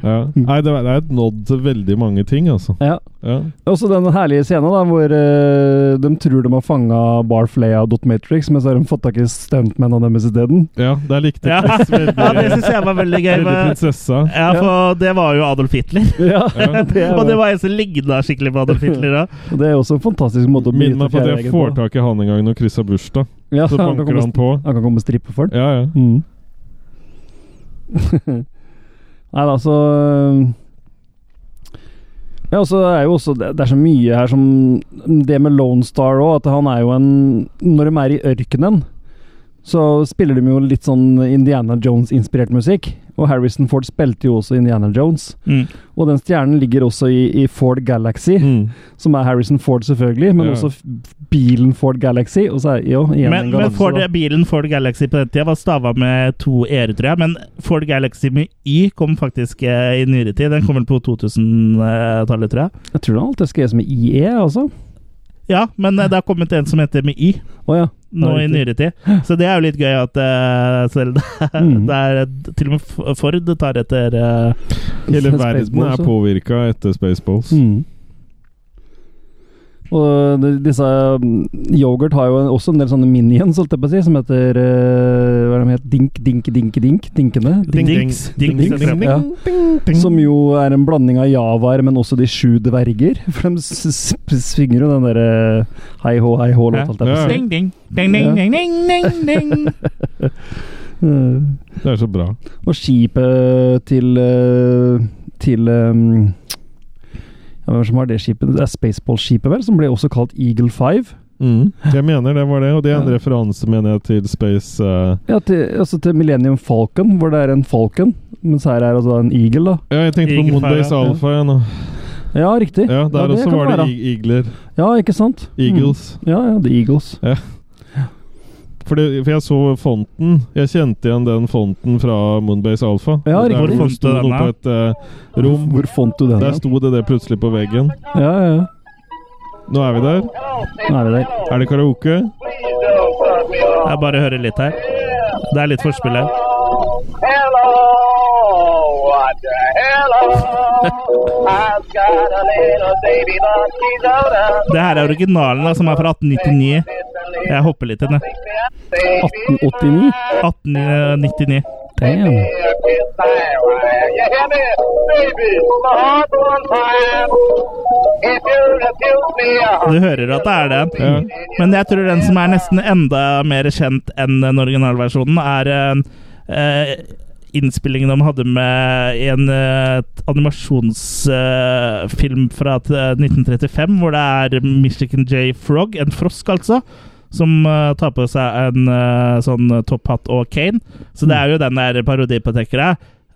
[SPEAKER 2] Ja. Nei, det er det er et nådd til veldig mange ting, altså.
[SPEAKER 3] Ja.
[SPEAKER 2] Ja.
[SPEAKER 3] Også den herlige scenen da, hvor eh, de tror de har fanga Barflaya og Dot Matrix, men så har de fått tak i stuntmennene deres isteden.
[SPEAKER 2] ja, der likte
[SPEAKER 1] Ja,
[SPEAKER 2] jeg Chris veldig.
[SPEAKER 1] ja det syns jeg var veldig gøy.
[SPEAKER 2] Veldig
[SPEAKER 1] men-
[SPEAKER 2] prinsessa.
[SPEAKER 1] Ja, for det var jo Adolf Hitler.
[SPEAKER 3] Ja,
[SPEAKER 2] Ja.
[SPEAKER 3] det er
[SPEAKER 1] Og det
[SPEAKER 3] bra.
[SPEAKER 1] var en som ligna skikkelig på Adolf Hitler da.
[SPEAKER 3] Det er også en fantastisk måte å
[SPEAKER 2] Minn meg
[SPEAKER 3] bryte
[SPEAKER 2] på at jeg
[SPEAKER 3] fjerdeveggen
[SPEAKER 2] får tak i han en gang når Chris har bursdag.
[SPEAKER 3] Ja,
[SPEAKER 2] Så
[SPEAKER 3] han, kan
[SPEAKER 2] banker
[SPEAKER 3] komme,
[SPEAKER 2] han på.
[SPEAKER 3] han kan komme og strippe for den.
[SPEAKER 2] Ja, ja.
[SPEAKER 3] Mm. Nei da, så øhm, Ja, og så er jo også Det det er så mye her som Det med Lone Star òg, at han er jo en Når de er i ørkenen, så spiller de jo litt sånn Indiana Jones-inspirert musikk. Og Harrison Ford spilte jo også Indiana Jones.
[SPEAKER 1] Mm.
[SPEAKER 3] Og den stjernen ligger også i, i Ford Galaxy,
[SPEAKER 2] Mm.
[SPEAKER 3] som er Harrison Ford, selvfølgelig, men
[SPEAKER 2] Ja.
[SPEAKER 3] også f- bilen Ford Galaxy. Og så er jo igjen
[SPEAKER 1] Men,
[SPEAKER 3] en
[SPEAKER 1] men
[SPEAKER 3] galanse,
[SPEAKER 1] Ford,
[SPEAKER 3] da.
[SPEAKER 1] bilen Ford Galaxy på den tida var stava med to r-er, tror jeg. Men Ford Galaxy med y kom faktisk eh, i nyere tid. Den kom vel på 2000-tallet, eh, tror jeg.
[SPEAKER 3] Jeg tror det alltid skal gjøres med IE, E, altså.
[SPEAKER 1] Ja, men eh, det har kommet en som heter med I
[SPEAKER 3] Å ja.
[SPEAKER 1] nå i nyere tid. Så det er jo litt gøy at eh, selv det,
[SPEAKER 3] Mm.
[SPEAKER 1] det er Til og med F- Ford tar etter eh,
[SPEAKER 2] Hele verden
[SPEAKER 3] Spaceballs,
[SPEAKER 2] er
[SPEAKER 3] ja.
[SPEAKER 2] påvirka etter Spaceballs.
[SPEAKER 3] altså. Mm. Og eh, de- disse mm, Yoghurt har jo en- også en del sånne minions, holdt jeg på å si, som heter eh, Hva er de het? Dink, dink, dink, dink. Dinkene.
[SPEAKER 2] Ding, ding.
[SPEAKER 1] Dinks. Dinks,
[SPEAKER 2] Ding, ding,
[SPEAKER 1] ding,
[SPEAKER 2] ding,
[SPEAKER 3] ja.
[SPEAKER 2] ding, ding.
[SPEAKER 3] Som jo er en blanding av javaer, men også De sju dverger. For de s- s- svinger jo den derre hei hå, hei hå
[SPEAKER 1] Ja.
[SPEAKER 3] låta, holdt jeg på å si.
[SPEAKER 1] Ding, ding, ding, ding, ding, ding, ding, ding.
[SPEAKER 3] Eh,
[SPEAKER 2] Det er så bra.
[SPEAKER 3] Og skipet til eh, Til ehm, ja, Hvem som har det skipet? Det er Spaceball-skipet, vel? Som ble også kalt Eagle 5.
[SPEAKER 2] Jeg mener det var det, og det er en
[SPEAKER 3] Mm. Ja.
[SPEAKER 2] referanse, mener jeg, til Space eh,
[SPEAKER 3] Ja, til, altså til Millennium Falcon, hvor det er en falcon. Mens her er altså en eagle, da.
[SPEAKER 2] Ja, jeg tenkte på
[SPEAKER 1] Eagle
[SPEAKER 2] Mondays
[SPEAKER 1] Fire, ja.
[SPEAKER 2] Alpha igjen. nå.
[SPEAKER 3] Ja, riktig.
[SPEAKER 2] Ja, der også
[SPEAKER 3] kan
[SPEAKER 2] var det
[SPEAKER 3] være.
[SPEAKER 2] ig- igler.
[SPEAKER 3] Ja, ikke sant?
[SPEAKER 2] Eagles.
[SPEAKER 3] Mm. Ja, ja, The Eagles.
[SPEAKER 2] For, det, for jeg så fonten. Jeg kjente igjen den fonten fra Moonbase Alpha.
[SPEAKER 3] Ja,
[SPEAKER 2] der
[SPEAKER 3] riktig.
[SPEAKER 2] hvor det sto
[SPEAKER 1] Hvor fant du den,
[SPEAKER 2] noe på
[SPEAKER 1] da?
[SPEAKER 2] et eh, rom.
[SPEAKER 3] Hvor fant du den?
[SPEAKER 2] Der sto det det plutselig på veggen.
[SPEAKER 3] Ja, ja, ja.
[SPEAKER 2] Nå er vi der.
[SPEAKER 3] Nå er vi der.
[SPEAKER 2] Er det karaoke?
[SPEAKER 1] Jeg bare hører litt her. Det er litt forspill her.
[SPEAKER 10] Hello, what the hello? I've got a little baby, but she's older.
[SPEAKER 1] Det her er originalen da, som er fra 1899. Jeg hopper litt inn, jeg. eh,
[SPEAKER 3] 1889?
[SPEAKER 1] 1899.
[SPEAKER 3] Damn.
[SPEAKER 1] Du hører at det er den. Men jeg tror den som er nesten enda mer kjent enn den originalversjonen, er eh, eh, innspillingen de hadde med en eh, animasjonsfilm fra t- 1935, hvor det er Michigan J. Frog, en frosk altså, som eh, tar på seg en eh, sånn topphatt og cane. Så det er jo den der parodipatekere.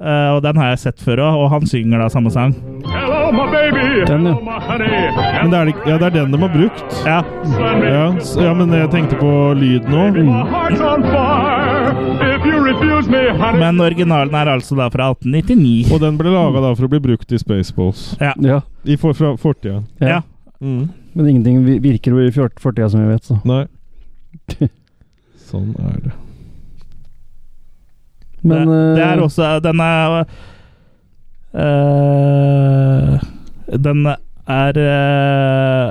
[SPEAKER 1] og den har jeg sett før òg, og han synger da samme sang.
[SPEAKER 5] Hello, my baby.
[SPEAKER 3] Den, ja.
[SPEAKER 5] my honey.
[SPEAKER 2] Men det er, det- ja, det er den de har brukt.
[SPEAKER 1] Ja,
[SPEAKER 2] Ja, s- ja, men jeg tenkte på lyd nå.
[SPEAKER 1] Mm.
[SPEAKER 5] heart's on fire. If you refuse me, honey.
[SPEAKER 1] Men originalen er altså da fra 1899.
[SPEAKER 2] Og den ble laga da for å bli brukt i Spaceballs.
[SPEAKER 3] Ja.
[SPEAKER 2] I for, fra fortida.
[SPEAKER 3] ja.
[SPEAKER 1] Ja.
[SPEAKER 2] Mm.
[SPEAKER 3] Men ingenting vi- virker jo i fjort- fortida, som vi vet, så.
[SPEAKER 2] Nei. Sånn er det.
[SPEAKER 3] Men
[SPEAKER 1] det, det
[SPEAKER 3] eh,
[SPEAKER 1] er også Den er øh, Den er øh,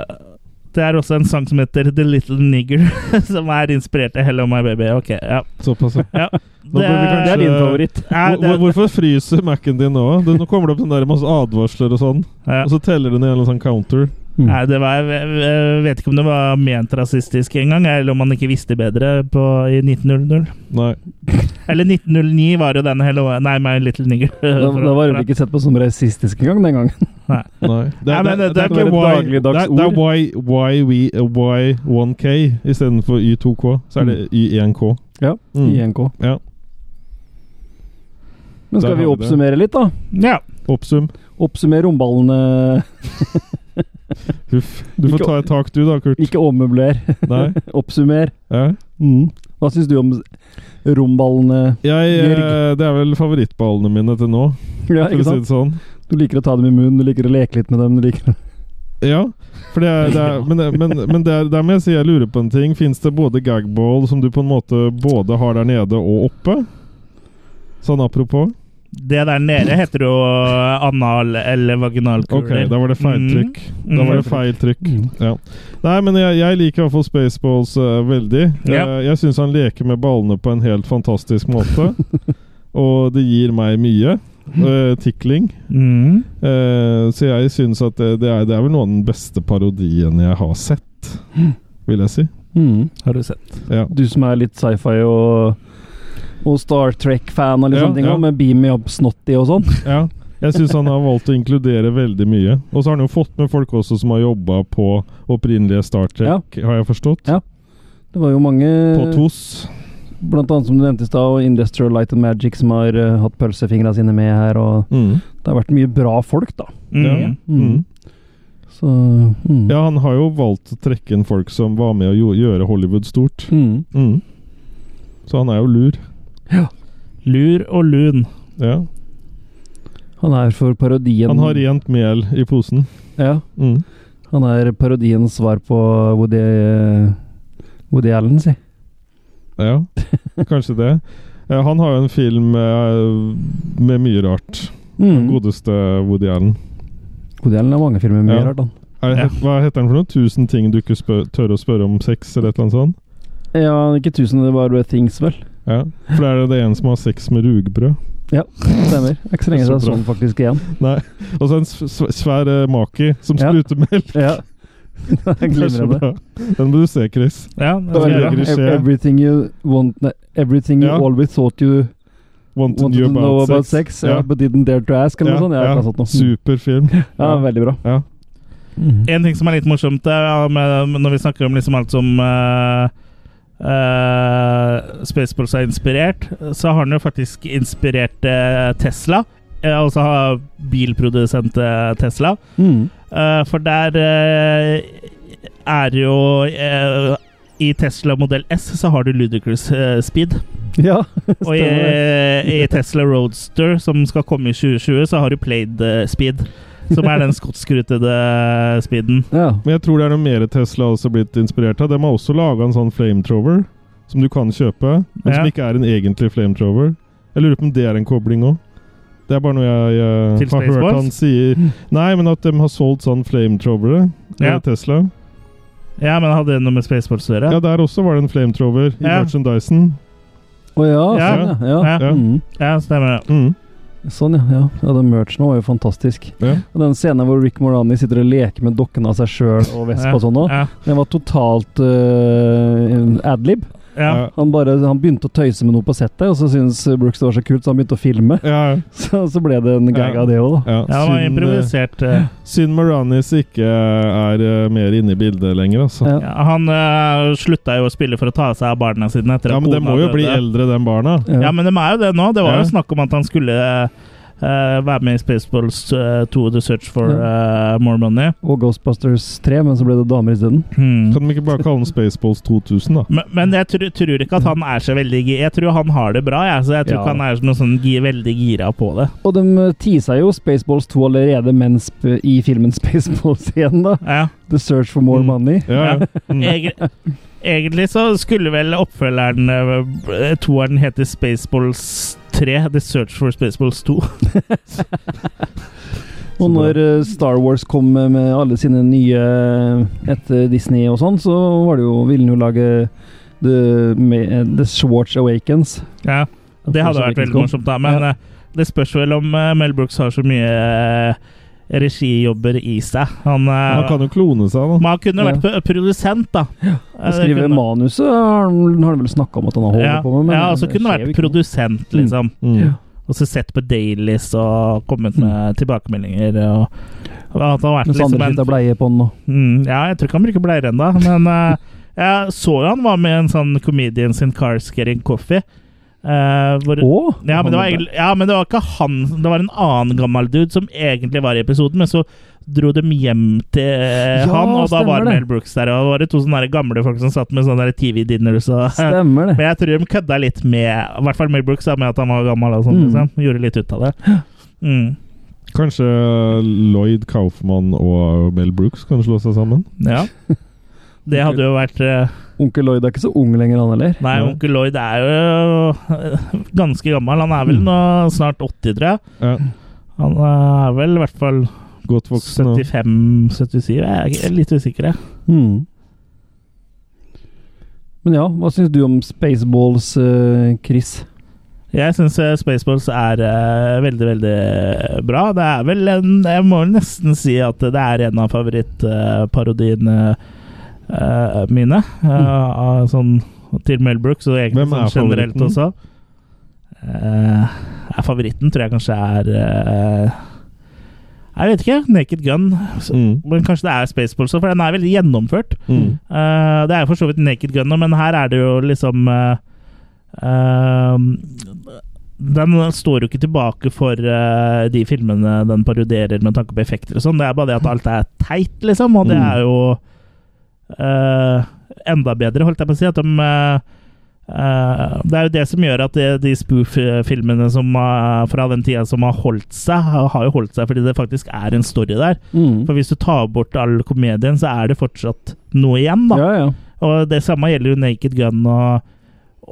[SPEAKER 1] Det er også en sang som heter The Little Nigger, som er inspirert av Hello My Baby. Ok, ja.
[SPEAKER 2] Såpass.
[SPEAKER 1] ja.
[SPEAKER 2] ja. Nå burde vi kanskje-
[SPEAKER 3] det er din favoritt.
[SPEAKER 1] Ja, det,
[SPEAKER 2] Hvor- hvor- Hvorfor fryser Mac-en din nå? Det- Nå kommer det opp den der masse advarsler og sånn,
[SPEAKER 1] ja.
[SPEAKER 2] og
[SPEAKER 3] Altså-
[SPEAKER 2] så teller den i en eller annen sånn counter.
[SPEAKER 3] mm.
[SPEAKER 1] Nei, det var, jeg, jeg vet ikke om det var ment rasistisk engang, eller om man ikke visste bedre på, i 1900.
[SPEAKER 2] Nei.
[SPEAKER 1] Eller 1909 var jo den Hello Nei, My Little Nigger.
[SPEAKER 3] Da, da var det vel ikke sett på som rasistisk engang den gangen.
[SPEAKER 2] Nei. Det,
[SPEAKER 1] Nei,
[SPEAKER 2] er-
[SPEAKER 1] men det-
[SPEAKER 2] det, det er
[SPEAKER 1] det
[SPEAKER 2] ikke
[SPEAKER 1] er
[SPEAKER 2] why, det
[SPEAKER 3] et
[SPEAKER 2] er,
[SPEAKER 3] dagligdags
[SPEAKER 2] det er why, why we, uh, why 1K istedenfor Y2K. Så er det Y1K.
[SPEAKER 3] Ja,
[SPEAKER 2] Mm.
[SPEAKER 3] i NK.
[SPEAKER 2] Ja.
[SPEAKER 3] Men
[SPEAKER 2] Der
[SPEAKER 3] skal
[SPEAKER 2] har vi
[SPEAKER 3] vi
[SPEAKER 2] det.
[SPEAKER 3] oppsummere litt, da?
[SPEAKER 1] Ja.
[SPEAKER 2] Oppsum.
[SPEAKER 3] Oppsummere romballene
[SPEAKER 2] Huff. Du får
[SPEAKER 3] Ikke-
[SPEAKER 2] ta et tak du da, Kurt.
[SPEAKER 3] Ikke ommøbler.
[SPEAKER 2] Nei.
[SPEAKER 3] Oppsummer.
[SPEAKER 2] Ja.
[SPEAKER 3] Mm. Hva syns du om romballene?
[SPEAKER 2] Jeg, eh, det er vel favorittballene mine til nå, for
[SPEAKER 3] Ja,
[SPEAKER 2] å
[SPEAKER 3] ikke
[SPEAKER 2] si
[SPEAKER 3] sant?
[SPEAKER 2] det sånn.
[SPEAKER 3] Du liker å ta dem i munnen, du liker å leke litt med dem. Du liker
[SPEAKER 2] Ja, for det er, det er, men, det- men, men det er, der må jeg si jeg lurer på en ting. Fins det både gagball, som du på en måte både har der nede og oppe? Sånn apropos.
[SPEAKER 1] Det der nede heter jo anal- eller vaginalkuler.
[SPEAKER 2] Ok, da var det feil trykk.
[SPEAKER 1] Mm.
[SPEAKER 2] Da var det feil trykk. Ja. Nei, men jeg, jeg liker i hvert fall Spaceballs eh, veldig.
[SPEAKER 1] Ja.
[SPEAKER 2] Eh, jeg syns han leker med ballene på en helt fantastisk måte. og det gir meg mye. eh, tickling.
[SPEAKER 1] Mm.
[SPEAKER 2] Eh, så jeg syns at det, det, er, det er vel noe av den beste parodien jeg har sett, vil jeg si.
[SPEAKER 3] mm.
[SPEAKER 1] Har du sett.
[SPEAKER 2] Ja.
[SPEAKER 3] Du som er litt sci-fi og, og Star Trek-fan, og litt
[SPEAKER 2] Ja,
[SPEAKER 3] sånne ting,
[SPEAKER 2] ja.
[SPEAKER 3] også, med Beam Me Up Snotty og sånn.
[SPEAKER 2] Ja, jeg syns han har valgt å inkludere veldig mye. Og så har han jo fått med folk også som har jobba på opprinnelige Star Trek, har jeg forstått.
[SPEAKER 3] Ja. Eh, Det var jo mange,
[SPEAKER 2] På TOS.
[SPEAKER 3] blant annet som du nevnte i stad, og Industrial Light and Magic som har eh, hatt pølsefingra sine med her, og
[SPEAKER 2] Mm.
[SPEAKER 3] det har vært mye bra folk, da.
[SPEAKER 1] Mm.
[SPEAKER 2] Ja. Mm.
[SPEAKER 3] Mm. Så mm.
[SPEAKER 2] Ja, han har jo valgt å trekke inn folk som var med å jo- gjøre Hollywood stort.
[SPEAKER 3] Mm.
[SPEAKER 2] Mm. Så han er jo lur.
[SPEAKER 1] Lur og lun.
[SPEAKER 2] Ja.
[SPEAKER 3] Han er for parodien
[SPEAKER 2] Han har rent mel i posen.
[SPEAKER 3] Ja.
[SPEAKER 2] Mm.
[SPEAKER 3] Han er parodiens svar på Woody, eh, Woody Allen, si.
[SPEAKER 2] Ja, kanskje det. Eh, Han har jo en film eh, med mye rart. Den Godeste Woody Allen.
[SPEAKER 3] Mm. Woody Allen har mange filmer med mye
[SPEAKER 2] Ja.
[SPEAKER 3] rart, han.
[SPEAKER 2] Er,
[SPEAKER 1] Ja.
[SPEAKER 2] Hva heter den for noe? 1000 ting du ikke spør, tør å spørre om sex, eller et eller annet sånt?
[SPEAKER 3] Ja, ikke tusen, det var Things, vel.
[SPEAKER 2] Ja. For det er det en som har sex med rugbrød.
[SPEAKER 3] Ja, stemmer. Det er Ikke så lenge
[SPEAKER 2] Så
[SPEAKER 3] siden jeg så
[SPEAKER 2] bra.
[SPEAKER 3] den faktisk igjen.
[SPEAKER 2] Nei. Og så en s- s- svær eh, maki som
[SPEAKER 3] Ja.
[SPEAKER 2] spruter melk.
[SPEAKER 3] Ja.
[SPEAKER 2] Det er så
[SPEAKER 3] Glimrende.
[SPEAKER 2] bra. Den må du se, Chris.
[SPEAKER 1] Ja, det
[SPEAKER 3] Det var
[SPEAKER 1] skal jeg
[SPEAKER 2] veldig
[SPEAKER 1] gjøre.
[SPEAKER 2] gøy.
[SPEAKER 3] ev-
[SPEAKER 2] skje.
[SPEAKER 3] Everything you want nei, Everything you
[SPEAKER 2] Ja.
[SPEAKER 3] always thought you
[SPEAKER 2] Want to
[SPEAKER 3] wanted to
[SPEAKER 2] know
[SPEAKER 3] know
[SPEAKER 2] about,
[SPEAKER 3] about
[SPEAKER 2] sex.
[SPEAKER 3] sex, ja. sånn? but didn't dare to ask, eller noe sånt. Ja,
[SPEAKER 2] ja.
[SPEAKER 3] et eller annet sånt noe.
[SPEAKER 2] Super film.
[SPEAKER 3] Mm. ja, veldig bra.
[SPEAKER 2] Ja.
[SPEAKER 1] En ting som er litt morsomt er, ja, med, når vi snakker om liksom alt som uh, Spaceballs er inspirert, så har den jo faktisk inspirert eh, Tesla. eh, Altså har bilprodusent eh, Tesla.
[SPEAKER 3] Mm.
[SPEAKER 1] Eh, for der eh, er jo eh, I Tesla modell S så har du Ludicrous eh, Speed.
[SPEAKER 3] Ja,
[SPEAKER 1] Og i, eh, i Tesla Roadster, som skal komme i 2020, så har du Played eh, Speed. Som er den skotskrutede speeden.
[SPEAKER 3] ja.
[SPEAKER 2] Men jeg tror det er noe mer Tesla også har blitt inspirert av. De har også laga en sånn flamethrower som du kan kjøpe, men som
[SPEAKER 1] Ja.
[SPEAKER 2] ikke er en egentlig flamethrower. Jeg lurer på om det er en kobling òg. Det er bare noe jeg, eh,
[SPEAKER 1] Til
[SPEAKER 2] har hørt
[SPEAKER 1] Spaceballs?
[SPEAKER 2] han sier. Nei, men at de har solgt sånn flamethrowere i
[SPEAKER 1] Ja.
[SPEAKER 2] Tesla.
[SPEAKER 1] Ja, men hadde det noe med Spaceballs å gjøre?
[SPEAKER 2] Ja, der også var det en flamethrower i
[SPEAKER 1] Ja.
[SPEAKER 2] merchandisen.
[SPEAKER 3] Å ja,
[SPEAKER 1] Ja.
[SPEAKER 3] sånn ja. ja.
[SPEAKER 1] Ja.
[SPEAKER 3] Mm.
[SPEAKER 1] Ja, stemmer det.
[SPEAKER 2] Mm.
[SPEAKER 3] Sånn, ja. ja. ja den merchen var jo fantastisk.
[SPEAKER 2] Ja.
[SPEAKER 3] Og den scenen hvor Rick Morani sitter og leker med dokkene av seg sjøl og Vespa
[SPEAKER 1] Ja,
[SPEAKER 3] og sånn òg,
[SPEAKER 1] Ja,
[SPEAKER 3] den var totalt øh, adlib.
[SPEAKER 1] ja.
[SPEAKER 2] Ja.
[SPEAKER 3] Han, bare, han begynte å tøyse med noe på settet, og så syntes Brooks det var så kult, så han begynte å filme.
[SPEAKER 2] Ja, ja.
[SPEAKER 3] Så, så ble det en gag av det òg, da.
[SPEAKER 1] ja det var
[SPEAKER 2] synd, eh,
[SPEAKER 1] improvisert. eh.
[SPEAKER 2] synd Moranis ikke er eh, mer inne i bildet lenger, altså. Ja,
[SPEAKER 3] Ja.
[SPEAKER 1] sånn. Ja, han eh, slutta jo å spille for å ta seg av barna sine etter
[SPEAKER 2] men De må jo bli eldre, de barna.
[SPEAKER 1] Ja, men de er jo det nå. Det var
[SPEAKER 2] Ja.
[SPEAKER 1] jo snakk om at han skulle eh, eh, være med i Spaceballs eh, 2 The Search for eh, More Money.
[SPEAKER 3] Og Ghostbusters 3, men så ble det damer isteden.
[SPEAKER 1] Hmm.
[SPEAKER 2] Kan de ikke bare kalle den Spaceballs 2000, da?
[SPEAKER 1] Men, men jeg tror, tror ikke at han er så veldig gi- Jeg tror han har det bra, jeg, så jeg tror
[SPEAKER 3] Ja.
[SPEAKER 1] ikke han er noe sånn gi, veldig gira på det.
[SPEAKER 3] Og de teasa jo Spaceballs 2 allerede mens i filmen Spaceballs 1, da.
[SPEAKER 1] Ja.
[SPEAKER 3] The Search for More
[SPEAKER 2] Mm.
[SPEAKER 3] Money.
[SPEAKER 2] Ja, ja. Mm.
[SPEAKER 1] Egen- Egentlig så skulle vel oppfølgeren, eh, toeren, hete Spaceballs 3. The Search for Spaceballs 2.
[SPEAKER 3] Og når eh, Star Wars kom med med alle sine nye etter Disney og sånn, så var det jo, ville den jo lage The, med- The Schwartz Awakens. Altså,
[SPEAKER 1] Ja, og det hadde vært veldig morsomt, da. Men
[SPEAKER 3] Ja.
[SPEAKER 1] eh, det spørs vel om eh, Mel Brooks har så mye eh, regijobber i seg. Han, eh,
[SPEAKER 2] Han kan jo klone seg, da.
[SPEAKER 1] men han kunne vært p- produsent, da. Eh,
[SPEAKER 3] Å
[SPEAKER 1] det
[SPEAKER 3] skrive
[SPEAKER 1] kunne-
[SPEAKER 3] manuset har han har han vel snakka om at han har holdt
[SPEAKER 1] ja,
[SPEAKER 3] på med. men
[SPEAKER 1] ja, og så
[SPEAKER 3] det
[SPEAKER 1] kunne han
[SPEAKER 3] skjer jo
[SPEAKER 1] vært
[SPEAKER 3] ikke noe.
[SPEAKER 1] produsent,
[SPEAKER 3] Mm.
[SPEAKER 1] liksom.
[SPEAKER 2] Mm.
[SPEAKER 1] Og så sett på dailies og kommet med tilbakemeldinger. Og, og at han har vært
[SPEAKER 3] Mm. Mens
[SPEAKER 1] liksom
[SPEAKER 3] andre
[SPEAKER 1] en
[SPEAKER 3] sitter og bleier på den og
[SPEAKER 1] Mm, ja, jeg tror ikke han bruker bleier ennå, men eh, jeg så jo han var med i en sånn Comedians in Cars Getting Coffee. eh, hvor,
[SPEAKER 3] Å,
[SPEAKER 1] ja, men det var
[SPEAKER 3] han-
[SPEAKER 1] egentlig, ja, men det var ikke han Det var en annen gammel dude som egentlig var i episoden, men så dro de hjem til eh,
[SPEAKER 3] Ja,
[SPEAKER 1] han, og da
[SPEAKER 3] stemmer
[SPEAKER 1] var
[SPEAKER 3] det.
[SPEAKER 1] Mel Brooks der. Og det var det to sånne der gamle folk som satt med sånne der TV-dinners og
[SPEAKER 3] Stemmer det.
[SPEAKER 1] Men jeg tror de kødda litt med I hvert fall Mel Brooks, da, med at han var gammel og sånn.
[SPEAKER 3] Mm.
[SPEAKER 1] Liksom. Gjorde litt ut av det. Mm.
[SPEAKER 2] Kanskje Lloyd Kaufmann og Mel Brooks kan slå seg sammen?
[SPEAKER 1] Ja. Det hadde jo vært eh,
[SPEAKER 3] Onkel Lloyd er ikke så ung lenger, han heller.
[SPEAKER 1] Nei,
[SPEAKER 2] Ja.
[SPEAKER 1] onkel Lloyd er jo eh, ganske gammel. Han er
[SPEAKER 2] Mm.
[SPEAKER 1] vel nå snart 80, tror jeg.
[SPEAKER 2] Ja.
[SPEAKER 1] Han eh, er vel i hvert fall
[SPEAKER 2] Godt voksen. og-
[SPEAKER 1] 75-77. Jeg er litt usikker, jeg.
[SPEAKER 3] Mm. Men ja, hva syns du om Spaceballs, eh, Chris?
[SPEAKER 1] Jeg syns Spaceballs er eh, veldig, veldig bra. Det er vel en Jeg må vel nesten si at det er en av favorittparodiene eh, mine. eh, av sånn til Mel Brooks, og egentlig
[SPEAKER 2] Mm. Hvem er
[SPEAKER 1] sånn generelt
[SPEAKER 2] favoritten?
[SPEAKER 1] også. Eh, er favoritten tror jeg kanskje er eh, Jeg vet ikke. Naked Gun. Så-
[SPEAKER 2] Mm.
[SPEAKER 1] Men kanskje det er Spaceballs òg, for den er veldig gjennomført.
[SPEAKER 2] Mm.
[SPEAKER 1] Eh, det er jo for så vidt Naked Gun, nå, men her er det jo liksom eh, eh, Den står jo ikke tilbake for eh, de filmene den parodierer med tanke på effekter og sånn. Det er bare det at alt er teit, liksom, og det
[SPEAKER 2] Mm.
[SPEAKER 1] er jo eh, enda bedre, holdt jeg på å si. At de eh, Eh, det er jo det som gjør at de, de spoof-filmene som, eh, fra den tida som har holdt seg, har har jo holdt seg fordi det faktisk er en story der.
[SPEAKER 3] Hmm.
[SPEAKER 1] For hvis du tar bort all komedien, så er det fortsatt noe igjen, da.
[SPEAKER 3] Ja, ja.
[SPEAKER 1] Og det samme gjelder jo Naked Gun og,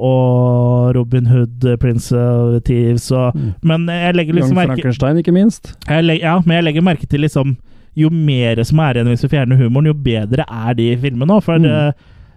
[SPEAKER 1] og Robin Hood, Prince of Thieves og Men jeg legger
[SPEAKER 3] Young
[SPEAKER 1] liksom merke
[SPEAKER 3] Frankenstein, ikke minst.
[SPEAKER 1] jeg legger, Ja, men jeg legger merke til liksom Jo mer som er igjen hvis du fjerner humoren, jo bedre er de filmene òg, for
[SPEAKER 3] Mm.
[SPEAKER 1] eh,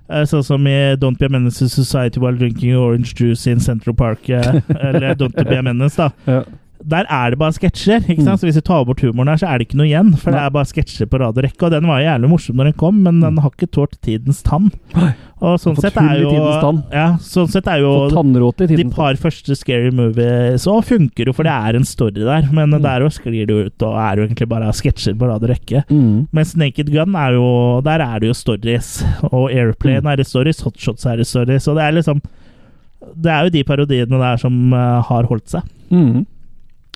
[SPEAKER 1] eh, Sånn som i Don't Be a Menace to Society While Drinking Orange Juice in Central Park, eh, eller Don't Be a Menace, da.
[SPEAKER 3] Ja.
[SPEAKER 1] Der er det bare sketsjer. ikke sant?
[SPEAKER 3] Mm.
[SPEAKER 1] Så Hvis du tar bort humoren her, så er det ikke noe igjen. For det
[SPEAKER 3] Nei. Mm.
[SPEAKER 1] er bare sketsjer på rad og rekke. Og den var jævlig morsom når den kom, men den har ikke tålt tidens tann.
[SPEAKER 3] Nei.
[SPEAKER 1] Og sånn
[SPEAKER 3] Har fått
[SPEAKER 1] sett
[SPEAKER 3] hull
[SPEAKER 1] er
[SPEAKER 3] i
[SPEAKER 1] jo
[SPEAKER 3] tidens tann.
[SPEAKER 1] Ja, sånn sett er
[SPEAKER 3] Få
[SPEAKER 1] jo
[SPEAKER 3] tannråte i
[SPEAKER 1] de
[SPEAKER 3] tiden.
[SPEAKER 1] par første Scary Movies òg funker jo, for det er en story der. Men der også sklir det jo ut, og er jo egentlig bare sketsjer på rad og rekke.
[SPEAKER 3] Mm.
[SPEAKER 1] Mens Naked Gun er jo Der er det jo stories. Og Airplane er det stories, Hotshots er det stories. Og det er liksom Det er jo de parodiene der som eh, har holdt seg.
[SPEAKER 3] Mm.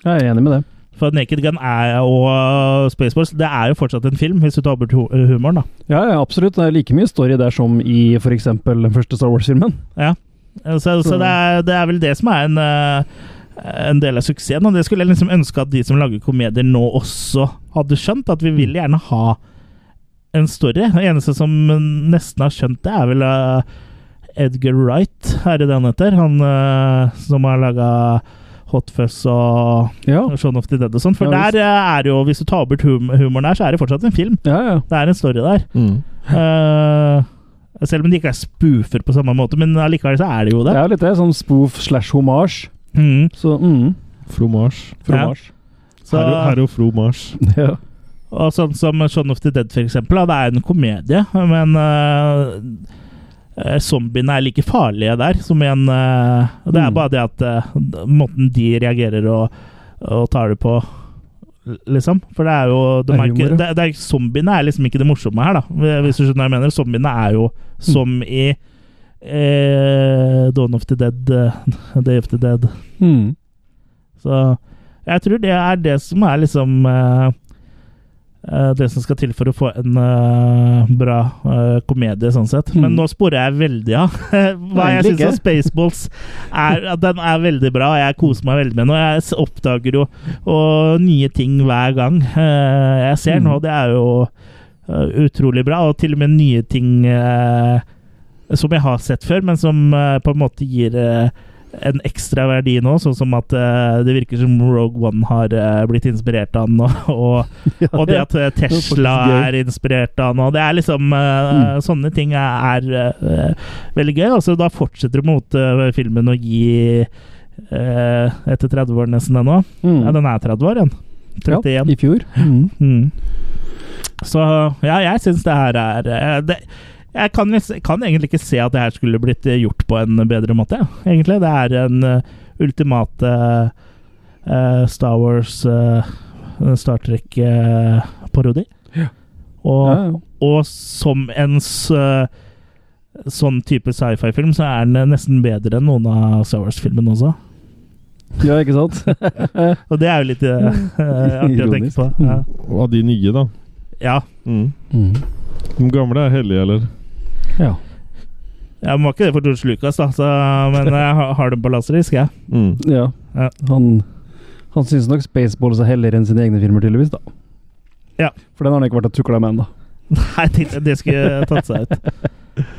[SPEAKER 3] Jeg er enig med det.
[SPEAKER 1] For Naked Gun er, og Spaceballs det er jo fortsatt en film, hvis du tar bort hu- humoren. da.
[SPEAKER 3] Ja, ja, absolutt. Det er like mye story der som i f.eks. den første Star Wars-filmen.
[SPEAKER 1] Eh, Så, så det, er, det er vel det som er en, eh, en del av suksessen. Og det skulle jeg liksom ønske at de som lager komedier nå også hadde skjønt. At
[SPEAKER 3] Mm.
[SPEAKER 1] vi vil gjerne ha en story. Det eneste som nesten har skjønt det, er vel eh, Edgar Wright, er det det han heter? Han eh, som har laga Hot Fuzz og
[SPEAKER 3] Ja,
[SPEAKER 1] Shaun of the Dead og sånn. For
[SPEAKER 3] Ja, visst.
[SPEAKER 1] der eh, er jo, hvis du tar bort hum humoren der, så er det fortsatt en film.
[SPEAKER 3] ja. ja.
[SPEAKER 1] Det er en story der.
[SPEAKER 2] Mm.
[SPEAKER 1] Eh, selv om de ikke er spoofer på samme måte, men allikevel så er det jo
[SPEAKER 3] Det
[SPEAKER 1] det.
[SPEAKER 3] er jo litt det. Sånn spoof slash hommage.
[SPEAKER 1] Mm.
[SPEAKER 3] Så mm.
[SPEAKER 2] Fromage.
[SPEAKER 3] Fromage.
[SPEAKER 1] Så,
[SPEAKER 2] Herre, herre og fromage.
[SPEAKER 3] Ja.
[SPEAKER 1] og sånn som Shaun of the Dead, for eksempel. Da, det er en komedie, men eh, eh, zombiene er like farlige der som i en eh, Det er
[SPEAKER 3] Mm.
[SPEAKER 1] bare det at eh, måten de reagerer og, og tar det på, liksom. For det er jo de
[SPEAKER 3] Det er
[SPEAKER 1] er ikke,
[SPEAKER 3] humor, ja.
[SPEAKER 1] det, det er, Zombiene er liksom ikke det morsomme her, da. eh, Hvis du skjønner hva jeg mener. Zombiene er jo
[SPEAKER 3] Mm.
[SPEAKER 1] som i eh, Dawn of the Dead, eh, Day of the Dead.
[SPEAKER 3] Mm.
[SPEAKER 1] Så jeg tror det er det som er liksom eh, eh, Det som skal til for å få en eh, bra eh, komedie, sånn sett. Men
[SPEAKER 3] Mm.
[SPEAKER 1] nå sporer jeg veldig av. Hva jeg
[SPEAKER 3] Egentlig
[SPEAKER 1] syns om Spaceballs, er at den er veldig bra. og Jeg koser meg veldig med den, og jeg s- oppdager jo og nye ting hver gang eh, jeg ser den,
[SPEAKER 3] Mm.
[SPEAKER 1] og det er jo eh, utrolig bra. Og til og med nye ting eh, som jeg har sett før, men som eh, på en måte gir eh, en ekstra verdi nå, sånn som at eh, det virker som Rogue One har eh, blitt inspirert av den, og, og, og det at eh,
[SPEAKER 3] faktisk
[SPEAKER 1] Tesla
[SPEAKER 3] gøy. Mm.
[SPEAKER 1] er inspirert av den, og det er liksom eh, Sånne ting er, er eh, veldig gøy. Og så da fortsetter du mot eh, filmen å gi eh, etter 30 år nesten ennå.
[SPEAKER 3] Mm.
[SPEAKER 1] Ja, den er 30 år igjen. 31.
[SPEAKER 3] Ja, I fjor. Mm.
[SPEAKER 1] Mm. Så ja, jeg syns det her er eh, det, Jeg kan, nes- kan egentlig ikke se at det her skulle blitt eh, gjort på en bedre måte, ja. egentlig. Det er en eh, ultimate eh, Star Wars eh, Star Trek-parodi. Og,
[SPEAKER 3] Ja, ja.
[SPEAKER 1] og som en s- eh, sånn type sci-fi-film, så er den nesten bedre enn noen av Star Wars-filmene også.
[SPEAKER 3] ja, ikke sant?
[SPEAKER 1] Og det er jo litt eh, artig å tenke
[SPEAKER 3] Ironisk.
[SPEAKER 1] på. Ja.
[SPEAKER 2] Av de nye, da.
[SPEAKER 1] ja.
[SPEAKER 2] Mm. De gamle er hellige, eller?
[SPEAKER 3] Hmm. Ja.
[SPEAKER 1] Jeg må ikke det for George Lucas, da, så, men jeg har- har den på laserdisk, jeg.
[SPEAKER 2] Mm.
[SPEAKER 3] ja.
[SPEAKER 1] Ja.
[SPEAKER 3] Han, han syns nok Spaceballs er helligere enn sine egne filmer, tydeligvis. da.
[SPEAKER 1] Ja.
[SPEAKER 3] For den har han ikke vært og tukla med ennå.
[SPEAKER 1] Nei, jeg tenkte det skulle tatt seg ut.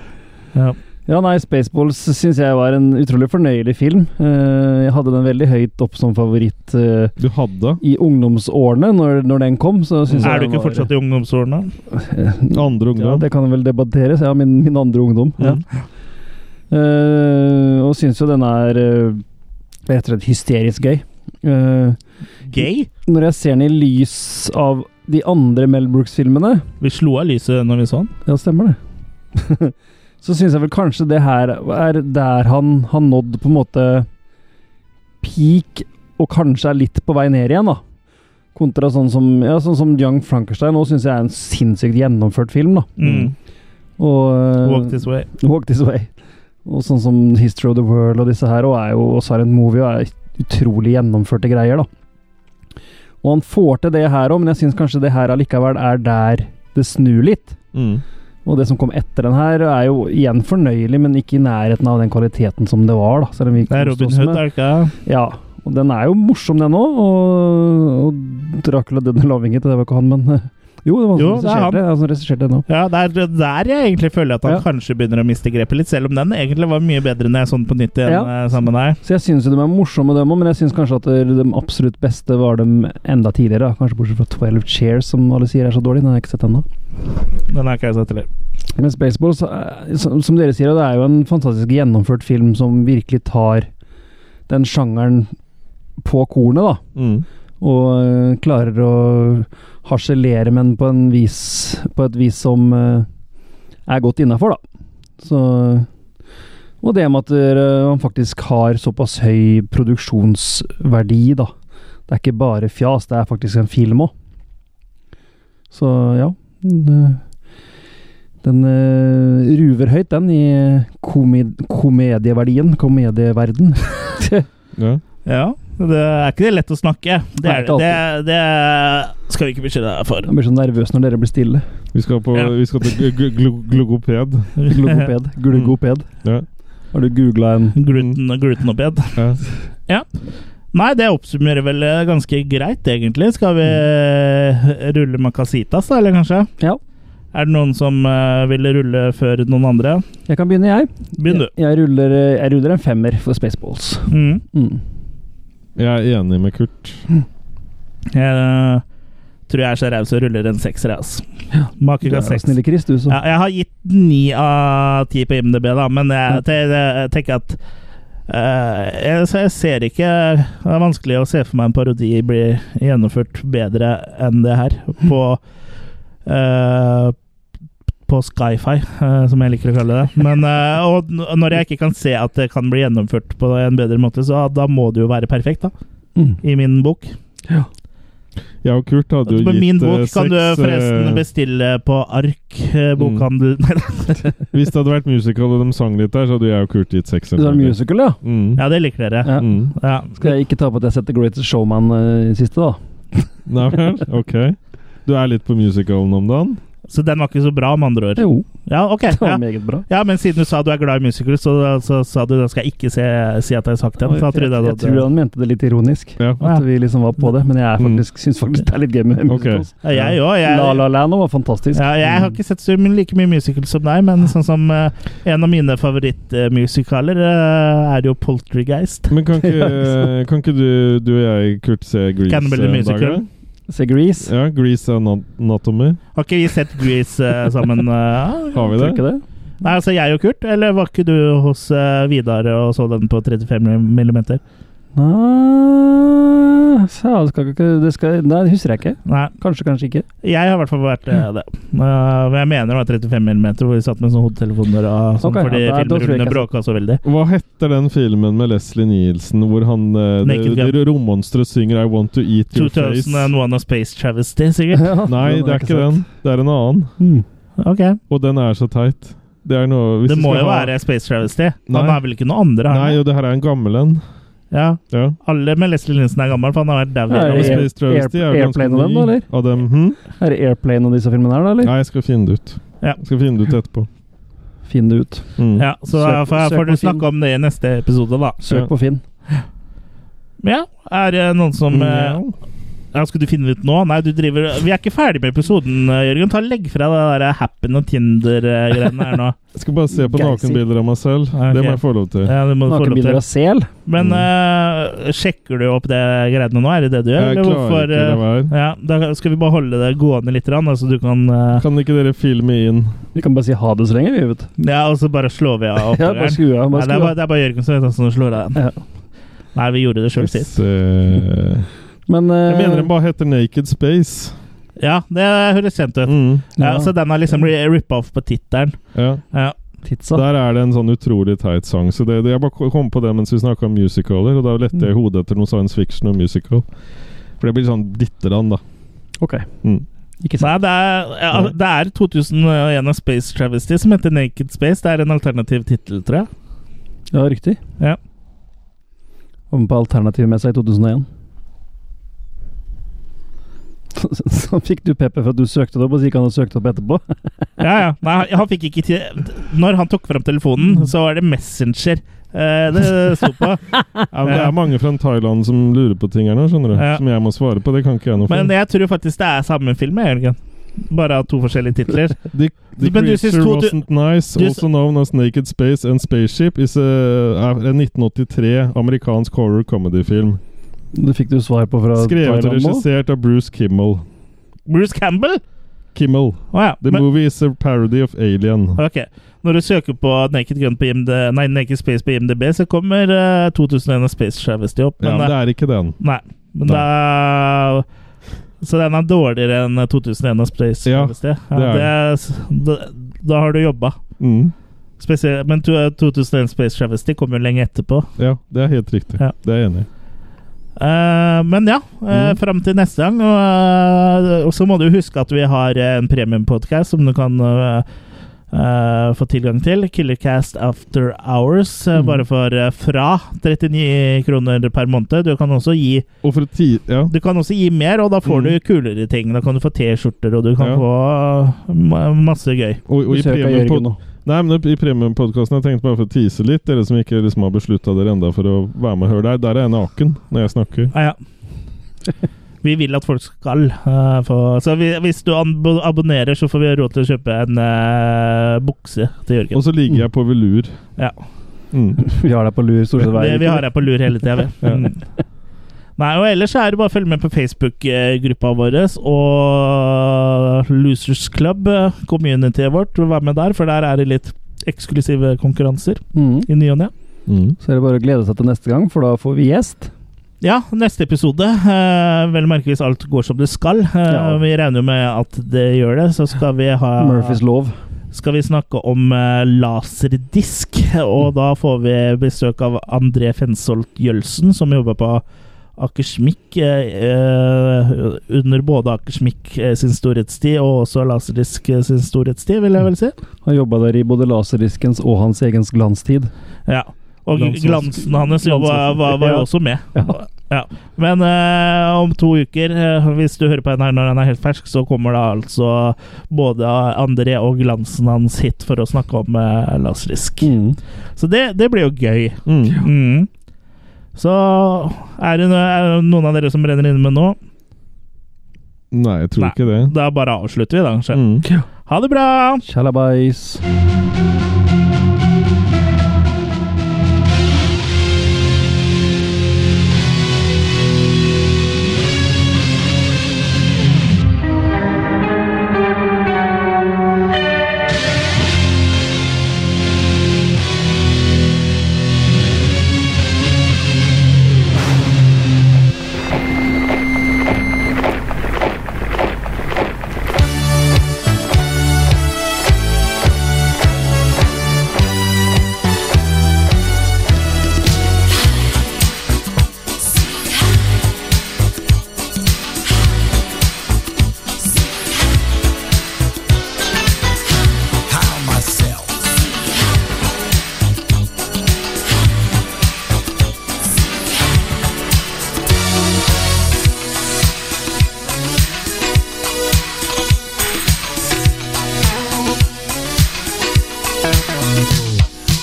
[SPEAKER 1] Ja.
[SPEAKER 3] Ja, nei, Spaceballs syns jeg var en utrolig fornøyelig film. Eh, Jeg hadde den veldig høyt opp som favoritt eh,
[SPEAKER 2] Du hadde
[SPEAKER 3] i ungdomsårene, når, når den kom. Så synes jeg
[SPEAKER 1] Er du
[SPEAKER 3] den
[SPEAKER 1] ikke
[SPEAKER 3] var-
[SPEAKER 1] fortsatt i ungdomsårene?
[SPEAKER 2] andre
[SPEAKER 3] Ja,
[SPEAKER 2] ungdom?
[SPEAKER 3] det kan vel debatteres. Ja, min, min andre ungdom. Ja.
[SPEAKER 1] Mm.
[SPEAKER 3] Eh, og syns jo den er eh, rett og slett hysterisk gøy. Eh,
[SPEAKER 1] Gay?
[SPEAKER 3] når jeg ser den i lys av de andre Mel Brooks-filmene
[SPEAKER 1] Vi slo av lyset når vi så den.
[SPEAKER 3] Ja, stemmer det. så syns jeg vel kanskje det her er der han har nådd på en måte peak, og kanskje er litt på vei ned igjen, da. Kontra sånn som, ja, sånn som Young Frankenstein nå syns jeg er en sinnssykt gjennomført film, da.
[SPEAKER 1] Mm.
[SPEAKER 3] Og, eh,
[SPEAKER 1] Walk this way.
[SPEAKER 3] Walk This Way. Og sånn som History of the World og disse her, og er jo og Silent Movie og er utrolig gjennomførte greier, da. Og han får til det her òg, men jeg syns kanskje det her allikevel er der det snur litt.
[SPEAKER 2] Mm.
[SPEAKER 3] Og det som kom etter den her, er jo igjen fornøyelig, men ikke i nærheten av den kvaliteten som det var. da. Selv om vi
[SPEAKER 1] Det er
[SPEAKER 3] koste
[SPEAKER 1] Robin
[SPEAKER 3] oss
[SPEAKER 1] Hood,
[SPEAKER 3] med-
[SPEAKER 1] er det ikke? det?
[SPEAKER 3] Ja, og den er jo morsom, den òg. Og, og Dracula døde lavinget, det var ikke han, men eh, Jo, det var han
[SPEAKER 1] Jo,
[SPEAKER 3] som
[SPEAKER 1] det er han.
[SPEAKER 3] regisserte det. det er han som regisserte den også.
[SPEAKER 1] Ja, det er det er der jeg egentlig føler at han
[SPEAKER 3] Ja.
[SPEAKER 1] kanskje begynner å miste grepet litt, selv om den egentlig var mye bedre når jeg så den på nytt igjen
[SPEAKER 3] Ja.
[SPEAKER 1] eh, sammen med deg.
[SPEAKER 3] Så jeg syns jo de er morsomme, dem òg, men jeg syns kanskje at de absolutt beste var dem enda tidligere. da. Kanskje bortsett fra 12 Chairs, som alle sier er så dårlig. Den har jeg ikke sett ennå.
[SPEAKER 1] Den har ikke jeg sett heller.
[SPEAKER 3] Men Spaceballs, eh, som som dere sier, det er jo en fantastisk gjennomført film som virkelig tar den sjangeren på kornet, da.
[SPEAKER 2] Mm.
[SPEAKER 3] og eh, klarer å harselere, men på, en vis, på et vis som eh, er godt innafor, da. Så, og det med at eh, han faktisk har såpass høy produksjonsverdi, da. Det er ikke bare fjas, det er faktisk en film òg. Så ja det, Den eh, ruver høyt, den, i komed, komedieverdien. Komedieverden.
[SPEAKER 2] Ja.
[SPEAKER 1] Ja, det er ikke det lett å snakke. Det,
[SPEAKER 3] Nei,
[SPEAKER 1] er,
[SPEAKER 3] ikke Mm.
[SPEAKER 1] det, det skal vi ikke beskylde deg for.
[SPEAKER 3] Jeg blir så nervøs når dere blir stille.
[SPEAKER 2] Vi skal, på,
[SPEAKER 1] Ja.
[SPEAKER 2] vi skal til gl- gl- gl- glogoped.
[SPEAKER 3] Glugoped. Glugoped.
[SPEAKER 2] Ja.
[SPEAKER 3] Har du googla en
[SPEAKER 1] Gluten, gluten og bed.
[SPEAKER 2] Ja.
[SPEAKER 1] Nei, det oppsummerer vel eh, ganske greit, egentlig. Skal vi eh, rulle med casitas, da, eller kanskje?
[SPEAKER 3] Ja.
[SPEAKER 1] Er det noen som eh, vil rulle før noen andre?
[SPEAKER 3] Jeg kan begynne, jeg.
[SPEAKER 1] Begynn, du.
[SPEAKER 3] Jeg, jeg, ruller, eh, jeg ruller en femmer for Spaceballs.
[SPEAKER 1] Mm.
[SPEAKER 3] Mm.
[SPEAKER 2] Jeg er enig med Kurt.
[SPEAKER 1] Jeg eh, tror jeg er så raus og ruller en sekser, jeg, altså.
[SPEAKER 3] Du er
[SPEAKER 1] Makekast
[SPEAKER 3] jo
[SPEAKER 1] seks.
[SPEAKER 3] snille Chris, du, så.
[SPEAKER 1] Ja, jeg har gitt ni av ti på IMDb, da, men jeg, te- jeg tenker at eh, jeg, så jeg ser ikke Det er vanskelig å se for meg en parodi bli gjennomført bedre enn det her på eh, på sci-fi, eh, som jeg liker å kalle det. Men, eh, og n- når jeg ikke kan se at det kan bli gjennomført på en bedre måte, så da må det jo være perfekt, da.
[SPEAKER 3] Mm.
[SPEAKER 1] I min bok.
[SPEAKER 2] Jeg og Kurt hadde jo
[SPEAKER 1] På min
[SPEAKER 2] gitt
[SPEAKER 1] bok
[SPEAKER 2] eh,
[SPEAKER 1] kan du
[SPEAKER 2] seks,
[SPEAKER 1] forresten
[SPEAKER 2] eh,
[SPEAKER 1] bestille på ark, eh, bokhandel
[SPEAKER 2] Hvis det hadde vært musical og de sang litt der, så hadde jeg og Kurt gitt seks.
[SPEAKER 3] Du har
[SPEAKER 2] selvfølgelig.
[SPEAKER 3] musical, ja?
[SPEAKER 2] Mm.
[SPEAKER 1] Ja, det liker dere.
[SPEAKER 3] Ja.
[SPEAKER 2] Mm.
[SPEAKER 1] Ja.
[SPEAKER 3] Skal jeg ikke ta på at jeg setter Greatest Showman eh, i siste, da?
[SPEAKER 2] Nei vel, ok. Du er litt på musicalen om dagen?
[SPEAKER 1] Så den var ikke så bra, med andre ord.
[SPEAKER 3] Jo,
[SPEAKER 1] Ja, ok.
[SPEAKER 3] det var
[SPEAKER 1] Ja.
[SPEAKER 3] meget bra.
[SPEAKER 1] ja, men siden du sa du er glad i musical, så, så sa du da skal jeg ikke se, si at jeg har sagt den. Så da
[SPEAKER 3] jeg,
[SPEAKER 1] trodde jeg,
[SPEAKER 3] jeg
[SPEAKER 1] du
[SPEAKER 3] tror
[SPEAKER 1] hadde-
[SPEAKER 3] han mente det litt ironisk.
[SPEAKER 2] Ja.
[SPEAKER 3] At vi liksom var på det, men jeg er faktisk, syns faktisk det er litt gøy med
[SPEAKER 2] Ok.
[SPEAKER 3] musicals.
[SPEAKER 1] Ja, jeg òg. Jeg,
[SPEAKER 3] La La Land var fantastisk.
[SPEAKER 1] ja, jeg har ikke sett så mye- like mye musical som deg, men sånn som eh, en av mine favorittmusikaler eh, er jo Poltergeist.
[SPEAKER 2] Men kan ikke, kan ikke du, du og jeg, Kurt, se Grease
[SPEAKER 1] Cannibal
[SPEAKER 2] en dag,
[SPEAKER 1] Musical.
[SPEAKER 2] ja?
[SPEAKER 3] Se Grease,
[SPEAKER 2] Ja, Grease Ana- Anatomy.
[SPEAKER 1] Har ikke vi sett Grease eh, sammen? eh?
[SPEAKER 2] Har vi
[SPEAKER 3] tror du
[SPEAKER 2] det?
[SPEAKER 3] ikke det?
[SPEAKER 1] Nei, altså jeg og Kurt, eller var ikke du hos eh, Vidar og så den på 35 millimeter?
[SPEAKER 3] Nei, sa- det skal ikke det skal, Nei, det husker jeg ikke.
[SPEAKER 1] Nei.
[SPEAKER 3] Kanskje, kanskje ikke.
[SPEAKER 1] Jeg har i hvert fall vært
[SPEAKER 3] Mm.
[SPEAKER 1] eh, det. Eh, Men jeg mener det var 35 mm, hvor vi satt med sånne hodetelefoner og sånn,
[SPEAKER 3] Ok, ja,
[SPEAKER 1] fordi
[SPEAKER 3] da- da tror jeg
[SPEAKER 1] filmrullene
[SPEAKER 3] ikke jeg-
[SPEAKER 1] bråka så veldig.
[SPEAKER 2] Hva heter den filmen med Leslie Nielsen hvor han eh, det-
[SPEAKER 1] Naked Gun.
[SPEAKER 2] det rommonsteret synger 'I Want To Eat Your Face'?
[SPEAKER 1] 2001 A Space Travesty, sikkert.
[SPEAKER 3] Ja,
[SPEAKER 2] Nei,
[SPEAKER 3] den
[SPEAKER 2] det er
[SPEAKER 3] har jeg
[SPEAKER 2] ikke
[SPEAKER 3] sett.
[SPEAKER 2] den. Det er en annen.
[SPEAKER 3] Mm.
[SPEAKER 1] Ok,
[SPEAKER 2] Og den er så teit. Det er noe hvis
[SPEAKER 1] Det
[SPEAKER 2] vi
[SPEAKER 1] må
[SPEAKER 2] skal
[SPEAKER 1] jo
[SPEAKER 2] ha-
[SPEAKER 1] være Space Travesty. Han
[SPEAKER 2] Nei.
[SPEAKER 1] har vel ikke noe andre?
[SPEAKER 2] Nei,
[SPEAKER 1] Nei,
[SPEAKER 2] jo, det her er en gammel en.
[SPEAKER 1] ja,
[SPEAKER 2] Ja.
[SPEAKER 1] alle med Leslie Linsen er gammel, for han har vært dau
[SPEAKER 3] Nei,
[SPEAKER 2] Ja,
[SPEAKER 1] gjennom
[SPEAKER 2] men
[SPEAKER 3] Air-
[SPEAKER 2] Space Travesty er jo ganske
[SPEAKER 3] Airplane og den, da,
[SPEAKER 2] ny
[SPEAKER 3] eller?
[SPEAKER 2] av dem. Hm?
[SPEAKER 3] Er det Airplane og disse filmene her, da? eller?
[SPEAKER 2] Nei, jeg skal finne det ut.
[SPEAKER 1] Ja.
[SPEAKER 2] Jeg skal finne det ut etterpå.
[SPEAKER 3] Finn det ut.
[SPEAKER 2] Mm.
[SPEAKER 1] Ja, så eh,
[SPEAKER 3] Søk-
[SPEAKER 1] får, får
[SPEAKER 3] søk
[SPEAKER 1] du
[SPEAKER 3] på Finn.
[SPEAKER 1] snakke om det i neste episode, da.
[SPEAKER 3] Søk
[SPEAKER 2] Ja.
[SPEAKER 3] på Finn.
[SPEAKER 1] Ja, er det noen som eh,
[SPEAKER 2] Ja.
[SPEAKER 1] ja, Skal du finne det ut nå? Nei, du driver Vi er ikke ferdig med episoden, eh, Jørgen. Ta Legg fra deg det der Happen og Tinder-greiene her nå.
[SPEAKER 2] Jeg skal bare se på
[SPEAKER 3] Geysir.
[SPEAKER 2] nakenbilder av meg selv.
[SPEAKER 1] Ja,
[SPEAKER 2] Det
[SPEAKER 1] ok.
[SPEAKER 2] må jeg få lov til.
[SPEAKER 1] Ja, det må du få lov til.
[SPEAKER 3] Nakenbilder av sel.
[SPEAKER 1] Men eh, sjekker du opp det greiene nå? Er det det du gjør?
[SPEAKER 2] Jeg
[SPEAKER 1] eller
[SPEAKER 2] klarer ikke det
[SPEAKER 1] eh,
[SPEAKER 2] være.
[SPEAKER 1] ja, Da skal vi bare holde det gående litt, grann, da, så du kan eh,
[SPEAKER 2] Kan ikke dere filme inn
[SPEAKER 3] Vi kan bare si ha det så lenge, vi, vet du.
[SPEAKER 1] Ja, og så bare slår vi av
[SPEAKER 3] Ja,
[SPEAKER 1] opptakeren.
[SPEAKER 3] bare skru av.
[SPEAKER 1] Nei,
[SPEAKER 3] Bare
[SPEAKER 1] det, er
[SPEAKER 3] skru
[SPEAKER 1] bare,
[SPEAKER 3] av.
[SPEAKER 1] det er bare Jørgen som vet han som slår av den.
[SPEAKER 3] Ja.
[SPEAKER 1] Nei, vi gjorde det sjøl sist.
[SPEAKER 2] Eh,
[SPEAKER 3] Men
[SPEAKER 2] Jeg mener den
[SPEAKER 3] uh,
[SPEAKER 2] bare heter Naked Space.
[SPEAKER 1] Ja, det høres kjent ut.
[SPEAKER 2] Mm.
[SPEAKER 1] Ja,
[SPEAKER 3] Ja.
[SPEAKER 1] så den har liksom rippa off på tittelen.
[SPEAKER 2] Ja.
[SPEAKER 1] Ja.
[SPEAKER 3] tidsa.
[SPEAKER 2] Der er det en sånn utrolig teit sang. Så det, det, jeg bare kom på det mens vi snakka om musicaler, og da lette
[SPEAKER 1] Hm.
[SPEAKER 2] jeg i hodet etter noe science fiction og musical. For det blir sånn ditteran, da.
[SPEAKER 3] Ok.
[SPEAKER 2] Mm.
[SPEAKER 3] Ikke
[SPEAKER 1] Nei,
[SPEAKER 3] sant.
[SPEAKER 1] det er, ja, det er 2001 av Space Travesty som heter Naked Space. Det er en alternativ tittel, tror jeg.
[SPEAKER 3] Ja, riktig.
[SPEAKER 1] Ja.
[SPEAKER 3] Var med på Alternativmessa i 2001. Så fikk du pepper for at du søkte det opp, og så gikk han og søkte opp etterpå.
[SPEAKER 1] Ja, ja. Nei, han fikk ikke til Når han tok frem
[SPEAKER 2] Mm.
[SPEAKER 1] telefonen, så var det Messenger eh, det sto på.
[SPEAKER 2] Ja, men det er mange fra Thailand som lurer på ting her nå, skjønner du.
[SPEAKER 1] Ja.
[SPEAKER 2] Som jeg må svare på. Det kan ikke jeg noe for.
[SPEAKER 1] Men jeg tror faktisk det er samme film, jeg, Jørgen. Bare av to forskjellige titler.
[SPEAKER 2] The, the
[SPEAKER 1] Men du syns
[SPEAKER 2] creature
[SPEAKER 1] to- du-
[SPEAKER 2] wasn't nice,
[SPEAKER 1] du-
[SPEAKER 2] also known as Naked Space and Spaceship, is a, er en 1983 amerikansk horror comedy-film.
[SPEAKER 3] Det fikk du svar på fra
[SPEAKER 2] Skrevet og
[SPEAKER 3] Thailand nå.
[SPEAKER 2] regissert av Bruce Kimmel.
[SPEAKER 1] Bruce Campbell?
[SPEAKER 2] Kimmel.
[SPEAKER 1] Å ja.
[SPEAKER 2] The
[SPEAKER 1] Men,
[SPEAKER 2] movie is a parody of Alien.
[SPEAKER 1] ok. Når du søker på Naked Gun på IMD, nei, Naked Space på IMDb, så kommer eh, 2001 og Space Travesty opp.
[SPEAKER 2] Ja,
[SPEAKER 1] Men,
[SPEAKER 2] men det
[SPEAKER 1] eh,
[SPEAKER 2] er ikke den.
[SPEAKER 1] nei. Men da Så den er dårligere enn 2001 og Space
[SPEAKER 2] Ja,
[SPEAKER 1] Travesty.
[SPEAKER 2] det er
[SPEAKER 1] det er- da, da har du jobba.
[SPEAKER 2] Mm.
[SPEAKER 1] Spesielt, men to- 2001 Space Travesty kom jo lenge etterpå.
[SPEAKER 2] Ja, det er helt riktig.
[SPEAKER 1] Ja.
[SPEAKER 2] Det er jeg enig i.
[SPEAKER 1] Eh, men ja, uh,
[SPEAKER 2] Mm.
[SPEAKER 1] fram til neste gang. Og, eh, og så må du huske at vi har eh, en premiumpodkast som du kan eh, eh, få tilgang til. Killercast After Hours. eh,
[SPEAKER 2] Mm.
[SPEAKER 1] Bare for eh, fra 39 kroner per måned. Du kan også gi,
[SPEAKER 2] Og for å ti... Ja.
[SPEAKER 1] du kan også gi mer, og da får
[SPEAKER 2] Mm.
[SPEAKER 1] du kulere ting. Da kan du få T-skjorter, og du kan
[SPEAKER 2] Ja.
[SPEAKER 1] få eh, ma- masse gøy.
[SPEAKER 2] Og, og i
[SPEAKER 3] Besøk av
[SPEAKER 2] premiumpod-
[SPEAKER 3] Jørgen nå.
[SPEAKER 2] Nei, men i premiumpodkasten Jeg tenkte bare for å tease litt, dere som ikke liksom har beslutta dere enda for å være med og høre der. Der er jeg naken når jeg snakker.
[SPEAKER 1] Ja, ja. Vi vil at folk skal eh, få Så vi, hvis du abo- abonnerer, så får vi råd til å kjøpe en eh, bukse til Jørgen.
[SPEAKER 2] Og så ligger jeg på velur.
[SPEAKER 1] Ja.
[SPEAKER 2] Mm.
[SPEAKER 3] Vi har deg på lur stort sett hver
[SPEAKER 1] Det, vi
[SPEAKER 3] uke.
[SPEAKER 1] har deg på lur hele tida, vi.
[SPEAKER 2] Ja.
[SPEAKER 1] Mm. Nei, og ellers er det bare å følge med på Facebook-gruppa vår og Losers Club, eh, communityet vårt. Vær med der, for der er det litt eksklusive konkurranser
[SPEAKER 3] Mhm.
[SPEAKER 1] i ny og ne.
[SPEAKER 2] Mm.
[SPEAKER 3] Så er det bare å glede seg til neste gang, for da får vi gjest.
[SPEAKER 1] Ja, neste episode. eh, vel merke hvis alt går som det skal. Eh,
[SPEAKER 3] Ja.
[SPEAKER 1] Vi regner jo med at det gjør det. Så skal vi ha
[SPEAKER 3] Murphys lov.
[SPEAKER 1] skal vi snakke om eh, laserdisk, og da får vi besøk av André Fensholt Jølsen, som jobber på Akersmik, eh, eh, under både Akersmik eh, sin storhetstid og også Laserdisk eh, sin storhetstid, vil jeg vel si.
[SPEAKER 3] Han jobba der i både laserdiskens og hans egen glanstid.
[SPEAKER 1] Ja. Og
[SPEAKER 2] Glansens-
[SPEAKER 1] glansen hans jo var, var, var jo
[SPEAKER 3] Ja.
[SPEAKER 1] også med.
[SPEAKER 3] Ja.
[SPEAKER 1] Ja. Men eh, om to uker, eh, hvis du hører på den her når den er helt fersk, så kommer da altså både André og glansen hans hit for å snakke om eh, laserdisk.
[SPEAKER 3] Mhm.
[SPEAKER 1] Så det, det blir jo gøy.
[SPEAKER 2] Mm.
[SPEAKER 1] Mm. Så er det, no- er det noen av dere som brenner inne med nå?
[SPEAKER 2] Nei, jeg tror
[SPEAKER 1] Nei.
[SPEAKER 2] ikke det.
[SPEAKER 1] Da bare avslutter vi, da. kanskje.
[SPEAKER 2] Mm.
[SPEAKER 1] Ha det bra!
[SPEAKER 3] Tjalabais.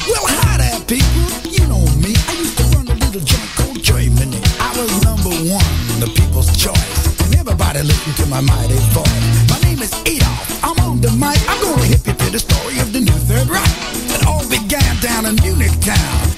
[SPEAKER 11] Well, hi there, people. You know me. I used to run a little joint called Germany. I was number one, the people's choice. And everybody listened to my mighty voice. My name is Adolf. I'm on the mic. I'm going to hit you to the story of the new Third Reich. It all began down in Munich town. "Ah,